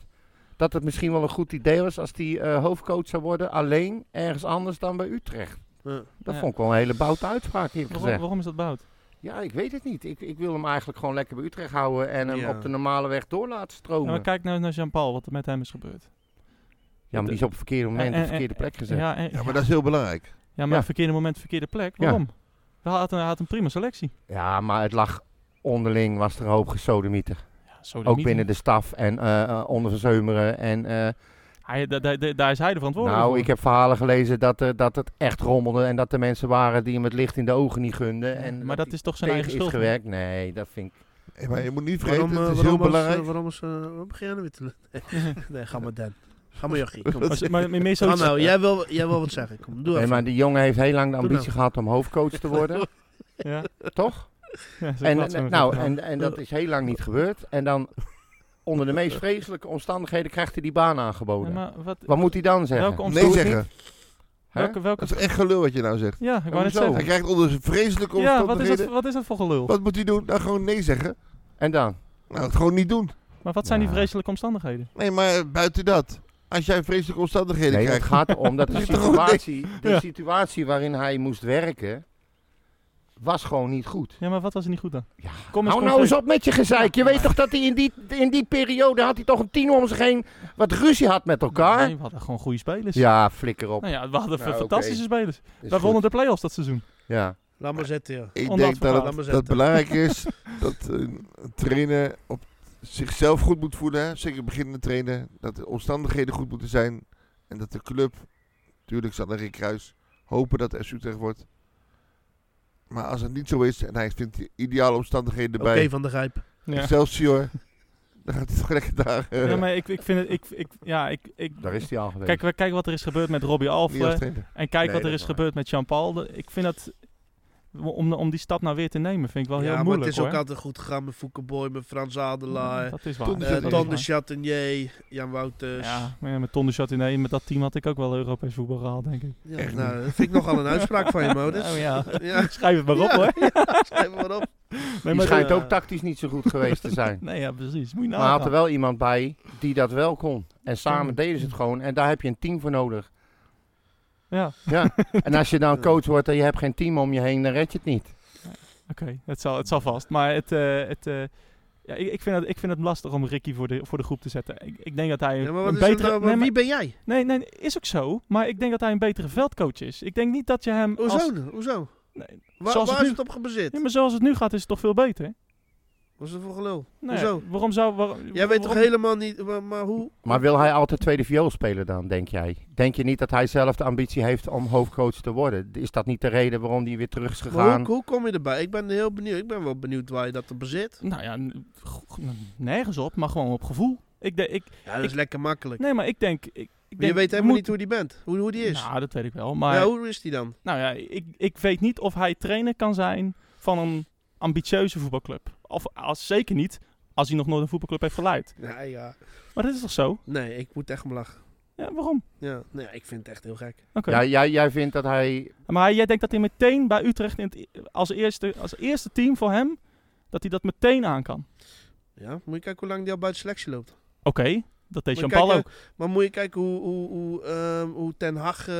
S4: Dat het misschien wel een goed idee was als die eh, hoofdcoach zou worden. Alleen ergens anders dan bij Utrecht.
S6: Ja.
S4: Dat
S3: Ja.
S4: vond ik wel een hele boute uitspraak, eerlijk
S3: Waarom,
S4: gezegd.
S3: waarom is dat bout?
S4: Ja, ik weet het niet. Ik, ik wil hem eigenlijk gewoon lekker bij Utrecht houden. En hem
S6: Ja.
S4: op de normale weg door laten
S3: Ja,
S4: stromen.
S3: maar
S4: Ja,
S3: kijk nou eens naar Jean-Paul, wat er met hem is gebeerd.
S4: maar die is op het verkeerde moment
S3: En-
S4: op de
S3: en-
S4: verkeerde
S3: en-
S4: plek gezet.
S3: Ja, en-
S5: Ja, maar dat is heel belangrijk.
S4: Ja.
S3: verkeerde moment, verkeerde plek.
S4: Ja.
S3: Waarom? Hij had een, hij had een prima selectie.
S4: Ja, maar het lag onderling, was er een hoop gesodemieter.
S3: Ja, zo
S4: Ook binnen de staf en eh eh, onder Van Zeumeren en... eh,
S3: Hij, da- da- da- daar is hij de verantwoordelijke
S4: nou,
S3: voor.
S4: ik heb verhalen gelezen dat, er, dat het echt rommelde en dat er mensen waren die hem het licht in de ogen niet gunden. En
S3: maar dat is toch zijn
S4: tegen
S3: eigen schuld.
S4: is gewerkt. Nee, dat vind ik...
S5: Hey, maar je moet niet vergeten,
S6: Waarom, eh,
S5: het is heel
S6: waarom, als,
S5: belangrijk.
S6: eh, waarom, als, eh, waarom begin jij nou weer te
S4: <laughs>
S6: lullen? Nee, ga maar Dan. Ga maar Jochie. Kom.
S3: Maar, maar meer
S6: Ga
S3: zoiets...
S6: nou, jij wil, jij wil wat zeggen. Kom, doe
S4: Nee,
S6: even.
S4: maar die jongen heeft heel lang de
S6: Doe
S3: <laughs>
S4: ambitie gehad om hoofdcoach te worden.
S3: Ja.
S4: toch?
S3: Ja, zo
S4: En,
S3: praat
S4: en-
S3: zo'n
S4: nou,
S3: vent.
S4: en, en dat is heel lang niet gebeurd. En dan, onder de meest vreselijke omstandigheden, krijgt hij die baan
S3: Ja,
S4: aangeboden.
S3: maar wat,
S4: Wat moet hij dan zeggen?
S3: welke
S5: Nee
S3: omstandigheden?
S5: zeggen.
S4: Hè?
S3: Welke, welke,
S5: Dat is echt gelul wat je nou zegt.
S3: ja, ik wou net
S4: Hoezo?
S5: Hij
S3: zeggen.
S5: krijgt onder zijn vreselijke
S3: Oh. Ja, wat is,
S5: omstandigheden.
S3: dat, wat is dat voor gelul?
S5: wat moet hij doen? Nou, gewoon nee zeggen.
S4: En dan?
S5: Nou, het gewoon niet doen.
S3: Maar wat zijn die
S4: Ja.
S3: vreselijke omstandigheden?
S5: Nee, maar buiten dat. Als jij vreselijke omstandigheden
S4: Nee, het
S5: krijgt.
S4: gaat
S3: <laughs>
S4: erom dat de
S5: Dat is toch
S4: situatie, de
S3: Ja.
S4: situatie waarin hij moest werken, was gewoon niet goed.
S3: Ja, maar wat was er niet goed dan?
S4: Ja,
S3: Kom eens
S4: Hou nou eens
S3: concreet.
S4: op met je gezeik. Je weet toch dat hij in die, in die periode had hij toch een tien om zich heen wat ruzie had met elkaar?
S3: Nee, we hadden gewoon goede spelers.
S4: Ja, flikker op.
S3: Nou ja, we hadden
S4: Nou, oké.
S3: fantastische spelers.
S4: Is
S3: we
S4: goed.
S3: wonnen de play-offs dat seizoen.
S4: Ja.
S6: Laat maar zitten, ja.
S5: Ik
S3: Om
S5: denk dat
S3: dat
S6: verhaal
S5: het
S6: maar
S5: dat
S6: zetten. <laughs>
S5: belangrijk is dat een trainer op zichzelf goed moet voelen. hè. Zeker beginnende trainer. Dat de omstandigheden goed moeten zijn. En dat de club, natuurlijk zal Rick Kruis, hopen dat SU Utrecht wordt. Maar als het niet zo is en hij vindt de ideale omstandigheden
S6: Oké,
S5: erbij.
S6: Van der Grijp.
S3: Ja.
S5: Excelsior. Dan gaat het <laughs> toch lekker daar. eh,
S3: Ja, maar ik, ik vind het... Ik, ik, ja, ik, ik,
S4: Daar is hij al geweest.
S3: kijk, we- kijk wat er is gebeurd met Robbie
S5: niet als
S6: eh,
S3: Alfle.
S5: trainer.
S3: En kijk
S4: Nee,
S3: wat er
S4: dat
S3: is
S4: is waar.
S3: gebeurd met Jean-Paul. De- Ik vind dat... Om, om die stap nou weer te nemen vind ik wel
S6: ja,
S3: heel
S6: maar
S3: moeilijk
S6: het is ook
S3: hoor.
S6: altijd goed gegaan met Foukeboy, met Frans Adelaar,
S3: Dat is waar.
S5: Ton de
S3: Dat
S6: eh,
S3: is
S6: Ton de
S3: waar.
S6: Chatinier, Jan Wouters. Ja.
S3: Ja, maar ja, met Ton de Châteauneuf, met dat team had ik ook wel Europees voetbal gehaald, denk ik.
S5: Echt
S6: nou, dat vind ik nogal een uitspraak van je,
S3: <laughs>
S6: Modus.
S3: Nou ja,
S6: ja.
S3: <laughs> schrijf het maar op
S6: <laughs>
S3: hoor.
S6: Schrijf maar op.
S3: Nee,
S4: Die
S3: maar,
S4: schijnt
S6: eh,
S4: ook tactisch niet zo goed geweest te
S3: <laughs>
S4: zijn.
S3: nee ja, precies. Moet je
S4: Maar hij had er
S3: nou
S4: wel iemand bij die dat wel kon. En samen
S3: Ja.
S4: deden ze het gewoon. En daar heb je een team voor nodig.
S3: Ja,
S4: Ja. En als je
S3: <laughs>
S4: dan coach wordt en je hebt geen team om je heen, dan red je het niet.
S3: Oké, het, zal, het zal vast. Maar het, eh, het, eh, ja, ik, ik, vind het, ik vind het lastig om Ricky voor de, voor de groep te zetten. Ik, ik denk dat hij
S6: Ja, maar wat
S3: een
S6: is het
S3: betere...
S6: nou?
S3: nee,
S6: Wie ben jij?
S3: maar- nee, nee, is ook zo. Maar ik denk dat hij een betere veldcoach is. Ik denk niet dat je hem...
S6: Hoezo?
S3: Als,
S6: Hoezo?
S3: nee,
S6: Waar,
S3: Zoals
S6: waar
S3: het
S6: is
S3: nu-
S6: het op gebaseerd?
S3: ja, maar zoals het nu gaat is het toch veel beter?
S6: Wat is dat voor gelul?
S3: Nee,
S6: Hoezo?
S3: Waarom zou... Waarom,
S6: Jij weet toch
S3: waarom-
S6: helemaal niet, maar, maar hoe?
S4: Maar wil hij altijd tweede viool spelen dan, denk jij? Denk je niet dat hij zelf de ambitie heeft om hoofdcoach te worden? Is dat niet de reden waarom hij weer terug is
S6: Maar
S4: gegaan?
S6: hoe, hoe kom je erbij? Ik ben heel benieuwd. Ik ben wel benieuwd waar je dat op bezit.
S3: Nou ja, n- g- n- nergens op, maar gewoon op gevoel. Ik denk, ik,
S6: Ja, dat is
S3: Ik-
S6: lekker makkelijk.
S3: nee, maar ik denk... Ik, ik denk
S6: Maar je weet
S3: we
S6: helemaal niet
S3: moeten-
S6: hoe die bent. Hoe, hoe die is.
S3: Nou, dat weet ik wel. Maar
S6: ja, hoe is die dan?
S3: Nou ja, ik, ik weet niet of hij trainer kan zijn van een ambitieuze voetbalclub. Of als, zeker niet als hij nog nooit een voetbalclub heeft geleid.
S6: Nee, ja.
S3: Maar dat is toch zo?
S6: nee, ik moet echt om lachen.
S3: Ja, waarom?
S6: Ja, nee, ik vind het echt heel gek.
S3: Oké.
S4: Ja, jij, jij vindt dat hij...
S3: Maar jij denkt dat hij meteen bij Utrecht in het, e-, als, eerste, als eerste team voor hem, dat hij dat meteen aan kan.
S6: Ja, moet je kijken hoe lang die al buiten selectie loopt.
S3: Oké, dat deed
S6: Maar
S3: Jean-Paul
S6: kijk,
S3: ook.
S6: Maar moet je kijken hoe, hoe, hoe, ehm, hoe Ten Hag, eh,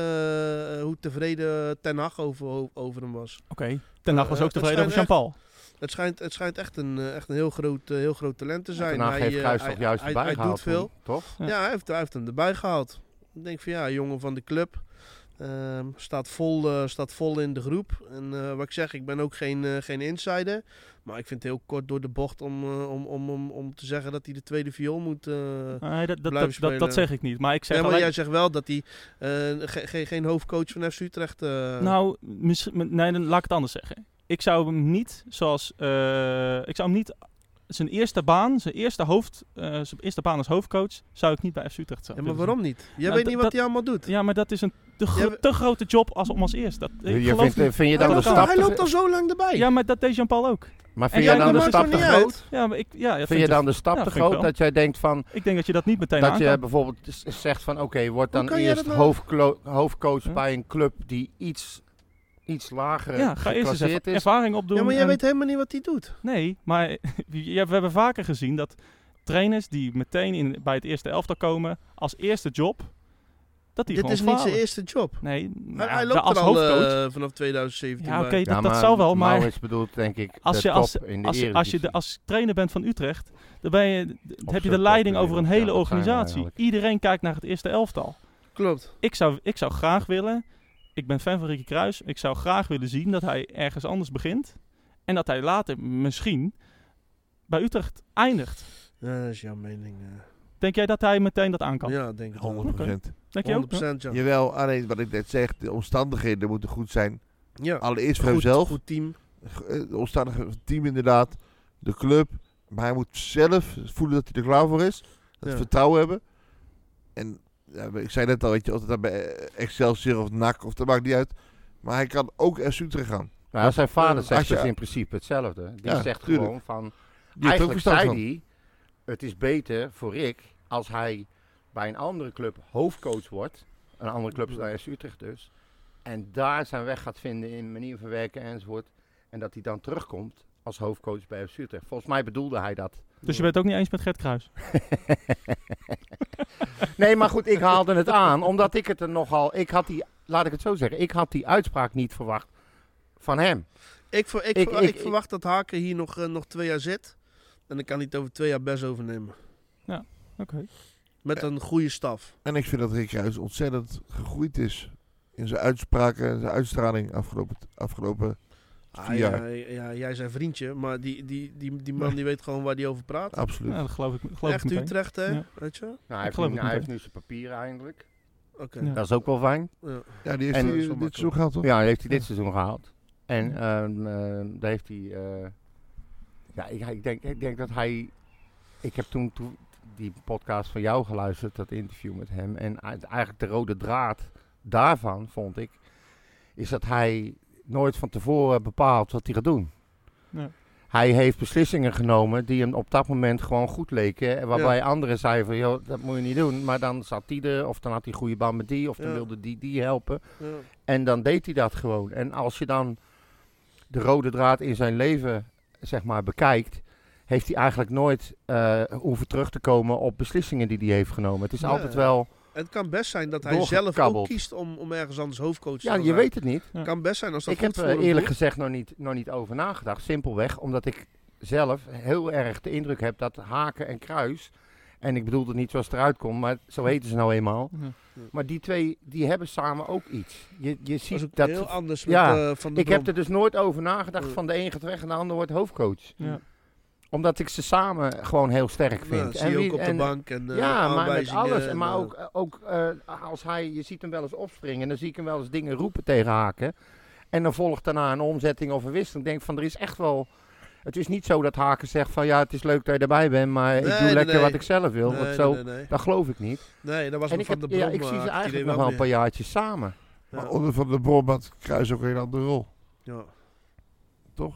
S6: hoe tevreden Ten Hag over, o- over hem was.
S3: Oké, Ten Hag was
S6: Eh,
S3: ook
S6: dat
S3: tevreden over
S6: schijnt
S3: Jean-Paul.
S6: Het schijnt, het schijnt echt een, eh, echt een heel, groot, eh, heel groot talent te zijn.
S4: Daarna
S6: hij,
S4: heeft
S6: eh,
S4: Kruis
S6: hij-
S4: toch juist
S6: hij,
S4: erbij
S6: hij
S4: gehaald
S6: doet
S4: toen,
S6: veel.
S4: toch?
S3: Ja.
S6: Ja, hij, heeft, hij heeft hem erbij gehaald. Ik denk van ja, jongen van de club. Ehm, staat, vol, eh, staat vol in de groep. En eh, wat ik zeg, ik ben ook geen, eh, geen insider. Maar ik vind het heel kort door de bocht om, eh, om, om, om, om te zeggen dat hij de tweede viool moet. eh.
S3: Nee, dat,
S6: blijven
S3: dat, dat, dat, dat
S6: spelen.
S3: zeg ik niet. Maar ik zeg
S6: Nee, maar
S3: alleen-
S6: jij zegt wel dat hij eh, ge- ge- geen hoofdcoach van FC Utrecht eh
S3: Nou, misschien, nee, dan laat ik het anders zeggen. Ik zou hem niet, zoals, eh, ik zou hem niet zijn eerste baan, zijn eerste hoofd, eh, zijn eerste baan als hoofdcoach, zou ik niet bij FC Utrecht
S6: ja,
S3: zetten.
S6: maar waarom niet? Jij
S3: Nou,
S6: weet
S3: dat-
S6: niet wat
S3: dat-
S6: hij allemaal doet.
S3: Ja, maar dat is een te, gro-
S6: Ja, we-
S3: te grote job als om als eerst. Dat, ik
S4: Je
S3: geloof
S4: vindt,
S3: niet.
S4: eh, vind je dan
S3: Ja,
S4: de
S3: dat kan.
S4: stap
S6: hij
S4: te-
S6: loopt al zo lang erbij. nou
S3: Ja, maar dat deed Jean-Paul ook.
S4: Maar
S3: En
S4: vind je
S3: jij
S4: dan de
S3: maakt
S4: stap
S6: het
S4: te
S6: niet uit.
S4: groot?
S3: Ja, maar ik, ja, dat
S4: Vind je dan de stap
S3: Ja,
S4: te
S3: vind ik
S4: groot
S3: wel.
S4: dat jij denkt van...
S3: ik denk dat je dat niet meteen aan
S4: Dat je
S3: kan.
S4: bijvoorbeeld z- zegt van oké, word dan
S6: Hoe kan jij
S4: eerst
S6: dat nou-
S4: hoofdklo- hoofdcoach
S3: Huh?
S4: bij een club die iets, iets lager
S3: Ja, ga eerst eens even
S4: geclasseerd is.
S3: ervaring opdoen.
S6: eh, Ja, maar jij
S3: en-
S6: weet helemaal niet wat hij doet.
S3: Nee, maar <laughs> ja, we hebben vaker gezien dat trainers die meteen in, bij het eerste elftal komen, als eerste job, dat die
S6: Dit
S3: gewoon
S6: is niet
S3: falen.
S6: zijn eerste job.
S3: Nee,
S6: Hij,
S3: nou,
S6: hij
S3: de-
S6: loopt
S3: als
S6: er al
S3: hoofdcoach.
S6: eh, vanaf 2017
S3: ja,
S6: bij.
S3: oké, dat, dat zal wel, maar
S4: Maurits bedoelt denk ik
S3: Als
S4: de
S3: je-
S4: top
S3: als-
S4: in de
S3: als, je- als je de,
S4: eredivisie.
S3: als trainer bent van Utrecht, dan ben je, d-
S4: Of
S3: heb je de
S4: subtop
S3: leiding
S4: in de
S3: over een
S4: wereld,
S3: hele
S4: ja, dat zijn we
S3: organisatie.
S4: eigenlijk.
S3: Iedereen kijkt naar het eerste elftal.
S6: Klopt.
S3: Ik zou, ik zou graag willen, ik ben fan van Ricky Kruis, ik zou graag willen zien dat hij ergens anders begint. En dat hij later misschien bij Utrecht eindigt.
S6: Ja, dat is jouw mening. eh.
S3: Denk jij dat hij meteen dat aan kan?
S6: ja, ik denk ik. 100%.
S5: 100%.
S3: Denk je ook?
S6: 100% ja.
S5: Jawel, alleen wat ik net zeg, de omstandigheden moeten goed zijn.
S6: ja.
S5: Allereerst voor
S6: Goed,
S5: hemzelf.
S6: goed team.
S5: eh, de omstandigheden van het team inderdaad, de club. Maar hij moet zelf voelen dat hij er klaar voor is. Dat
S6: Ja.
S5: vertrouwen hebben. En ja, ik zei net al, weet je, of het dan bij eh, Excelsior of NAC of dat maakt niet uit. Maar hij kan ook naar Utrecht gaan.
S4: Nou, zijn vader
S5: eh,
S4: zegt
S5: als je-
S4: dus in principe hetzelfde. Die
S5: Ja,
S4: zegt
S5: tuurlijk.
S4: gewoon van...
S5: Die heeft ook
S4: eigenlijk
S5: verstand
S4: zei
S5: van.
S4: hij, het is beter voor Rick als hij bij een andere club hoofdcoach wordt. Een andere club is dan SC Utrecht dus. En daar zijn weg gaat vinden in manier van werken enzovoort. En dat hij dan terugkomt als hoofdcoach bij FC Utrecht. Volgens mij bedoelde hij dat.
S3: Dus je bent het ook niet eens met Gert Kruis?
S4: Nee, maar goed, ik haalde het aan. Omdat ik het er nogal... Ik had die, laat ik het zo zeggen. Ik had die uitspraak niet verwacht van hem. Nou,
S6: Ik, ver- ik,
S4: Ik-
S6: verwa-
S4: ik-
S6: ik
S4: ik-
S6: verwacht dat Haken hier nog, eh, nog twee jaar zit. En dan kan hij het over twee jaar best overnemen.
S3: Oké.
S6: Met een goede staf.
S5: En ik vind dat Rick Ruijs ontzettend gegroeid is. In zijn uitspraken en zijn uitstraling afgelopen, afgelopen
S6: Ah,
S5: vier jaar.
S6: ja, ja, jij is zijn vriendje, maar die, die, die, die man die weet gewoon waar hij over praat.
S5: Absoluut.
S3: Ja, dat geloof ik, geloof ik
S6: Echt
S3: meteen.
S6: Utrecht, hè?
S3: Ja.
S6: Weet je?
S4: Nou, hij, heeft
S3: geloof
S4: nu,
S3: het
S4: hij
S3: meteen.
S4: heeft nu zijn papieren eindelijk.
S6: Oké.
S3: Ja.
S6: Ja.
S4: Dat is ook wel fijn.
S5: Ja, die heeft
S4: En-
S5: hij, eh, dit seizoen gehad, toch?
S4: Ja, die heeft hij dit seizoen gehaald. En ehm, ehm, daar heeft hij. eh, ja, ik, ik, denk, ik denk dat hij. Ik heb toen, toen die podcast van jou geluisterd, dat interview met hem. En uit- eigenlijk de rode draad daarvan, vond ik, is dat hij nooit van tevoren bepaalt wat hij gaat doen.
S3: Ja.
S4: Hij heeft beslissingen genomen die hem op dat moment gewoon goed leken. en Waarbij anderen zeiden van, joh, dat moet je niet doen. Maar dan zat die er, of dan had hij goede band met die, of dan
S6: Ja.
S4: wilde die die helpen. En dan deed hij dat gewoon. En als je dan de rode draad in zijn leven, zeg maar, bekijkt, heeft hij eigenlijk nooit eh, hoeven terug te komen op beslissingen die hij heeft genomen. Het is
S6: Nee.
S4: altijd wel,
S6: Het kan best zijn dat hij zelf ook
S4: Doorgekabbeld.
S6: kiest om, om ergens anders hoofdcoach te
S4: ja,
S6: gaan
S4: je
S6: zijn.
S4: weet het niet.
S6: Het kan best zijn als dat
S4: Ik heb
S6: goed
S4: er
S6: voor
S3: eh,
S6: hem
S4: eerlijk
S6: voelt.
S4: gezegd nog niet, nog niet over nagedacht. Simpelweg omdat ik zelf heel erg de indruk heb dat Haken en Kruis, en ik bedoel het niet zoals het eruit komt, maar zo heten ze nou eenmaal.
S3: Ja.
S4: Maar die twee, die hebben samen ook iets. Je, je
S6: Dat is
S4: ziet
S6: ook
S4: dat,
S6: heel anders
S4: ja,
S6: met eh, Van de
S4: Ik heb
S6: Brom.
S4: er dus nooit over nagedacht
S6: Nee.
S4: van de een gaat weg en de ander wordt hoofdcoach.
S3: Ja.
S4: Omdat ik ze samen gewoon heel sterk vind.
S6: Nou, dat zie je
S4: wie-
S6: ook op de
S4: en-
S6: bank en eh,
S4: ja, maar met
S6: aanwijzingen
S4: alles.
S6: en,
S4: maar
S6: eh,
S4: ook, eh, ook eh, als hij, je ziet hem wel eens opspringen en dan zie ik hem wel eens dingen roepen tegen haken. En dan volgt daarna een omzetting of een wisseling. Ik denk van er is echt wel. Het is niet zo dat haken zegt van ja, het is leuk dat je erbij bent, maar ik
S6: Nee,
S4: doe
S6: nee,
S4: lekker
S6: nee.
S4: wat ik zelf wil.
S6: nee,
S4: want zo,
S6: nee, nee, nee.
S4: dat geloof ik niet.
S6: Nee, dat was
S4: En
S6: met
S4: ik,
S6: Van
S4: heb,
S6: de
S4: ja,
S6: Brom.
S4: ik zie
S6: eh, had
S4: ze
S6: ik het
S4: eigenlijk
S6: idee
S4: nog
S6: wel
S4: wel een paar
S6: meer.
S4: jaartjes samen.
S5: Maar onder Van de Brom had Kruis ook een hele andere rol,
S6: Ja,
S5: toch?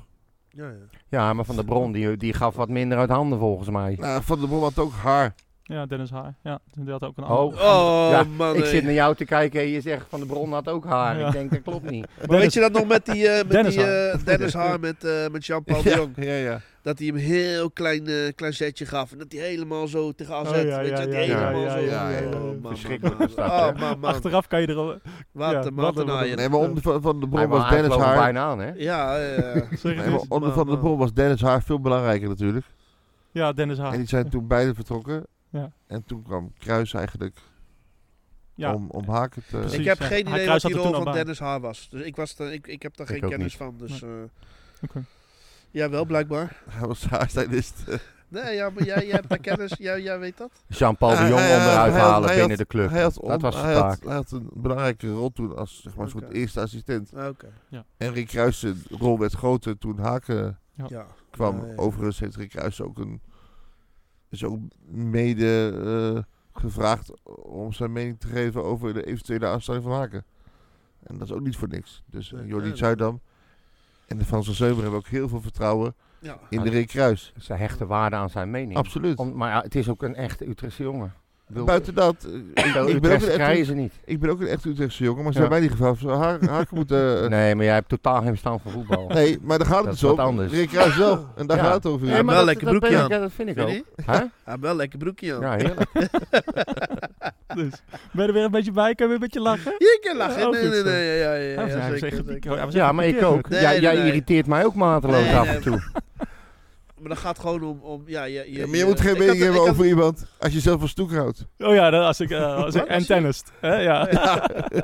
S6: ja, ja.
S4: Ja, maar Van
S6: <laughs>
S4: der Bron die, die gaf wat minder uit handen volgens mij.
S5: Nou, van de Brom had ook haar.
S3: Ja, Dennis Haar. Ja, die had ook een
S4: Oh,
S3: andere.
S6: Oh,
S4: Ja,
S6: man.
S4: Ik
S6: hey.
S4: zit naar jou te kijken en je zegt van de bron had ook haar.
S3: Ja.
S4: Ik denk dat klopt <laughs> niet.
S6: Maar weet je dat nog met die, eh, met
S3: Dennis
S6: die
S4: <laughs>
S6: eh, Dennis Haar met, eh, met Jean-Paul de
S5: Ja,
S6: Jong?
S5: ja, ja.
S6: Dat hij hem een heel klein, eh, klein zetje gaf. En dat hij helemaal zo tegen AZ,
S3: Oh, ja,
S6: weet
S3: ja,
S6: je, die
S3: ja,
S5: ja,
S6: helemaal
S5: ja,
S6: zo.
S5: ja, ja, ja.
S6: Oh, man, man,
S4: Verschrikkelijk
S6: man.
S4: was <laughs> dat, hè?
S6: Oh, man, man.
S3: Achteraf kan je er al...
S6: Wat
S3: Ja,
S6: een
S3: wat een-
S6: matenaaier.
S5: Nee, maar onder Van- Van de Brom
S4: Nee, maar
S5: was
S4: hij
S5: Dennis
S4: vloog er
S5: Haar...
S4: bijna aan, hè?
S6: Ja, ja,
S4: <laughs>
S6: ja.
S3: Zeg het
S5: Nee, maar
S3: eens.
S5: onder Van de
S6: Maar-
S5: Brom was Dennis Haar veel belangrijker natuurlijk.
S3: Ja, Dennis
S5: En
S3: Haar.
S5: die zijn toen beide vertrokken.
S3: Ja.
S5: En toen kwam Kruis eigenlijk
S3: Ja.
S5: om, om Haken te...
S3: Precies.
S6: ik heb
S3: ja.
S6: geen idee
S3: Hij
S6: wat
S3: kruiste
S6: die
S3: er
S6: rol
S3: toen al
S6: van
S3: bij.
S6: Dennis Haar was. Dus ik, was daar- ik, ik heb daar
S4: Ik
S6: geen
S4: ook
S6: kennis
S4: niet.
S6: van. Dus, eh
S3: Oké.
S6: Ja, wel blijkbaar.
S5: Hij was <laughs> haarstylist.
S6: Nee, ja, maar jij, jij hebt daar kennis. <laughs> Jij, jij weet dat.
S4: Jean-Paul de
S5: Hij-
S4: Jong
S5: hij-
S4: onderuit
S5: hij had-
S4: halen
S5: hij
S4: binnen
S5: had-
S4: de club.
S5: Hij had, om-
S4: Dat was de
S5: hij, had,
S4: taak.
S5: hij had een belangrijke rol toen als zeg maar, een soort
S6: Oké.
S5: eerste assistent.
S6: Oké.
S5: En Rick Kruijs' rol werd groter toen Haken
S6: Ja.
S5: kwam.
S6: Oh, Ja, ja.
S5: Overigens heeft Rick Kruijs ook een... is ook mede eh, gevraagd om zijn mening te geven over de eventuele aanstelling van Haken. En dat is ook niet voor niks. Dus
S6: Nee,
S5: Jordi
S6: nee, nee.
S5: Zuidam en de Frans van Zeumer hebben ook heel veel vertrouwen
S6: Ja.
S5: in de Rick Kruijs.
S4: Ze hechten waarde aan zijn mening.
S5: Absoluut.
S4: Om- maar ja, het is ook een echte Utrechtse jongen.
S5: Buiten dat, eh, ik, ben ook
S4: Utrechtse
S5: een
S4: krijgen
S5: echt,
S4: ze niet.
S5: ik ben ook een echt Utrechtse jongen, maar ze
S4: Ja.
S5: hebben mij niet gevraagd. Ze
S4: <laughs>
S5: haar, haar moeten... eh,
S4: Nee, maar jij hebt totaal geen verstand van voetbal.
S5: nee. maar daar gaat het
S4: Dat
S5: dus
S4: is wat
S5: om.
S4: anders.
S5: Rick Kruijs wel, en daar
S4: Ja.
S5: gaat het over.
S6: Ja, maar-
S5: maar,
S6: wel lekker
S4: dat,
S6: broekje
S4: ben
S6: aan.
S4: ik- ja, dat vind ik
S6: Vind
S4: ook.
S6: je?
S4: Hè?
S6: Ja, wel lekker broekje aan.
S4: Ja, heerlijk.
S3: Dus, ben je er weer een beetje bij? Kan je weer een beetje lachen?
S6: Je kan lachen.
S3: Oh,
S6: nee,
S3: goed
S6: nee,
S3: zo.
S6: nee. Ja, ja, ja,
S3: Hij was-
S6: ja,
S3: hij was
S6: zeker,
S3: echt-
S6: zeker.
S3: hij was echt
S4: Ja, maar ik
S3: gekeerd
S4: ook.
S3: met-
S6: Nee,
S4: jij
S6: nee,
S4: jij
S6: nee.
S4: irriteert mij ook mateloos
S6: Nee,
S4: af
S6: nee.
S4: en toe.
S6: Maar dat gaat gewoon om... om ja, ja, ja,
S5: maar je moet geen
S6: ik had-
S5: mening hebben
S6: ik had-
S5: over iemand als je zelf van stoek houdt.
S3: Oh ja, dan als ik,
S4: <laughs>
S3: eh, als ik
S6: Wat?
S3: en tennist. Hè, ja.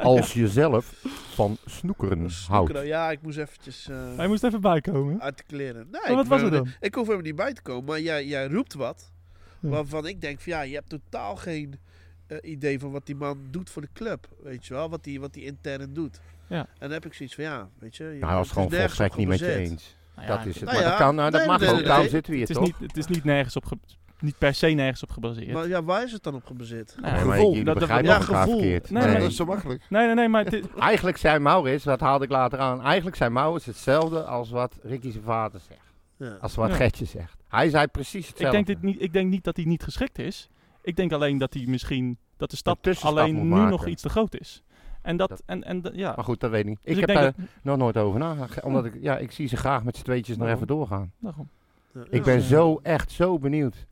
S4: Als je zelf van snoekeren houdt.
S6: Ja, ik moest eventjes eh,
S3: <laughs> Hij moest even bijkomen.
S6: uit de kleren. Nee,
S3: Maar wat
S6: ik
S3: was
S6: ben-
S3: het dan?
S6: Ik hoef helemaal niet bij te komen, maar jij, jij roept wat.
S3: Ja.
S6: Waarvan ik denk van ja, je hebt totaal geen eh, idee van wat die man doet voor de club. Weet je wel, wat die, wat die intern doet.
S3: Ja.
S6: En dan heb ik zoiets van ja, weet je. je
S4: Nou, hij was
S6: het
S4: gewoon
S6: is nergens
S4: volstrekt
S6: op
S4: niet met je
S6: gebaseerd.
S4: eens.
S3: Nou ja,
S4: Dat is het.
S6: Nou
S4: Maar
S6: ja,
S4: dat kan, nou, dat
S6: nee,
S4: mag
S6: nee,
S4: ook.
S6: nee,
S4: Daarom
S6: nee.
S4: zitten we hier,
S3: Het is,
S4: toch?
S3: niet, het is niet nergens op ge- niet per se nergens op gebaseerd.
S6: Maar ja, waar is het dan op gebaseerd?
S3: Nou ja,
S4: Nee, maar
S5: gevoel.
S4: jullie
S3: Dat- dat-
S4: begrijpen
S6: ja,
S4: elkaar
S6: gevoel.
S4: verkeerd.
S3: Nee,
S5: Ja,
S3: maar-
S5: dat is zo makkelijk.
S3: nee, nee, nee,
S6: <laughs>
S3: maar dit,
S4: Eigenlijk zei Maurits, dat haalde ik later aan, eigenlijk zei Maurits hetzelfde als wat Ricky zijn vader zegt.
S6: Ja.
S4: Als wat
S3: Ja.
S4: Gertje zegt. Hij zei precies
S3: ik,
S4: hetzelfde.
S3: denk dit niet, ik denk niet dat hij niet geschikt is. Ik denk alleen dat hij misschien, dat de stap
S4: tussenstap
S3: alleen
S4: moet
S3: nu
S4: maken.
S3: nog iets te groot is. En dat,
S4: Dat-
S3: en, en dat- ja.
S4: Maar goed, dat weet ik niet.
S3: Dus
S4: ik heb eh,
S3: denk
S4: daar
S3: dat-
S4: nog nooit over nagedacht. Omdat ik, ja, ik zie ze graag met z'n tweetjes nog
S3: Waarom?
S4: even doorgaan.
S3: daarom.
S6: Ja,
S4: Ik
S6: ja.
S4: ben
S3: Ja.
S4: zo, echt zo benieuwd.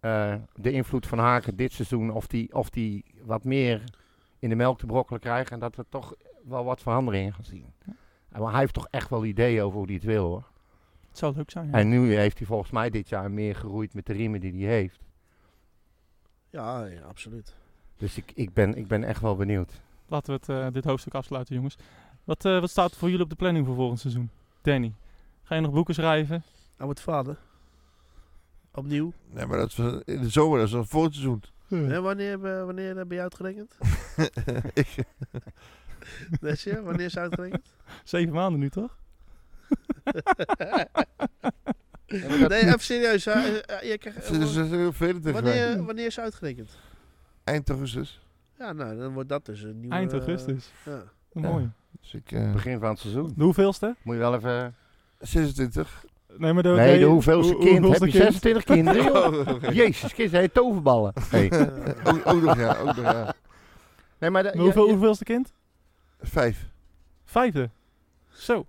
S4: eh, de invloed van Haken dit seizoen. Of die, of die wat meer in de melk te brokkelen krijgt. En dat we toch wel wat veranderingen gaan zien. Eh, Maar hij heeft toch echt wel ideeën over hoe hij het wil hoor.
S3: Het zou leuk zijn. ja.
S4: En nu heeft hij volgens mij dit jaar meer geroeid met de riemen die hij heeft.
S6: Ja, ja, absoluut.
S4: Dus ik, ik, ben, ik ben echt wel benieuwd.
S3: Laten we het, eh, dit hoofdstuk afsluiten, jongens. Wat, eh, wat staat voor jullie op de planning voor volgend seizoen? Danny, ga je nog boeken schrijven?
S6: Hij wordt vader. Opnieuw.
S5: Nee, maar dat is, eh, in de zomer, dat is dan voor het seizoen.
S6: Hè, wanneer, eh, wanneer heb je uitgerekend?
S5: Ik-
S6: Lesje, wanneer is uitgerekend?
S3: Zeven maanden nu, toch?
S6: nee, even serieus. hè. Eh, eh, je krijgt-
S5: Het is het is heel vervelend tegen mij.
S6: wanneer, wanneer is uitgerekend?
S5: Eind augustus.
S6: Ja, nou, dan wordt dat dus een nieuwe...
S3: Eind
S6: eh,
S3: augustus.
S6: ja.
S3: Wat Mooi.
S5: Dus ik, eh,
S4: Begin van het seizoen.
S3: De hoeveelste?
S4: Moet je wel even...
S5: 26.
S3: Nee, maar de,
S4: Nee, de hoeveelste
S3: hoe-
S4: kind. Heb
S3: hoeveelste
S4: je
S3: kind?
S4: 26 <laughs> kinderen? joh?
S5: Oké.
S4: Jezus, kind, hij <laughs> toverballen. Hey.
S6: Eh,
S5: Oh. ook, ook nog ja, ook nog ja.
S4: Nee, maar de-
S3: Maar hoeveel,
S4: ja, ja.
S3: hoeveelste kind?
S5: Vijf.
S3: Vijfde.
S4: <laughs>
S3: Zo.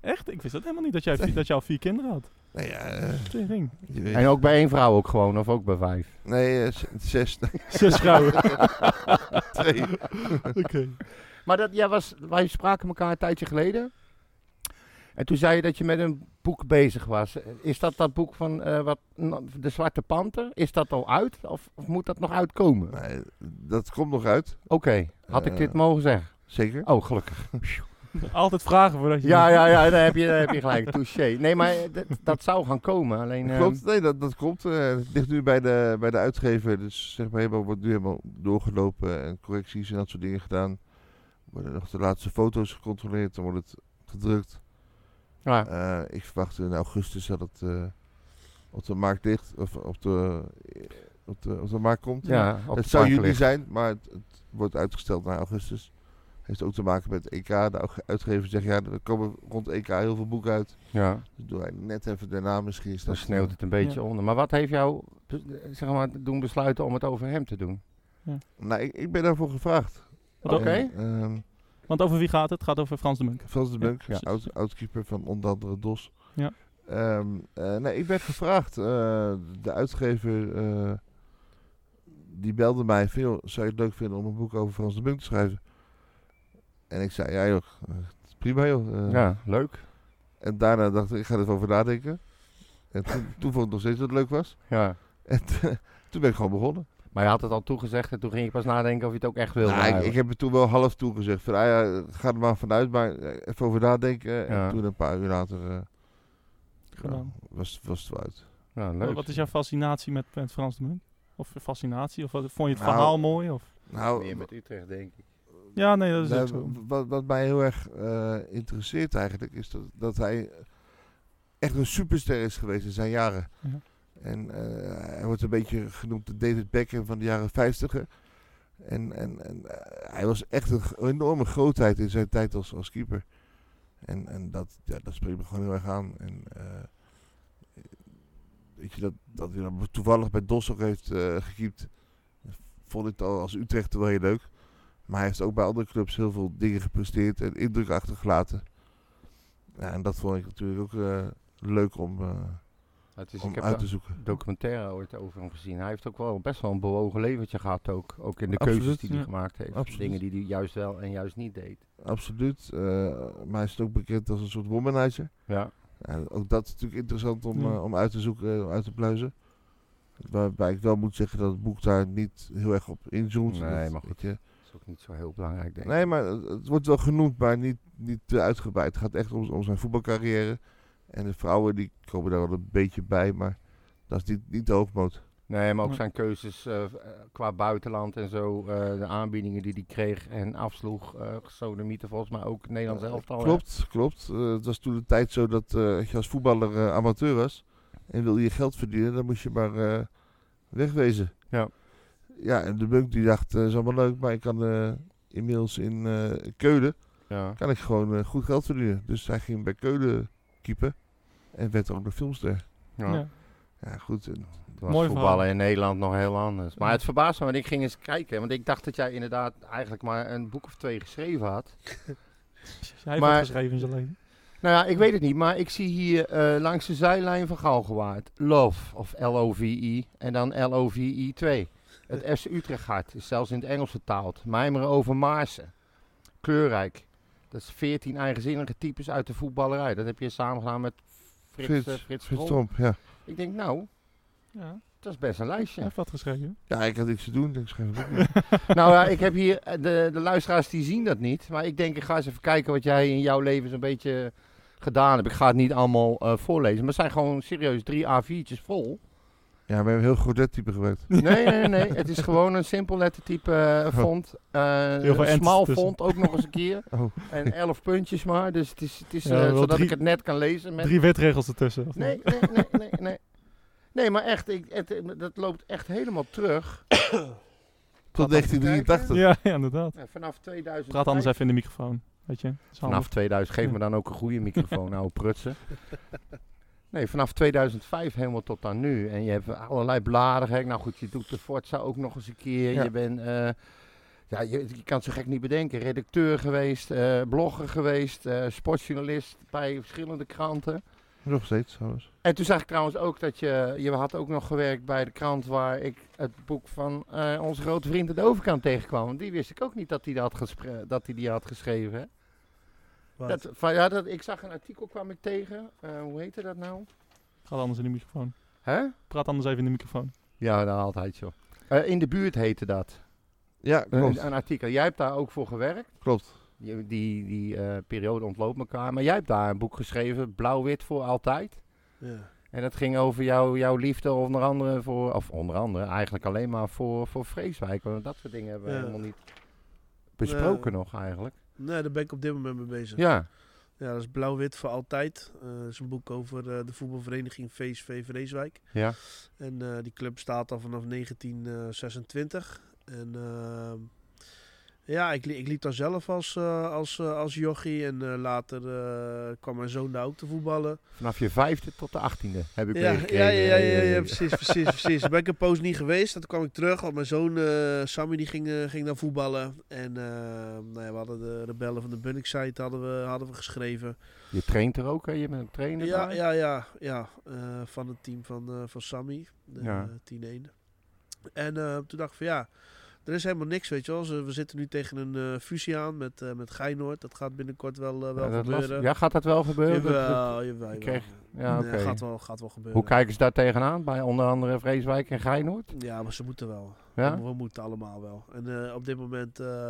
S3: Echt? Ik wist dat helemaal niet, dat, jij, vi- dat jij al vier kinderen had.
S4: <laughs>
S5: Nou ja, eh,
S3: Tering.
S5: je weet.
S4: En ook bij één vrouw ook gewoon, of ook bij vijf.
S5: Nee, eh, z- zes. <laughs> Nee,
S3: Zes vrouwen.
S4: <laughs>
S3: <laughs>
S5: twee.
S3: Oké.
S4: Maar dat, ja, was, wij spraken elkaar een tijdje geleden. En toen zei je dat je met een boek bezig was. Is dat dat boek van eh, wat, n- De Zwarte Panter? Is dat al uit? Of, of moet dat nog uitkomen? Oké,
S5: Nee, dat komt nog uit.
S4: had ik dit
S5: Eh.
S4: mogen zeggen?
S5: Zeker.
S4: Oh, gelukkig.
S3: Altijd vragen voordat je...
S4: Ja, ja, ja, daar heb je, daar heb je gelijk. Touché. Nee, maar dat, dat zou gaan komen. Alleen, eh,
S5: Klopt, nee, dat, dat komt. eh, het ligt nu bij de, bij de uitgever. Dus zeg maar, helemaal, wordt nu helemaal doorgelopen en correcties en dat soort dingen gedaan. Worden nog de laatste foto's gecontroleerd, dan wordt het gedrukt.
S4: ja,
S5: Eh, ik verwacht in augustus dat het eh, op de markt ligt, of op de, eh, op de, op de markt komt.
S4: ja, op
S5: het
S4: het
S5: zou juli
S4: plankenlicht.
S5: zijn, maar het, het wordt uitgesteld naar augustus. Heeft ook te maken met EK. De au- uitgever zegt, ja, er komen rond EK heel veel boeken uit.
S4: Ja.
S5: Dat doen wij net even daarna misschien. Is
S4: Dan
S5: dat
S4: sneeuwt het een beetje onder. Maar wat heeft jou be- zeg maar, doen besluiten om het over hem te doen?
S5: Nou, ik, ik ben daarvoor gevraagd.
S3: Want, o-
S4: Oké.
S5: En, ehm,
S3: want over wie gaat het? Het gaat over Frans de Munk.
S5: Frans de
S3: Ja,
S5: Bunk,
S3: ja.
S5: oud, oud-keeper van onder andere DOS.
S3: Ja.
S5: Ehm, eh, nee, ik ben gevraagd. eh, de uitgever eh, die belde mij veel. Zou je het leuk vinden om een boek over Frans de Bunk te schrijven? En ik zei, ja joh, eh, prima joh. eh.
S4: Ja, leuk.
S5: En daarna dacht ik, ik ga er even over nadenken. En toen, toen vond ik nog steeds dat het leuk was.
S4: Ja.
S5: En toen ben ik gewoon begonnen.
S4: Maar je had het al toegezegd en toen ging je pas nadenken of je het ook echt wilde.
S5: Nou, ik, ik
S4: eigenlijk.
S5: heb het toen wel half toegezegd. Van, ah ja, ga er maar vanuit, maar eh, even over nadenken. eh.
S4: Ja.
S5: En toen een paar uur later eh, ja,
S3: Gedaan.
S5: was, was het wel uit.
S4: Ja,
S3: Wat-
S4: leuk.
S3: Wat is jouw fascinatie met, met Frans de Munk? Of fascinatie? Of wat- vond je het
S5: Nou,
S3: verhaal mooi? Of?
S5: Nou,
S4: Meer met Utrecht, denk ik.
S3: Ja, nee, dat is ook
S5: nou,
S3: zo.
S5: w- wat, wat mij heel erg eh, interesseert eigenlijk, is dat, dat hij echt een superster is geweest in zijn jaren.
S3: Ja.
S5: En eh, hij wordt een beetje genoemd de David Beckham van de jaren 50. En, en, en eh, hij was echt een g- enorme grootheid in zijn tijd als, als keeper. En, en dat, ja, dat spreekt me gewoon heel erg aan. En, eh, weet je, dat, dat hij dan toevallig bij DOS ook heeft eh gekiept, vond ik het al als Utrecht wel heel leuk. Maar hij heeft ook bij andere clubs heel veel dingen gepresteerd en indruk achtergelaten. Ja, en dat vond ik natuurlijk ook eh, leuk om, eh,
S4: Het is,
S5: om
S4: Dus ik heb
S5: uit te
S4: daar
S5: zoeken.
S4: een documentaire ooit over hem gezien. Hij heeft ook wel best wel een bewogen leventje gehad ook. Ook in de
S5: Absoluut,
S4: keuzes die hij
S3: ja.
S4: gemaakt heeft.
S5: Absoluut.
S4: Dingen die hij juist wel en juist niet deed.
S5: Absoluut. eh, maar hij is ook bekend als een soort womanizer.
S4: Ja.
S5: Ja, ook dat is natuurlijk interessant om,
S3: Ja.
S4: Hmm.
S5: eh, om uit te zoeken, eh, om uit te pluizen. Waarbij ik wel moet zeggen dat het boek daar niet heel erg op inzoomt.
S4: Nee,
S5: Dat,
S4: maar
S5: weet je.
S4: Dat is ook niet zo heel belangrijk, denk ik.
S5: Nee, maar het- het wordt wel genoemd, maar niet, niet te uitgebreid. Het gaat echt om, om zijn voetbalcarrière. En de vrouwen die komen daar wel een beetje bij, maar dat is niet, niet de hoofdmoot.
S4: Nee, maar ook
S3: Ja.
S4: zijn keuzes eh, v- eh, qua buitenland en zo. eh, de aanbiedingen die hij kreeg en afsloeg. eh Sodemieten volgens mij ook Nederlands elftal. hè?
S5: Klopt, klopt. Eh, het was toen de tijd zo dat eh, als je als voetballer eh, amateur was, en wil je geld verdienen, dan moest je maar eh, wegwezen.
S4: Ja.
S5: Ja, en de bunk die dacht, eh, is allemaal leuk, maar ik kan eh, inmiddels in eh, Keulen,
S4: Ja.
S5: kan ik gewoon eh, goed geld verdienen. Dus hij ging bij Keulen keeper en werd ook nog filmster.
S4: Ja.
S3: Ja.
S5: Ja, goed. en-
S4: Het was
S3: Mooi
S4: voetballen
S3: verhaal.
S4: in Nederland nog heel anders. Maar
S3: Ja.
S4: het verbaast me, want ik ging eens kijken. Want ik dacht dat jij inderdaad eigenlijk maar een boek of twee geschreven had.
S3: Hij heeft
S4: Maar-
S3: het geschreven in zijn leven.
S4: Nou ja, ik weet het niet, maar ik zie hier eh, langs de zijlijn van Galgenwaard. Love, of L-O-V-I, en dan L-O-V-I 2. Het FC Utrecht hart is zelfs in het Engels vertaald. Mijmeren over Maarsen. Kleurrijk. Dat is 14 eigenzinnige types uit de voetballerij. Dat heb je samen gedaan met Frits, eh,
S5: Frits,
S4: Frits,
S5: Frits
S4: Tromp.
S5: Tromp, ja.
S4: Ik denk, nou,
S3: Ja,
S4: dat is best een
S3: hij
S4: lijstje.
S3: heeft wat geschreven.
S5: Ja, ik had niks te doen, dus ik schrijf een boek.
S4: nou ja, ik heb hier, eh, de, de luisteraars die zien dat niet. Maar ik denk, ik ga eens even kijken wat jij in jouw leven zo'n beetje gedaan hebt. Ik ga het niet allemaal eh, voorlezen. Maar het zijn gewoon serieus drie A4'tjes vol.
S5: Ja, we hebben heel goed dat type gebruikt.
S4: Nee, nee, nee, nee. Het is gewoon een simpel lettertype eh, font. Eh,
S3: Oh. Heel veel
S4: een smal
S3: ents tussen.
S4: font ook nog eens een keer.
S5: Oh.
S4: En elf puntjes maar. Dus het is, het is
S3: Ja,
S4: eh,
S3: wel
S4: zodat
S3: drie-
S4: ik het net kan lezen. Met...
S3: Drie wetregels ertussen. of
S4: Nee,
S3: niet?
S4: nee, nee, nee, nee. Nee, maar echt, ik, het- eh, dat loopt echt helemaal terug.
S5: Tot 1983.
S3: Ja, ja, inderdaad.
S4: Nou, vanaf 2000.
S3: Praat anders even in de microfoon. Weet je? is handig.
S4: Vanaf 2000, geef me dan ook een goede microfoon, nou prutsen. Nee, vanaf 2005 helemaal tot aan nu. En je hebt allerlei bladen gek. Nou goed, je doet de Forza ook nog eens een keer.
S5: Ja.
S4: Je bent, eh, ja, je, je kan het zo gek niet bedenken. Redacteur geweest, eh, blogger geweest, eh, sportjournalist bij verschillende kranten.
S5: Nog steeds, trouwens.
S4: En toen zag ik trouwens ook dat je, je had ook nog gewerkt bij de krant waar ik het boek van eh, onze grote vriend aan de overkant tegenkwam. Want die wist ik ook niet dat hij die had, gespre- dat hij die had geschreven. hè.
S6: Wat?
S4: Dat, van, ja, dat, ik zag een artikel kwam ik tegen. Eh, hoe heette dat nou?
S3: Praat anders in de microfoon.
S4: Hè?
S3: Praat anders even in de microfoon.
S4: Ja, nou, altijd zo. Eh, in de buurt heette dat.
S5: Ja, klopt.
S4: Een, een artikel. Jij hebt daar ook voor gewerkt.
S5: Klopt.
S4: Je- Die, die eh, periode ontloopt elkaar. Maar jij hebt daar een boek geschreven, Blauw-Wit voor altijd.
S6: Ja.
S4: En dat ging over jou, jouw liefde onder andere voor, of onder andere eigenlijk alleen maar voor, voor Vreeswijk. Want dat soort dingen hebben we
S6: Ja.
S4: helemaal niet besproken nog eigenlijk.
S6: Nee, daar ben ik op dit moment mee bezig. Ja,
S4: Ja,
S6: dat is Blauw-Wit voor Altijd. Eh, dat is een boek over eh, de voetbalvereniging VSV Vreeswijk.
S4: ja.
S6: En eh, die club staat al vanaf 1926. En ehm, ja, ik, li- ik liep daar zelf als, eh, als, eh, als jochie. En eh, later eh, kwam mijn zoon daar ook te voetballen.
S4: Vanaf je vijfde tot de achttiende heb ik
S6: Ja,
S4: meegekregen.
S6: ja, ja, ja, ja, ja, precies, precies, precies. Daar Ben ik een poos niet geweest. Toen kwam ik terug, want mijn zoon eh, Sammy die ging, eh, ging dan voetballen. En eh, nou ja, we hadden de Rebellen van de Bunningside hadden we, hadden we geschreven.
S4: Je traint er ook, hè? Je bent een trainer
S6: Ja,
S4: daar?
S6: ja, ja, ja. eh, van het team van, eh, van Sammy. De,
S4: Ja.
S6: eh, 10-1. En eh, toen dacht ik van ja, er is helemaal niks, weet je wel. Ze- We zitten nu tegen een eh, fusie aan met, eh met Feyenoord. Dat gaat binnenkort wel, eh, wel
S4: Ja, dat las-
S6: gebeuren.
S4: ja, gaat dat wel gebeuren? Dat- dat-
S6: Jawel, jawel, jawel.
S4: ik kreeg- ja,
S6: Nee,
S4: oké.
S6: gaat, wel, gaat wel gebeuren.
S4: Hoe kijken ze daar tegenaan? Bij onder andere Vreeswijk en Geinoord?
S6: ja, maar ze moeten wel.
S4: Ja?
S6: We moeten allemaal wel. En eh, op dit moment eh,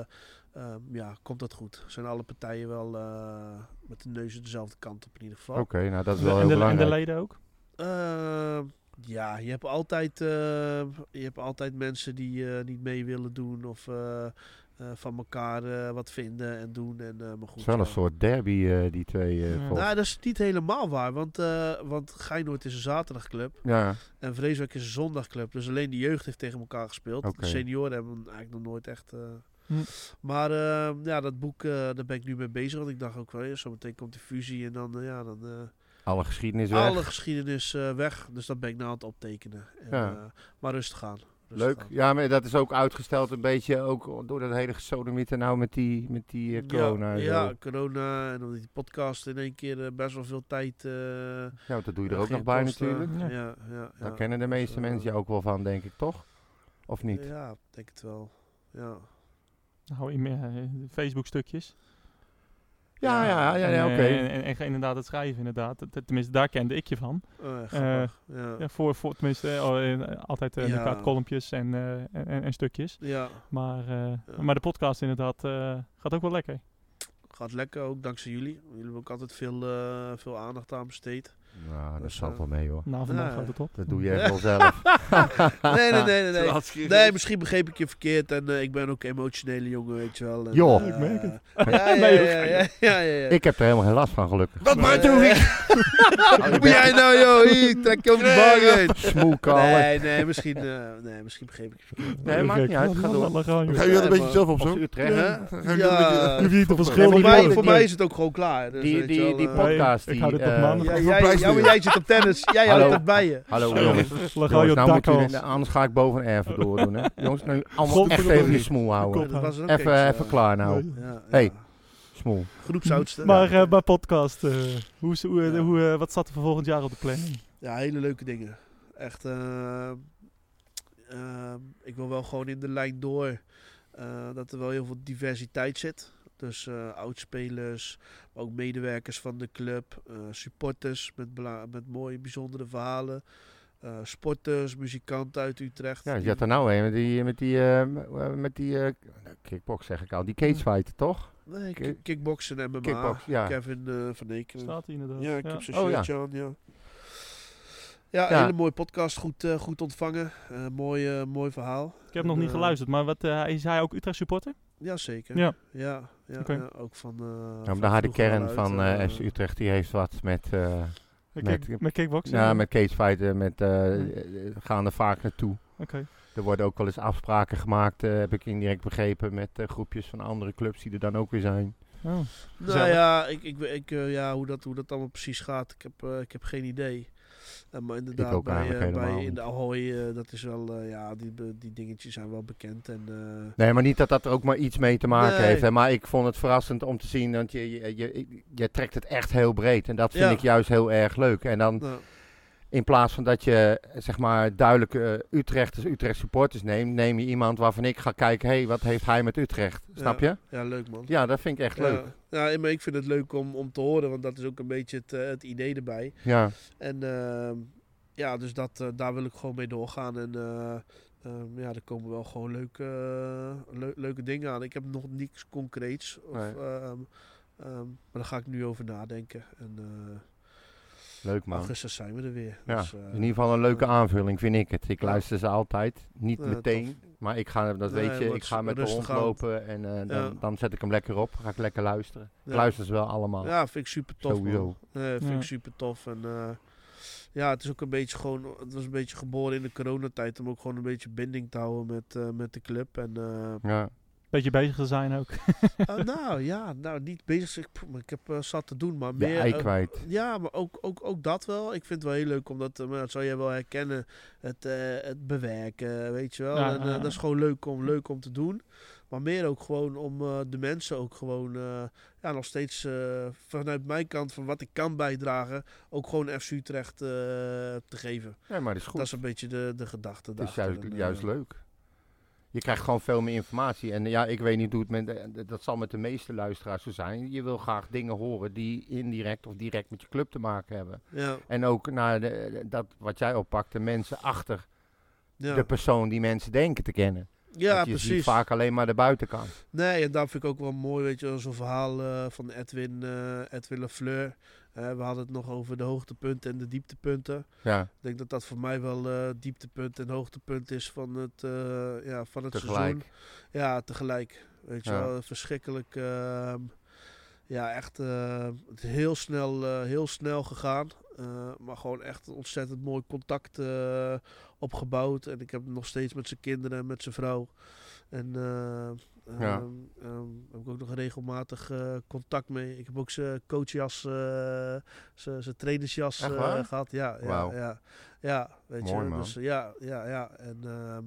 S6: ehm, ja, komt dat goed. Zijn alle partijen wel eh, met de neuzen dezelfde kant op in ieder geval.
S4: Oké, nou dat is
S3: En
S4: wel
S3: de, en
S4: heel
S3: de- en de
S4: belangrijk.
S3: leden ook.
S6: Ehm, ja, je hebt altijd, eh, je hebt altijd mensen die eh, niet mee willen doen of eh, eh, van elkaar eh, wat vinden en doen. En, eh, maar goed,
S4: het is wel een
S6: ja.
S4: soort derby, eh, die twee. eh,
S3: Ja.
S4: volgens-
S6: Nou, dat is niet helemaal waar, want, eh want Feyenoord is een zaterdagclub
S4: ja.
S6: en Vreeswijk is een zondagclub. Dus alleen de jeugd heeft tegen elkaar gespeeld.
S4: Oké.
S6: De senioren hebben eigenlijk nog nooit echt... eh,
S3: Hm.
S6: Maar ehm, ja, dat boek, eh, daar ben ik nu mee bezig, want ik dacht ook wel, ja, zometeen komt de fusie en dan, eh, ja, dan... eh,
S4: alle geschiedenis weg.
S6: alle geschiedenis eh, weg. Dus dat ben ik na aan het optekenen. En,
S4: Ja.
S6: eh, maar rustig aan. Rustig
S4: Leuk.
S6: aan.
S4: Ja, maar dat is ook uitgesteld een beetje ook door dat hele gesodemieter nou met die, met die eh, corona. en zo.
S6: Ja, ja, corona. En omdat die podcast in één keer eh, best wel veel tijd. eh
S4: Ja, want dat doe je er ook
S6: geen
S4: nog bij
S6: kosten.
S4: natuurlijk.
S6: Ja,
S3: Ja.
S6: ja, ja,
S4: Daar kennen de meeste
S6: eh,
S4: mensen je ook wel van, denk ik, toch? Of niet?
S6: Ja, ik denk het wel. Ja.
S3: Nou, in, eh, Facebook-stukjes.
S4: Ja, ja, ja, ja,
S3: En,
S4: oké.
S3: eh, En, en, en inderdaad het schrijven, inderdaad. Dat- dat- Tenminste, daar kende ik je van.
S6: Eh, grappig. ja.
S3: Ja, voor, voor, tenminste, eh, oh, eh, altijd eh,
S6: Ja.
S3: inderdaad kolompjes en, eh, en, en- en stukjes.
S6: ja,
S3: Maar, eh,
S6: Ja.
S3: maar de podcast inderdaad eh, gaat ook wel lekker.
S4: <laughs>
S6: gaat lekker ook dankzij jullie. Jullie hebben ook altijd veel, eh, veel aandacht aan besteed.
S4: Nou, dat
S6: Dus,
S4: zal
S6: eh,
S4: wel mee hoor.
S3: Na vandaag
S6: Ja.
S3: gaat het op.
S4: Dat doe je echt wel
S6: <laughs>
S4: zelf.
S6: Nee, nee, nee, nee.
S1: Zo'n
S6: nee.
S1: hartstikke-
S6: Nee, misschien begreep ik je verkeerd en eh, ik ben ook een emotionele jongen, weet je wel. En,
S4: Joh.
S6: eh,
S3: Ik merk het.
S6: Ja,
S4: <laughs>
S6: ja,
S3: Nee,
S6: ja, ja, ja, ja, ja.
S4: Ik heb er helemaal geen last van, gelukkig.
S5: Wat
S6: Maar,
S5: maakt het hoef ik?
S4: <laughs>
S6: eh, Moet jij nou, joh, hier, trek je om de bar heen.
S4: Smoelkallen.
S6: Nee, nee, misschien, eh, nee, misschien begreep ik je verkeerd.
S4: Nee, maakt niet uit. Ga door.
S5: Ga je dat een beetje zelf
S4: Als
S5: opzoeken?
S4: Utrecht, hè?
S6: Hè?
S5: Ga je
S6: Ja,
S5: dat een beetje-
S3: niet op een
S4: schuld
S6: voor
S4: die
S6: mij,
S4: worden.
S6: voor mij is het ook gewoon klaar. Dus,
S4: Die-
S6: weet je
S4: die-
S6: wel,
S4: die
S6: eh,
S4: pop- podcast
S3: Ik
S4: die,
S3: ga dit tot
S4: eh,
S3: maandag.
S6: ja,
S5: Hoeveel
S6: jij,
S5: prijs
S6: ja,
S5: doe
S6: maar
S5: je?
S6: jij zit op tennis, jij
S4: Hallo.
S6: houdt het bij je.
S4: Hallo
S3: Zo,
S4: jongens.
S3: Lagaio
S4: Jongens, nou moet
S3: Dakos.
S4: jullie, anders ga ik boven erven door doen,
S3: <laughs>
S4: hè? Jongens, nou, allemaal
S3: Godverdomme.
S4: echt tegen je smoel houden.
S3: Kom.
S6: Ja, dat was er ook eh.
S4: Even,
S6: eentje,
S4: even klaar nou,
S6: Ja, ja.
S4: Hey. smoel.
S6: Groepsoudste.
S3: Maar eh, bij podcast, eh, hoe, is- hoe, eh,
S6: Ja.
S3: hoe, eh, wat staat er voor volgend jaar op de planning?
S6: Ja, hele leuke dingen. Echt. eh, eh, ik wil wel gewoon in de lijn door eh, dat er wel heel veel diversiteit zit. Dus eh oudspelers, maar ook medewerkers van de club, eh, supporters met, bela- met mooie, bijzondere verhalen. eh, sporters, muzikanten uit Utrecht.
S4: Ja, je
S6: die-
S4: had er nou een met die, met die, eh, m- met die eh, nou, kickbox zeg ik al, die cagefight toch?
S6: nee,
S4: Ki-
S6: ki- kickboksen en MMA.
S4: Kickbox, ja.
S6: Hm. Kevin eh, van Eekelen.
S3: Staat hij inderdaad?
S6: Ja, ik heb zijn
S4: Oh, ja.
S6: shirtje aan, ja. Ja,
S4: Ja.
S6: hele mooie podcast, goed, eh, goed ontvangen. Eh, mooi, eh, mooi verhaal.
S3: Ik heb nog niet
S6: Eh,
S3: geluisterd, maar wat, eh, is hij ook Utrecht supporter?
S6: Jazeker.
S3: Ja.
S6: Ja, ja,
S3: Oké.
S6: ja, ook van... eh van
S4: Ja, maar de harde
S6: vroeger
S4: kern
S6: al uit,
S4: van
S6: eh,
S4: eh, FC Utrecht die heeft wat met, eh
S3: Met,
S4: Met-
S3: kick- met kickboxen?
S4: ja, met cagefighten, met,
S6: Hm.
S4: eh,
S3: Ja.
S4: eh, gaan er vaak naartoe.
S3: Oké.
S4: Er worden ook wel eens afspraken gemaakt, eh, heb ik indirect begrepen, met eh, groepjes van andere clubs die er dan ook weer zijn.
S3: Oh.
S6: Nou ja, ik, ik, ik, eh, ja hoe, dat, hoe dat allemaal precies gaat, ik heb, eh, ik heb geen idee. Eh, maar inderdaad,
S4: ook
S6: bij,
S4: eigenlijk
S6: eh, bij
S4: helemaal
S6: in de Ahoy, eh, dat is wel, eh, ja, die, be- die dingetjes zijn wel bekend. En, eh,
S4: Nee, maar niet dat dat er ook maar iets mee te maken
S6: Nee.
S4: heeft. Hè? Maar ik vond het verrassend om te zien, want je, je, je, je trekt het echt heel breed. En dat vind
S6: Ja.
S4: ik juist heel erg leuk. En dan
S6: nou,
S4: in plaats van dat je eh, zeg maar duidelijk eh, Utrechters, Utrecht supporters neemt, neem je iemand waarvan ik ga kijken, hé, hey, wat heeft hij met Utrecht? Snap je?
S6: ja, leuk man.
S4: Ja, dat vind ik echt leuk.
S6: Ja, ja, maar ik vind het leuk om, om te horen, want dat is ook een beetje het, eh, het idee erbij.
S4: Ja.
S6: En ehm, ja, dus dat, eh, daar wil ik gewoon mee doorgaan. En eh, ehm, ja, er komen wel gewoon leuke, eh, leu- leuke dingen aan. Ik heb nog niks concreets. Of,
S4: Nee.
S6: ehm, ehm, maar daar ga ik nu over nadenken. En eh,
S4: Leuk man.
S6: augustus zijn we er weer.
S4: Ja,
S6: Dus, eh,
S4: in ieder geval een leuke aanvulling vind ik het. Ik
S6: Ja.
S4: luister ze altijd, niet
S6: Ja,
S4: meteen, maar ik ga,
S6: Nee,
S4: dat weet je,
S6: maar
S4: ik
S6: het
S4: ga
S6: is
S4: met de
S6: rustig
S4: hond
S6: aan.
S4: lopen en eh, dan,
S6: Ja.
S4: dan zet ik hem lekker op, ga ik lekker luisteren. Ik
S6: ja.
S4: luister ze wel allemaal.
S6: Ja, vind ik super tof. man.
S4: Sowieso.
S6: Nee, vind
S3: Ja.
S6: ik super tof. En eh, ja, het is ook een beetje gewoon, het was een beetje geboren in de coronatijd om ook gewoon een beetje binding te houden met, eh, met de club. En eh,
S4: Ja.
S3: Beetje bezig te zijn
S4: <laughs>
S3: ook.
S6: Eh, nou ja, nou niet bezig. zijn. Ik, pff, ik heb eh, zat te doen, maar
S4: Je
S6: meer.
S4: ei
S6: eh,
S4: kwijt.
S6: ja, maar ook, ook, ook dat wel. Ik vind het wel heel leuk, omdat eh, maar dat zal jij wel herkennen. Het, eh, het bewerken, weet je wel.
S3: Ja,
S6: en, eh,
S3: ja, ja.
S6: Dat is gewoon leuk om, leuk om te doen. Maar meer ook gewoon om eh, de mensen ook gewoon eh, ja, nog steeds eh, vanuit mijn kant van wat ik kan bijdragen, ook gewoon FC Utrecht eh, te geven.
S4: Nee, maar dat is goed.
S6: Dat is een beetje de, de gedachte.
S4: Het is
S6: daarachter.
S4: juist,
S6: En, eh,
S4: juist leuk. Je krijgt gewoon veel meer informatie. En eh, ja, ik weet niet hoe het met... eh, d- Dat zal met de meeste luisteraars zo zijn. Je wil graag dingen horen die indirect of direct met je club te maken hebben.
S6: Ja,
S4: En ook naar de, eh, dat wat jij oppakt, de mensen achter
S6: ja.
S4: de persoon die mensen denken te kennen.
S6: ja
S4: Want je
S6: precies.
S4: ziet vaak alleen maar de buitenkant.
S6: Nee, en daar vind ik ook wel mooi, weet je, wel, zo'n verhaal eh, van Edwin, eh Edwin Lafleur. Eh, we hadden het nog over de hoogtepunten en de dieptepunten.
S4: Ja,
S6: Ik denk dat dat voor mij wel eh, dieptepunt en hoogtepunt is van het, eh, ja, van het seizoen.
S4: tegelijk.
S6: Ja, tegelijk. Weet je
S4: Ja.
S6: wel, verschrikkelijk. ehm, ja, echt eh, het heel, snel, eh, heel snel gegaan. Eh, maar gewoon echt een ontzettend mooi contact eh, opgebouwd. En ik heb nog steeds met zijn kinderen en met zijn vrouw. En eh,
S4: Ja.
S6: ehm, ehm, heb ik ook nog regelmatig eh, contact mee. Ik heb ook zijn coachjas, eh, zijn zijn trainersjas
S4: Echt
S6: eh,
S4: waar?
S6: gehad. Ja, ja,
S4: Wauw.
S6: ja. Ja, weet
S4: Mooi,
S6: je.
S4: man.
S6: Dus, eh, ja, ja, ja. En, ehm,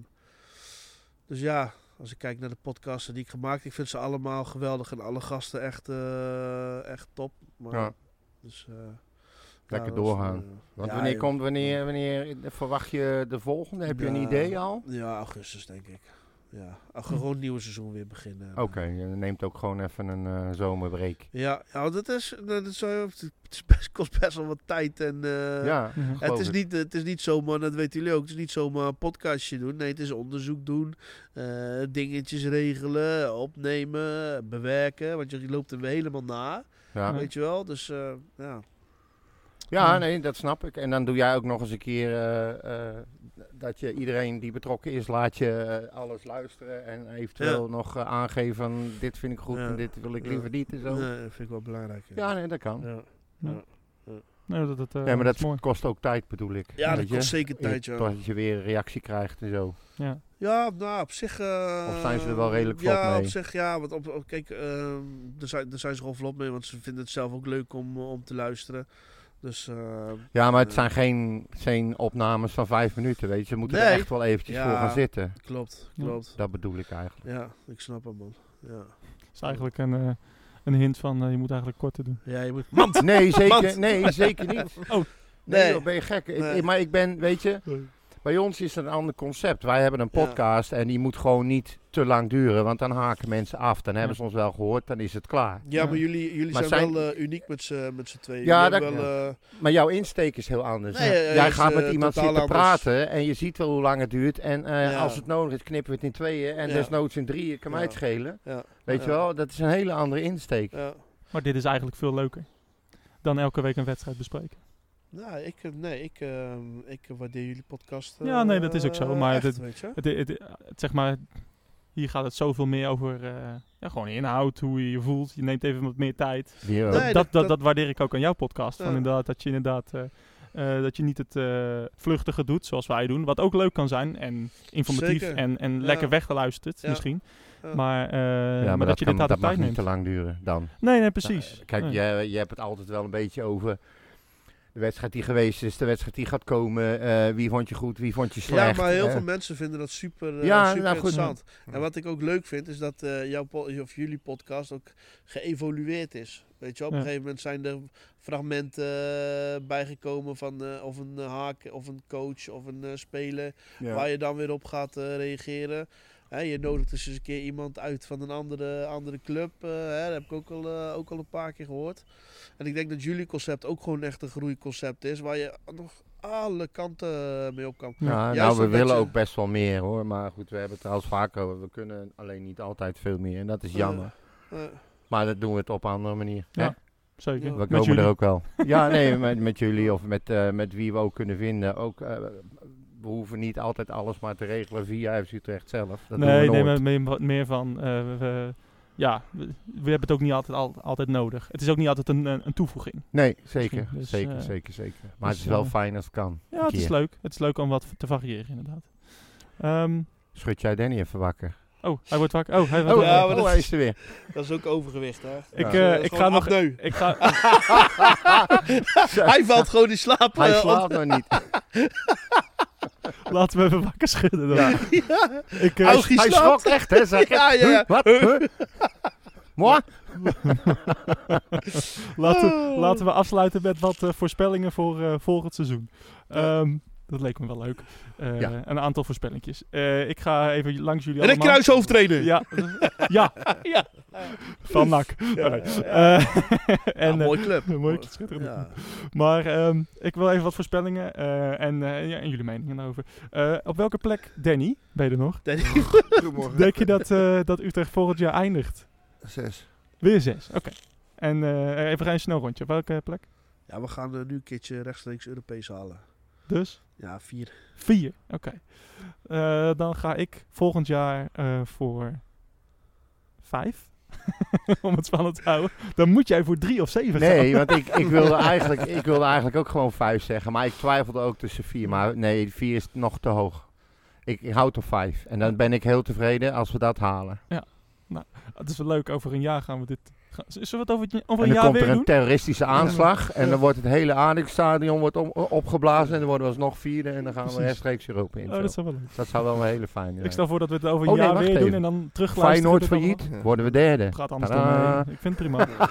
S6: dus ja, als ik kijk naar de podcasten die ik gemaakt heb, ik vind ze allemaal geweldig. En alle gasten echt, eh, echt top. Maar,
S4: Ja.
S6: dus, eh,
S4: Lekker
S6: dat is,
S4: doorgaan.
S6: eh,
S4: Want
S6: ja,
S4: wanneer
S6: joh.
S4: komt, wanneer, wanneer verwacht je de volgende? Heb je een
S6: Nou,
S4: idee al?
S6: Ja, augustus denk ik. Ja, Ach, gewoon het nieuwe seizoen weer beginnen.
S4: Oké, je neemt ook gewoon even een eh, zomerbreak.
S6: Ja, ja dat is, dat is, zo- het is best, <laughs> kost best wel wat tijd. En, eh,
S4: ja,
S3: Mhm.
S6: het,
S4: geloof
S6: is
S4: ik.
S6: niet, het is niet zomaar, dat weten jullie ook, het is niet zomaar een podcastje doen. Nee, het is onderzoek doen, eh, dingetjes regelen, opnemen, bewerken. Want je loopt er weer helemaal na,
S4: Ja.
S6: weet je wel. Dus eh, ja,
S4: Ja,
S3: Ja.
S4: nee, dat snap ik. En dan doe jij ook nog eens een keer eh, eh, dat je iedereen die betrokken is, laat je eh, alles luisteren. En eventueel nog eh, aangeven van dit vind ik goed
S6: Ja.
S4: en dit wil ik
S6: Ja.
S4: liever niet en zo.
S6: Nee, dat vind ik wel belangrijk.
S4: Ja, nee, dat kan.
S6: ja. nou.
S3: Nee, dat, dat, eh,
S4: nee, maar dat
S3: is mooi.
S4: kost ook tijd, bedoel ik.
S6: Ja,
S4: Weet
S6: dat
S4: je?
S6: kost zeker tijd,
S4: Je-
S6: ja.
S4: Dat je weer een reactie krijgt en zo.
S3: Ja.
S6: Ja, nou, op zich... eh,
S4: Of zijn ze er wel redelijk vlot
S6: ja,
S4: mee?
S6: op zich, ja. Want op, op- kijk, ehm daar, zijn, daar zijn ze gewoon vlot mee. Want ze vinden het zelf ook leuk om, eh, om te luisteren. Dus eh,
S4: Ja, maar het
S6: Eh.
S4: zijn geen, geen opnames van vijf minuten, weet je. Ze moeten er
S6: Nee.
S4: echt wel eventjes
S6: Ja.
S4: voor gaan zitten.
S6: klopt,
S3: Ja.
S6: klopt.
S4: Dat bedoel ik eigenlijk.
S6: Ja, ik snap hem, man. Ja,
S3: is eigenlijk een, eh, een hint van eh, je moet eigenlijk korter doen.
S6: ja je moet...
S4: <laughs>
S3: <laughs>
S4: Nee, zeker,
S6: Want-
S4: nee, zeker niet.
S3: Oh.
S4: Nee,
S6: Nee.
S4: joh, ben je gek. Ik-
S6: Nee.
S4: ik- maar ik ben, weet je,
S6: Nee.
S4: bij ons is het een ander concept. Wij hebben een
S6: Ja.
S4: podcast en die moet gewoon niet te lang duren, want dan haken mensen af. Dan hebben ze ons wel gehoord, dan is het klaar.
S6: Ja, maar jullie, jullie
S4: Maar
S6: zijn,
S4: zijn-
S6: wel eh, uniek met z'n met z'n tweeën.
S4: Ja,
S6: Jullie
S4: dat-
S6: hebben wel, eh,
S4: Maar jouw insteek is heel anders.
S6: Nee, eh,
S4: Jij
S6: is,
S4: gaat
S6: eh,
S4: met iemand
S6: totaal
S4: zitten
S6: anders.
S4: praten en je ziet wel hoe lang het duurt. En eh,
S6: Ja.
S4: als het nodig is, knippen we het in tweeën en
S6: Ja.
S4: desnoods in drieën. Kan mij
S6: Ja.
S4: het schelen.
S6: Ja.
S4: Weet je
S6: Ja.
S4: wel, dat is een hele andere insteek.
S6: ja.
S3: Maar dit is eigenlijk veel leuker dan elke week een wedstrijd bespreken.
S6: Nou, ik, eh, nee, ik, ehm, ik waardeer jullie podcast. eh,
S3: Ja, nee, dat is ook zo, maar
S6: echt,
S3: dit-
S6: weet je?
S3: Het, het, het- zeg maar, hier gaat het zoveel meer over eh, ja, gewoon inhoud, hoe je je voelt. Je neemt even wat meer tijd.
S4: Hier,
S6: Nee,
S3: dat,
S6: dat-
S3: dat,
S6: dat-
S3: dat, waardeer ik ook aan jouw podcast. Van
S6: Ja.
S3: inderdaad, dat je inderdaad eh, eh, dat je niet het eh, vluchtige doet zoals wij doen. Wat ook leuk kan zijn en informatief
S6: Zeker.
S3: en, en
S6: Ja.
S3: lekker weggeluisterd
S6: Ja.
S3: misschien.
S6: Ja.
S3: Maar, eh, maar,
S4: ja, maar,
S3: dat,
S4: dat,
S3: je
S4: kan,
S3: dit
S4: dat
S3: de
S4: mag
S3: tijd
S4: niet
S3: neemt.
S4: te lang duren dan.
S3: Nee, nee, precies.
S4: Nou, kijk,
S3: Nee.
S4: jij, je hebt het altijd wel een beetje over de wedstrijd die geweest is, de wedstrijd die gaat komen. eh, wie vond je goed, wie vond je
S6: Ja,
S4: slecht.
S6: maar heel
S4: eh.
S6: veel mensen vinden dat super, eh,
S4: Ja,
S6: super
S4: nou, goed.
S6: interessant. En wat ik ook leuk vind, is dat eh, jouw po- of jullie podcast ook geëvolueerd is. Weet je, wel, op
S3: Ja.
S6: een gegeven moment zijn er fragmenten eh, bijgekomen van eh, of een haak, of een coach, of een eh, speler. Waar je dan weer op gaat eh, reageren. Hè, je nodigt dus eens een keer iemand uit van een andere, andere club. eh, hè, dat heb ik ook al, eh, ook al een paar keer gehoord. En ik denk dat jullie concept ook gewoon echt een groeiconcept is. Waar je nog alle kanten eh, mee op kan.
S4: Ja,
S6: Juist
S4: nou, we
S6: omdat
S4: willen
S6: je-
S4: ook best wel meer hoor. Maar goed, we hebben het trouwens vaker over. We kunnen alleen niet altijd veel meer. En dat is jammer.
S6: Eh,
S4: maar dat doen we het op een andere manier.
S3: Ja,
S4: hè?
S3: Zeker.
S6: Ja.
S4: We
S3: Met
S4: komen
S3: jullie.
S4: er ook wel. Ja, nee, met, met jullie of met, eh, met wie we ook kunnen vinden. Ook, eh, we hoeven niet altijd alles maar te regelen via FC Utrecht zelf. Dat doen
S3: nee,
S4: we
S3: nee,
S4: nooit.
S3: maar meer, wat meer van. eh, we- we- ja, we, we hebben het ook niet altijd, al- altijd nodig. Het is ook niet altijd een, een, een toevoeging.
S4: nee, zeker.
S3: Misschien, dus,
S4: zeker,
S3: eh,
S4: zeker, zeker.
S3: dus,
S4: Maar het is wel
S3: eh,
S4: fijn als het kan.
S3: Ja, het is
S4: keer.
S3: leuk. Het is leuk om wat te variëren, inderdaad. Ehm,
S4: Schud jij Danny even wakker?
S3: oh, hij wordt wakker. Oh, hij wordt
S4: Oh,
S3: wakker.
S6: ja, maar
S4: oh,
S6: dat
S4: hij
S6: is-
S4: is er weer.
S6: dat is ook overgewicht, hè?
S3: Ik, eh,
S4: Ja.
S6: Dat is
S3: ik ga
S6: gewoon
S3: nog.
S6: apneu.
S3: Ik ga, <laughs>
S6: Hij valt gewoon in slaap.
S4: Hij
S6: eh,
S4: slaapt nog niet.
S3: Laten we even wakker schudden dan.
S4: Ja.
S6: Oh,
S3: <laughs> Ik, eh,
S6: Hij
S4: Hij,
S6: Augie
S4: hij
S6: slaapt.
S4: schrok echt, hè? Zeg
S6: <laughs> Ja, ja, ja.
S4: Huh?
S6: <laughs>
S4: Wat? Huh? Moi?
S6: Ah.
S3: laten, laten we afsluiten met wat eh, voorspellingen voor eh, volgend seizoen. Ehm, dat leek me wel leuk. Eh,
S4: Ja.
S3: Een aantal voorspellingjes. Eh, ik ga even langs jullie
S6: Rick
S3: allemaal.
S6: Kruis hoofdtrainer. <laughs>
S3: Ja, ja,
S6: Ja.
S3: van Nak.
S6: Ja, ja, ja.
S3: en,
S6: Ja,
S3: eh, <laughs>
S6: mooi club.
S3: mooi, schitterend.
S6: Ja.
S3: Maar ehm, ik wil even wat voorspellingen eh, en, eh, ja, en jullie meningen daarover. Eh, op welke plek, Danny, ben je er nog?
S6: Danny,
S5: Goedemorgen.
S3: Denk je dat, eh, dat Utrecht volgend jaar eindigt?
S5: Zes.
S3: Weer zes, oké. En eh, even een snel rondje. Op welke plek?
S6: Ja, we gaan eh, nu een keertje rechtstreeks Europees halen.
S3: Dus?
S6: Ja, vier.
S3: Vier, oké. Eh, dan ga ik volgend jaar eh, voor vijf. <laughs> Om het spannend te houden. Dan moet jij voor drie of zeven gaan.
S4: Nee, want ik, ik, wilde eigenlijk, ik wilde eigenlijk ook gewoon vijf zeggen. Maar ik twijfelde ook tussen vier. Maar nee, vier is nog te hoog. Ik, ik houd op vijf. En dan ben ik heel tevreden als we dat halen.
S3: Het is wel leuk, over een jaar gaan we dit... Gaan, zullen we het over, het- over
S4: en
S3: een
S4: dan
S3: jaar
S4: komt
S3: weer
S4: er een
S3: doen?
S4: terroristische aanslag. En dan wordt het hele Ajax-stadion wordt om- opgeblazen. En dan worden we alsnog vierde. En dan gaan we
S3: Precies.
S4: rechtstreeks Europa in.
S3: Oh, dat
S4: dat,
S3: is wel leuk.
S4: zou wel een hele fijne
S3: Ik
S4: zijn.
S3: stel voor dat we het over een
S4: Oh, nee,
S3: jaar
S4: wacht
S3: weer doen
S4: even.
S3: en dan terugluisteren.
S4: Feyenoord
S3: dit allemaal.
S4: failliet, worden we
S6: <laughs>
S4: derde.
S3: Het gaat anders dan
S4: Tadaa.
S3: mee. Ik vind het prima. <laughs>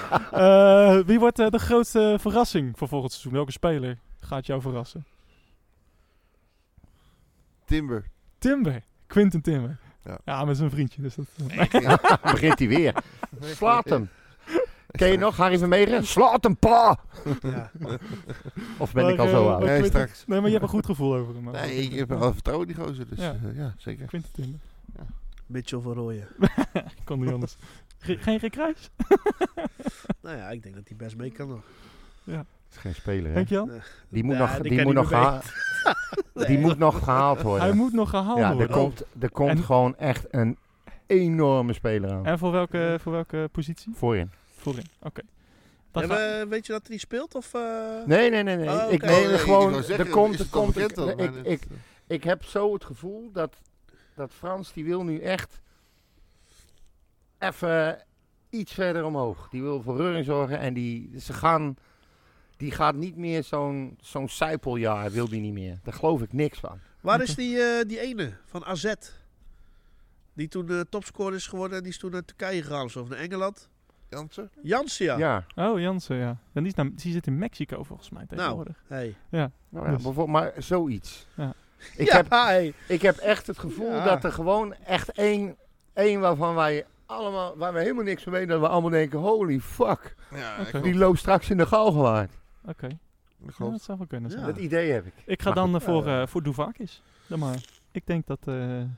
S3: Eh, wie wordt eh, de grootste verrassing voor volgend seizoen? Welke speler gaat jou verrassen?
S5: Timber.
S3: Timber. Quinten Timber. Ja,
S5: Ja.
S3: met zijn vriendje. Dus dat, <laughs>
S4: Begint hij weer. <laughs> Slaat hem. <laughs> Ken je nog Harry Vermegen? Slaat hem, pa!
S6: <laughs> Ja.
S4: Of ben
S3: Maar,
S4: ik al
S3: eh,
S4: zo
S3: maar
S4: oud?
S5: Nee,
S3: Quinten-
S5: straks.
S3: Nee, maar je hebt een goed gevoel over hem.
S5: Nee, ik heb wel vertrouwen in die gozer. Dus
S3: Ja.
S5: ja, ja zeker.
S3: Quinten Timber.
S6: Mitchell van Rooyen.
S3: Ik kon niet anders. Ge- geen Rick Rijs?
S6: Nou ja, ik denk dat hij best mee kan nog.
S4: is geen speler, hè?
S3: Dankjewel.
S4: Die moet
S6: Ja,
S4: nog,
S6: die
S4: die
S6: kan
S4: moet
S6: niet
S4: nog,
S6: meer
S4: geha-
S6: <laughs>
S4: die moet nog gehaald worden.
S3: Hij moet nog gehaald
S4: ja, er
S3: worden.
S4: komt, er komt
S3: En-
S4: gewoon echt een enorme speler aan.
S3: Oh. En voor welke, voor welke positie?
S4: Voorin.
S3: Voorin. Oké. Dan
S6: Ja,
S3: ga-
S6: maar weet je dat hij speelt? Of, eh?
S4: Nee, nee, nee. nee.
S6: Oh,
S4: Ik
S6: oké.
S4: neem
S6: Nee, nee,
S4: gewoon...
S5: ik wou zeggen,
S4: er komt,
S5: is
S4: er
S5: het al
S4: komt...
S5: bekend dan?
S4: ik,
S5: Maar
S4: ik,
S5: dat-
S4: ik, ik heb zo het gevoel dat, dat Frans, die wil nu echt even iets verder omhoog. Die wil voor reuring zorgen en die, ze gaan... Die gaat niet meer zo'n zo'n sijpeljaar, wil die niet meer. Daar geloof ik niks van.
S6: Waar is die, eh, die ene van AZ? Die toen de topscorer is geworden en die is toen naar Turkije gegaan of zo, of naar Engeland.
S5: Jansen?
S6: Jansen, ja.
S4: ja.
S3: Oh, Jansen, ja. En die, is naar, die zit in Mexico volgens mij tegenwoordig.
S6: Hey.
S4: Nou ja,
S3: Dus-
S4: bijvoorbeeld- maar zoiets.
S3: Ja.
S4: Ik,
S6: ja,
S4: heb,
S6: hey.
S4: ik heb echt het gevoel
S6: Ja.
S4: dat er gewoon echt één, één waarvan wij allemaal, waar we helemaal niks van weten, dat we allemaal denken, holy fuck,
S5: Ja,
S3: Oké.
S5: ik
S4: die
S5: geloof-
S4: loopt straks in de galgenwaard.
S3: Oké.
S5: ik
S3: Ja,
S5: geloof-
S3: dat zou wel kunnen zijn.
S6: Ja.
S4: Dat idee heb ik.
S3: Ik ga
S4: Maar
S3: dan
S4: goed,
S3: eh, voor,
S4: ja.
S3: eh voor Duvakis. Dan maar. Ik denk dat eh, hij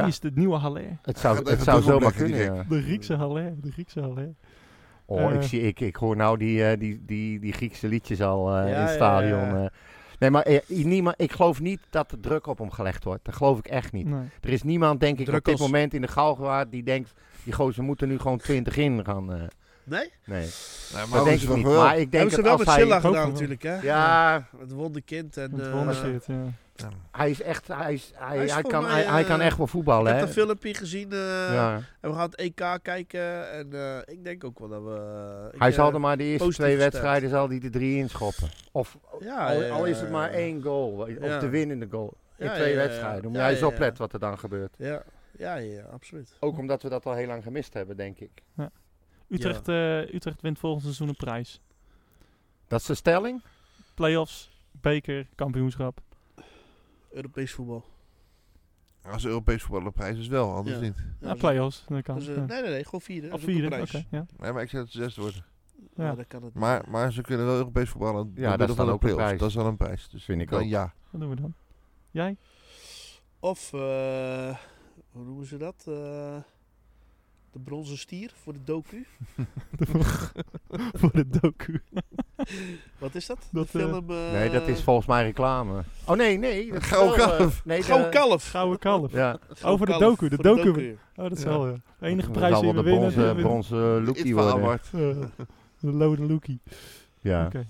S4: Ja.
S3: is het nieuwe Haller.
S4: Het zou,
S5: Gaat
S4: het
S5: even
S4: zou zomaar
S5: dubbelblikken, die
S4: kunnen, ja.
S3: De Griekse Haller. De Griekse Haller.
S4: Oh, ik,
S3: Eh.
S4: zie, ik, ik hoor nou die, eh, die, die, die Griekse liedjes al eh,
S6: Ja,
S4: in het
S6: ja,
S4: stadion.
S6: ja.
S4: eh. Nee, maar eh, niemand, ik geloof niet dat er druk op hem gelegd wordt. Dat geloof ik echt niet.
S3: Nee.
S4: Er is niemand, denk ik, op dit
S6: Drukkels.
S4: moment in de galgenwaard die denkt, die gozer moet er nu gewoon 20 in gaan. eh.
S6: Nee?
S4: nee.
S5: Nee,
S4: Dat
S5: Maurits
S4: denk
S5: is
S4: ik
S5: wel
S4: niet.
S5: geweldig.
S4: Maar ik denk
S6: Hebben ze
S4: dat
S6: wel
S4: als
S6: met
S4: hij...
S6: Silla
S3: Ik hoop
S6: gedaan
S3: wel.
S6: natuurlijk, hè?
S4: Ja,
S6: Het wonderkind en...
S3: Het
S6: eh,
S3: wonderkind, ja.
S5: Ja.
S4: hij is echt... Hij, is, hij,
S6: Hij
S4: hij,
S6: is voor
S4: kan,
S6: mij,
S4: hij, hij
S6: eh,
S4: kan echt wel
S6: ik
S4: voetballen,
S6: heb
S4: hè?
S6: dat filmpje gezien eh,
S4: Ja.
S6: en we gaan het EK kijken. En eh, ik denk ook wel dat we... eh, ik,
S4: Hij
S6: eh,
S4: zal er maar de eerste
S6: positief
S4: twee
S6: gestemd.
S4: wedstrijden zal hij de drie inschoppen. Of
S6: Ja,
S4: al,
S6: ja,
S4: al is het
S6: ja,
S4: maar
S6: ja.
S4: één goal. eh, Of
S6: Ja.
S4: de winnende goal. In
S6: Ja,
S4: twee
S6: ja, ja.
S4: wedstrijden. Omdat
S6: Ja,
S4: hij is
S6: ja, ja.
S4: oplet wat er dan gebeurt.
S6: Ja, ja, ja, absoluut.
S4: Ook omdat we dat al heel lang gemist hebben, denk ik.
S3: Utrecht, eh, Utrecht wint volgend seizoen een prijs.
S4: Dat is de stelling.
S3: Playoffs, beker, kampioenschap.
S6: Europees voetbal.
S5: Als Europees voetballerprijs is wel, anders
S6: Ja.
S5: niet.
S3: Ja,
S6: play
S3: playoffs. Dat kan. ja.
S6: Dus, eh, Nee, nee, nee. Gewoon vierde.
S3: Of
S6: Zoek een
S3: vierde, oké.
S6: prijs.
S3: ja.
S5: Nee, maar ik zeg dat ze zesde worden.
S3: Ja.
S6: Ja. dat kan het niet.
S5: Maar, maar ze kunnen wel Europees voetballen.
S4: Ja,
S5: Ja,
S4: dat
S5: dat
S4: is
S5: is
S4: dan
S5: een
S4: ook een
S5: prijs.
S4: prijs.
S5: Dat is dan een prijs. Dus
S4: Vind ik
S5: dan
S4: ook.
S5: ja.
S3: Wat doen we dan? Jij?
S6: Of, eh, hoe noemen ze dat? Eh, de bronzen stier voor de docu.
S3: voor de docu.
S6: Wat is dat?
S3: Dat,
S6: de film... eh,
S4: nee, dat is volgens mij reclame. Oh nee, nee. Dat is
S5: Gouden
S4: wel, eh,
S5: kalf.
S4: nee, de-
S6: Gouden kalf.
S3: Gouden kalf.
S4: Ja,
S6: Gouden
S3: Over de
S6: kalf
S3: docu, de
S6: voor
S3: docu. Oh, dat is
S5: Ja.
S3: wel, ja. De enige
S4: dat
S3: prijs
S4: zal
S3: die
S4: wel
S3: we
S4: de
S3: winnen.
S4: bronzen,
S3: die we-
S4: bronzen
S5: Iets
S4: lookie
S5: van
S4: worden.
S5: Albert.
S3: eh, de lode lookie.
S4: Ja.
S3: Oké.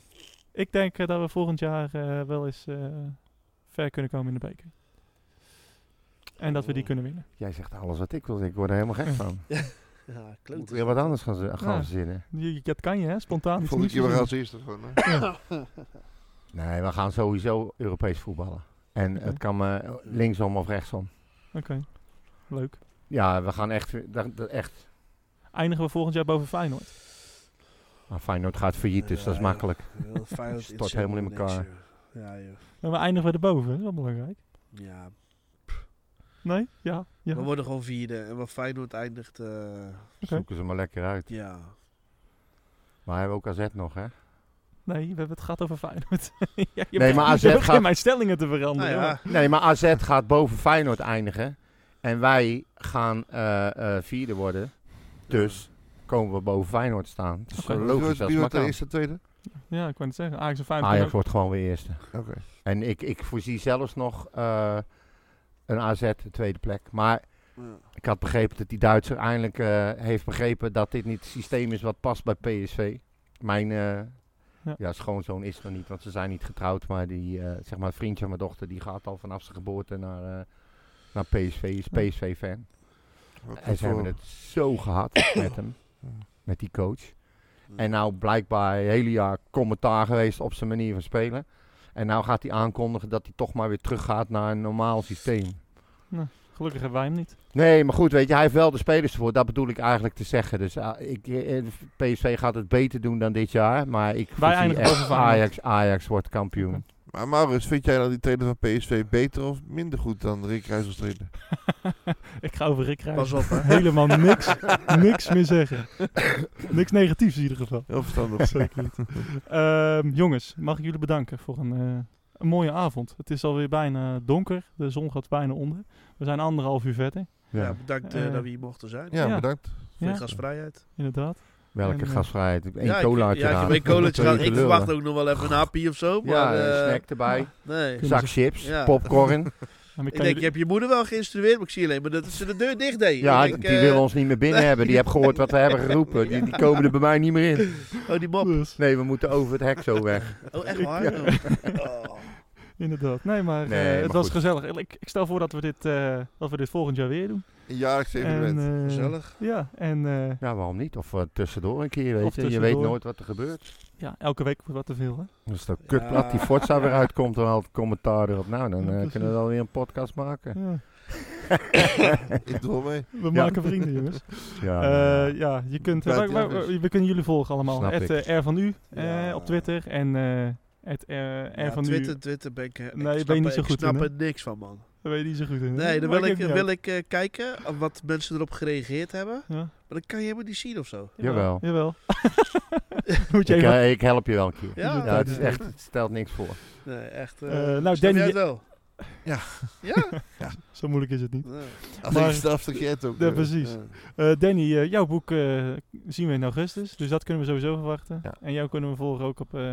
S3: Ik denk eh, dat we volgend jaar eh, wel eens eh, ver kunnen komen in de beker. En dat we
S4: Oh.
S3: die kunnen winnen.
S4: Jij zegt alles wat ik wil. Ik word er helemaal gek van.
S6: Ja,
S4: Moet
S6: kloot.
S4: weer wat anders gaan, ze- gaan
S3: Ja.
S4: verzinnen.
S3: Je- je- Dat kan je, hè? Spontaan. iets
S5: Volgende
S3: nieuws
S5: keer maar
S3: verzinnen.
S5: als eerste gewoon. hè.
S4: Nee, we gaan sowieso Europees voetballen. En
S3: Oké.
S4: het kan maar linksom of rechtsom.
S3: Oké. Leuk.
S4: Ja, we gaan echt... weer- Dat, dat echt
S3: Eindigen we volgend jaar boven Feyenoord.
S4: maar Feyenoord gaat failliet, dus dat is
S6: Ja, ja.
S4: makkelijk.
S6: Heel fijn dat
S4: Stort
S6: het
S4: helemaal in
S6: niks,
S4: elkaar.
S6: joh. Ja, joh.
S3: En Nou, we eindigen we erboven. Dat is wel belangrijk.
S6: Ja.
S3: Nee? Ja. ja.
S6: We worden gewoon vierde. En wat Feyenoord eindigt... eh,
S3: Oké.
S4: <laughs> Zoeken ze maar lekker uit.
S6: ja.
S4: Maar we hebben ook AZ nog, hè?
S3: Nee, we hebben het gaat over Feyenoord. <laughs> Ja, je
S4: Nee,
S3: begint-
S4: maar AZ
S3: je begint
S4: gaat-
S3: mijn stellingen te veranderen.
S6: Nou
S3: hoor.
S6: ja.
S4: Nee, maar AZ gaat boven Feyenoord eindigen. En wij gaan eh, eh, vierde worden. Dus komen we boven Feyenoord staan. Dat is
S3: Oké.
S5: Wie
S4: logisch
S5: wordt- Wie
S4: als maar
S5: wordt de
S4: kan.
S5: eerste, tweede?
S3: ja, ik wou net zeggen. Ajax en Feyenoord. kunnen
S4: Ajax
S3: ook-
S4: wordt gewoon weer eerste.
S5: Oké.
S4: En ik, ik voorzie zelfs nog eh, een AZ, de tweede plek. Maar
S6: Ja.
S4: ik had begrepen dat die Duitser eindelijk eh, heeft begrepen dat dit niet het systeem is wat past bij PSV. Mijn eh,
S3: Ja.
S4: ja. schoonzoon is er niet, want ze zijn niet getrouwd. Maar die, eh, zeg maar het vriendje van mijn dochter, die gaat al vanaf zijn geboorte naar, eh, naar PSV. Is
S3: Ja.
S4: PSV-fan.
S5: Wat
S4: En ze hebben
S5: voor-
S4: het zo gehad met hem, met die coach. En nou blijkbaar het hele jaar commentaar geweest op zijn manier van spelen. En nou gaat hij aankondigen dat hij toch maar weer teruggaat naar een normaal systeem.
S3: Gelukkig hebben wij hem niet.
S4: Nee, maar goed, weet je, hij heeft wel de spelers ervoor. Dat bedoel ik eigenlijk te zeggen. Dus ah, ik, eh, PSV gaat het beter doen dan dit jaar. Maar ik voorzie
S3: eindigen
S4: echt
S3: boven Feyenoord.
S4: Ajax, Ajax wordt kampioen.
S5: Maar Maurits, vind jij dan die trainer van PSV beter of minder goed dan Rick Rijs als trainer?
S3: Ik ga over Rick Rijs
S6: Pas
S4: <laughs>
S6: op, hè.
S3: helemaal niks, niks meer zeggen. niks negatiefs in ieder geval.
S5: Heel
S4: <laughs>
S5: verstandig.
S3: Zeker niet. Ehm, jongens, mag ik jullie bedanken voor een, eh, een mooie avond. Het is alweer bijna donker. De zon gaat bijna onder. We zijn anderhalf uur verder.
S6: Ja, bedankt eh,
S3: Eh,
S6: dat we hier mochten zijn.
S5: Ja,
S3: Ja.
S5: bedankt.
S6: Voor je
S3: Ja.
S6: gastvrijheid.
S3: Inderdaad.
S4: Welke
S3: En, eh,
S4: gasvrijheid? Eén
S6: ja,
S4: cola
S6: ik, ja,
S4: uiteraard.
S6: ik, heb een colaatje
S4: <laughs> Twee
S6: gehad. ik
S4: te lullen.
S6: verwacht ook nog wel even een happy of zo. Maar,
S4: Ja,
S6: eh,
S4: een snack erbij.
S6: nee.
S3: Kunnen
S4: Zak
S3: ze-
S4: chips,
S6: Ja. <laughs>
S4: popcorn.
S3: Maar ik
S6: Ik
S3: kan
S6: denk, je
S3: jullie-
S6: hebt je moeder wel geïnstrueerd, maar ik zie alleen maar dat ze de deur dicht deed.
S4: Ja,
S6: Ik denk,
S4: die
S6: eh,
S4: willen ons niet meer
S6: <laughs>
S4: binnen hebben. Die hebben gehoord wat we hebben geroepen. Die, die komen er bij mij niet meer in.
S6: <laughs> Oh, die mop.
S4: Nee, we moeten over het hek zo weg.
S6: Oh, echt waar?
S3: Ja.
S6: Oh. Oh.
S3: Inderdaad. Nee, maar eh,
S4: Nee, maar
S3: het was
S4: goed.
S3: gezellig. Ik, ik stel voor dat we dit, eh, dat we dit volgend jaar weer doen.
S5: Een jaarlijks
S3: En,
S5: evenement.
S3: eh,
S6: Gezellig.
S3: Ja, en eh,
S4: Ja, waarom niet? Of eh, tussendoor een keer, weet
S3: Of
S4: je. Je weet
S3: tussendoor.
S4: nooit wat er gebeurt.
S3: ja, elke week wordt wat te veel. Hè?
S4: Als dat kutblad die Forza weer uitkomt, dan haalt commentaar erop. Nou, dan eh, kunnen we wel weer een podcast maken.
S3: Ja.
S4: eh,
S5: Ik doe wel
S4: <laughs>
S5: mee.
S3: We maken vrienden, jongens.
S4: Ja,
S3: Eh, ja, je kunt, eh,
S5: Buiten
S3: waar- waar-
S5: Elvis.
S3: we kunnen jullie volgen allemaal.
S4: Snap
S3: Het
S4: ik.
S3: eh, R van U eh,
S5: Ja.
S3: op Twitter en eh het R, R
S6: Ja,
S3: van U.
S6: Twitter, Twitter ben ik... eh,
S3: Nee,
S6: ik
S3: ben je
S6: snap,
S3: niet zo
S6: ik
S3: goed
S6: snap
S3: in, hè?
S6: er niks van, man.
S3: Dat weet je niet zo goed. Hè?
S6: Nee, dan
S3: Maakt
S6: wil ik,
S3: ook niet
S6: wil
S3: uit.
S6: ik eh, kijken wat mensen erop gereageerd hebben.
S3: Ja,
S6: Maar dat kan je helemaal niet zien of zo.
S4: Jawel.
S3: Jawel. Moet je
S4: ik,
S3: even...
S4: eh, ik help je wel een keer.
S6: Ja, dus
S4: Ja, het, is
S6: nee.
S4: echt, het stelt niks voor.
S6: Nee, echt. eh,
S3: Eh, nou,
S6: snap
S3: Danny,
S6: jij het wel?
S3: <laughs>
S5: Ja.
S6: Ja?
S3: Zo moeilijk is het niet.
S6: Nee.
S5: Als
S3: Maar-
S5: ik straf, dan jij het ook.
S3: Ja,
S5: weer.
S3: precies.
S6: Ja.
S3: Eh, Danny, eh, jouw boek eh, zien we in augustus, dus dat kunnen we sowieso verwachten.
S4: Ja.
S3: En jou kunnen we volgen ook op eh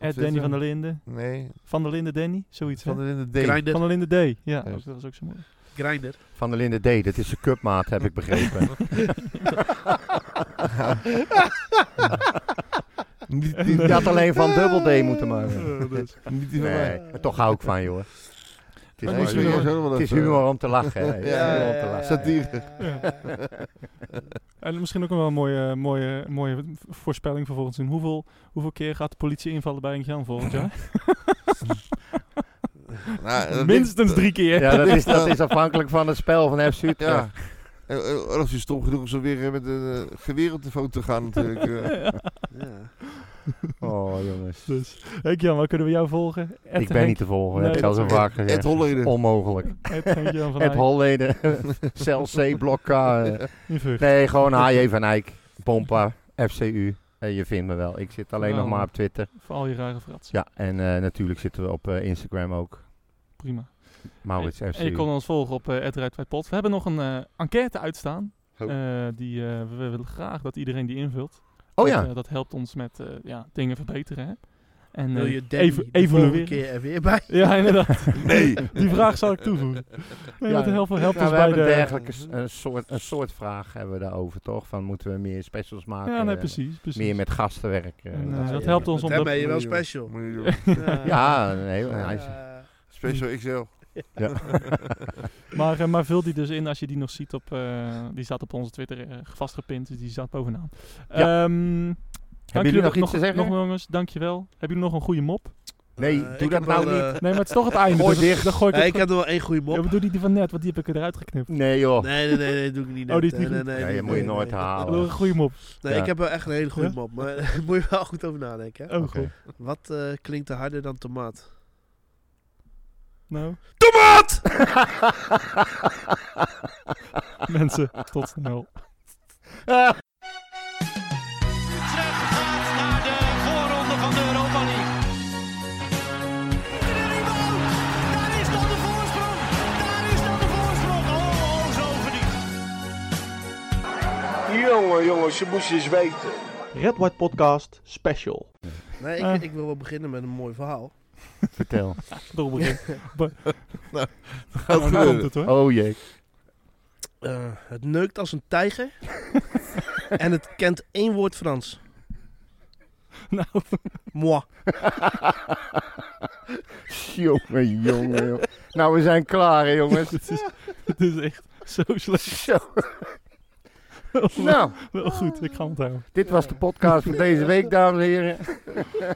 S3: at Danny
S5: Twitter.
S3: van der Linden.
S5: Nee,
S3: Van der Linden Danny, zoiets hè?
S5: van de D.
S6: Grinder.
S3: Van der Linden D, ja.
S5: Ja.
S3: Oh, dat was ook zo mooi.
S6: Grinder.
S4: Van der Linde D, dat is de cupmaat, heb ik begrepen. <laughs>
S5: Niet,
S3: En,
S5: niet,
S4: Je had alleen van dubbel D moeten maken.
S3: Eh, dus.
S5: niet die van
S4: Nee,
S5: mij.
S4: maar toch hou ik van je hoor. Het is,
S3: Maar
S5: Nee,
S3: moest
S5: die
S3: je
S5: jongens
S3: wel-
S5: hadden wel
S4: het is
S5: even-
S4: humor om te lachen. hè. Het is
S5: Ja,
S4: humor om te lachen.
S5: Satire.
S3: En misschien ook wel een mooie, mooie, mooie voorspelling voor volgend seizoen. Hoeveel, hoeveel keer gaat de politie invallen bij een Jan volgend jaar?
S5: Nou,
S3: <laughs>
S5: dat
S3: Minstens
S5: ligt-
S3: drie keer. <laughs>
S4: Ja, dat is, dat is afhankelijk van het spel van FC
S5: Ja.
S4: Utrecht.
S5: En, eh, als je stom genoeg is om weer eh, met een eh, geweer op de foto te gaan natuurlijk. eh.
S6: Ja.
S4: Oh jongens,
S3: Dus, Henk Jan, waar kunnen we jou volgen? At
S4: ik ben
S3: Henk-
S4: niet te volgen,
S3: Nee,
S4: heb ik al zo
S5: Ed-
S4: vaak
S5: Ed
S4: gezegd.
S5: Holleden.
S4: Onmogelijk.
S3: at
S4: <laughs>
S3: Henk Jan van
S4: Het
S3: Eyck
S4: Holleden, <laughs> Cel C, Blok K. eh.
S3: in Vught.
S4: Nee, gewoon HJ van Eyck, Pompa, FCU. En je vindt me wel. Ik zit alleen nog
S3: Nou.
S4: maar op Twitter.
S3: Voor al je rare frats.
S4: Ja, en eh, natuurlijk zitten we op eh, Instagram ook.
S3: Prima.
S4: Maurits
S3: En je
S4: FCU.
S3: kon ons volgen op uh, We hebben nog een eh, enquête uitstaan.
S4: Oh.
S3: Eh, die, eh, we, we willen graag dat iedereen die invult.
S4: Oh
S3: Dat,
S4: ja,
S3: eh, dat helpt ons met eh, ja, dingen verbeteren. Hè? En,
S6: Wil
S3: eh,
S6: je Danny
S3: evo-
S6: de volgende
S3: evalueren.
S6: keer er weer bij?
S3: Ja, inderdaad.
S4: <laughs>
S3: Nee. Die vraag zal ik toevoegen. Nee,
S4: Ja,
S3: dat helpt, helpt
S4: Ja,
S3: ons
S4: we
S3: bij
S4: hebben
S3: de...
S4: een dergelijke s- een soort, een soort vraag hebben we daarover, toch? Van moeten we meer specials maken?
S3: Ja, nee,
S4: eh,
S3: precies. precies.
S4: Meer met gasten werken.
S3: En,
S4: dat
S3: eh,
S4: soort
S3: dat
S4: dingen.
S3: helpt ons
S6: Met
S3: om
S6: hem
S3: dat...
S6: ben je wel
S5: Moet je
S3: <laughs>
S6: special. Eh,
S5: Moet je doen.
S4: Ja, nee, hij is-
S6: Ja.
S5: Special XL.
S3: Maar, eh, maar vul die dus in als je die nog ziet op... eh, die staat op onze Twitter eh, vastgepind, dus die staat bovenaan.
S4: Ja.
S3: Ehm, dank
S4: jullie nog iets te zeggen?
S3: Nog jongens, dankjewel. Hebben jullie nog een goede mop?
S4: Nee,
S6: Eh,
S4: doe
S6: ik
S4: dat
S6: heb
S4: nou
S6: wel, eh,
S4: niet.
S3: Nee, maar het is toch het einde.
S4: Gooi
S3: dus
S4: dicht.
S3: Dan gooi ik
S6: eh,
S3: het
S6: ik had er wel één goede
S3: Ja,
S6: mop.
S3: maar doe niet die van net, want die heb ik eruit geknipt.
S4: Nee, joh.
S6: Nee, nee, nee, nee, doe ik niet.
S3: Oh, die
S6: net.
S3: is niet
S6: Nee,
S3: goed.
S6: nee,
S4: Oh. Ja,
S6: nee, nee,
S4: je moet je
S6: nee,
S4: nooit
S6: nee.
S3: Ik wil een
S4: halen.
S3: goede mop.
S6: Nee,
S4: Ja.
S6: ik heb wel echt een hele goede
S3: Ja?
S6: mop, maar <laughs> daar moet je wel goed over nadenken. hè.
S3: Oh,
S4: Oké.
S3: god.
S6: Wat eh, klinkt er harder dan tomaat?
S3: Nou,
S6: Tomaat!
S3: <laughs> mensen, tot snel.
S1: Utrecht gaat naar de voorronde van de Europa League. Daar is dan de voorsprong. Daar is dan de voorsprong. Oh, oh, zo verdiend.
S7: Jongen, jongen, ze moest eens weten.
S2: Red White Podcast Special.
S6: Nee,
S3: Eh.
S6: ik, ik wil wel beginnen met een mooi verhaal.
S4: Vertel.
S3: Dobbel begin.
S5: Gaat
S3: Nou, daar komt
S5: gebeuren.
S3: het hoor.
S4: Oh jee.
S6: Eh, het neukt als een
S3: <laughs>
S6: tijger. en het kent één woord Frans.
S3: Nou,
S6: Moi.
S4: Jongen, jongen, joh. Nou, we zijn klaar, hè,
S3: <laughs>
S4: jongens.
S3: het is, het is echt zo slecht.
S4: Zo.
S3: Wel
S4: <laughs> Nou,
S3: goed, ik ga het houden.
S4: dit was de podcast voor deze week, dames en heren.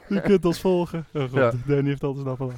S3: U kunt ons volgen. Oh god,
S4: Ja.
S3: Danny heeft altijd een appel.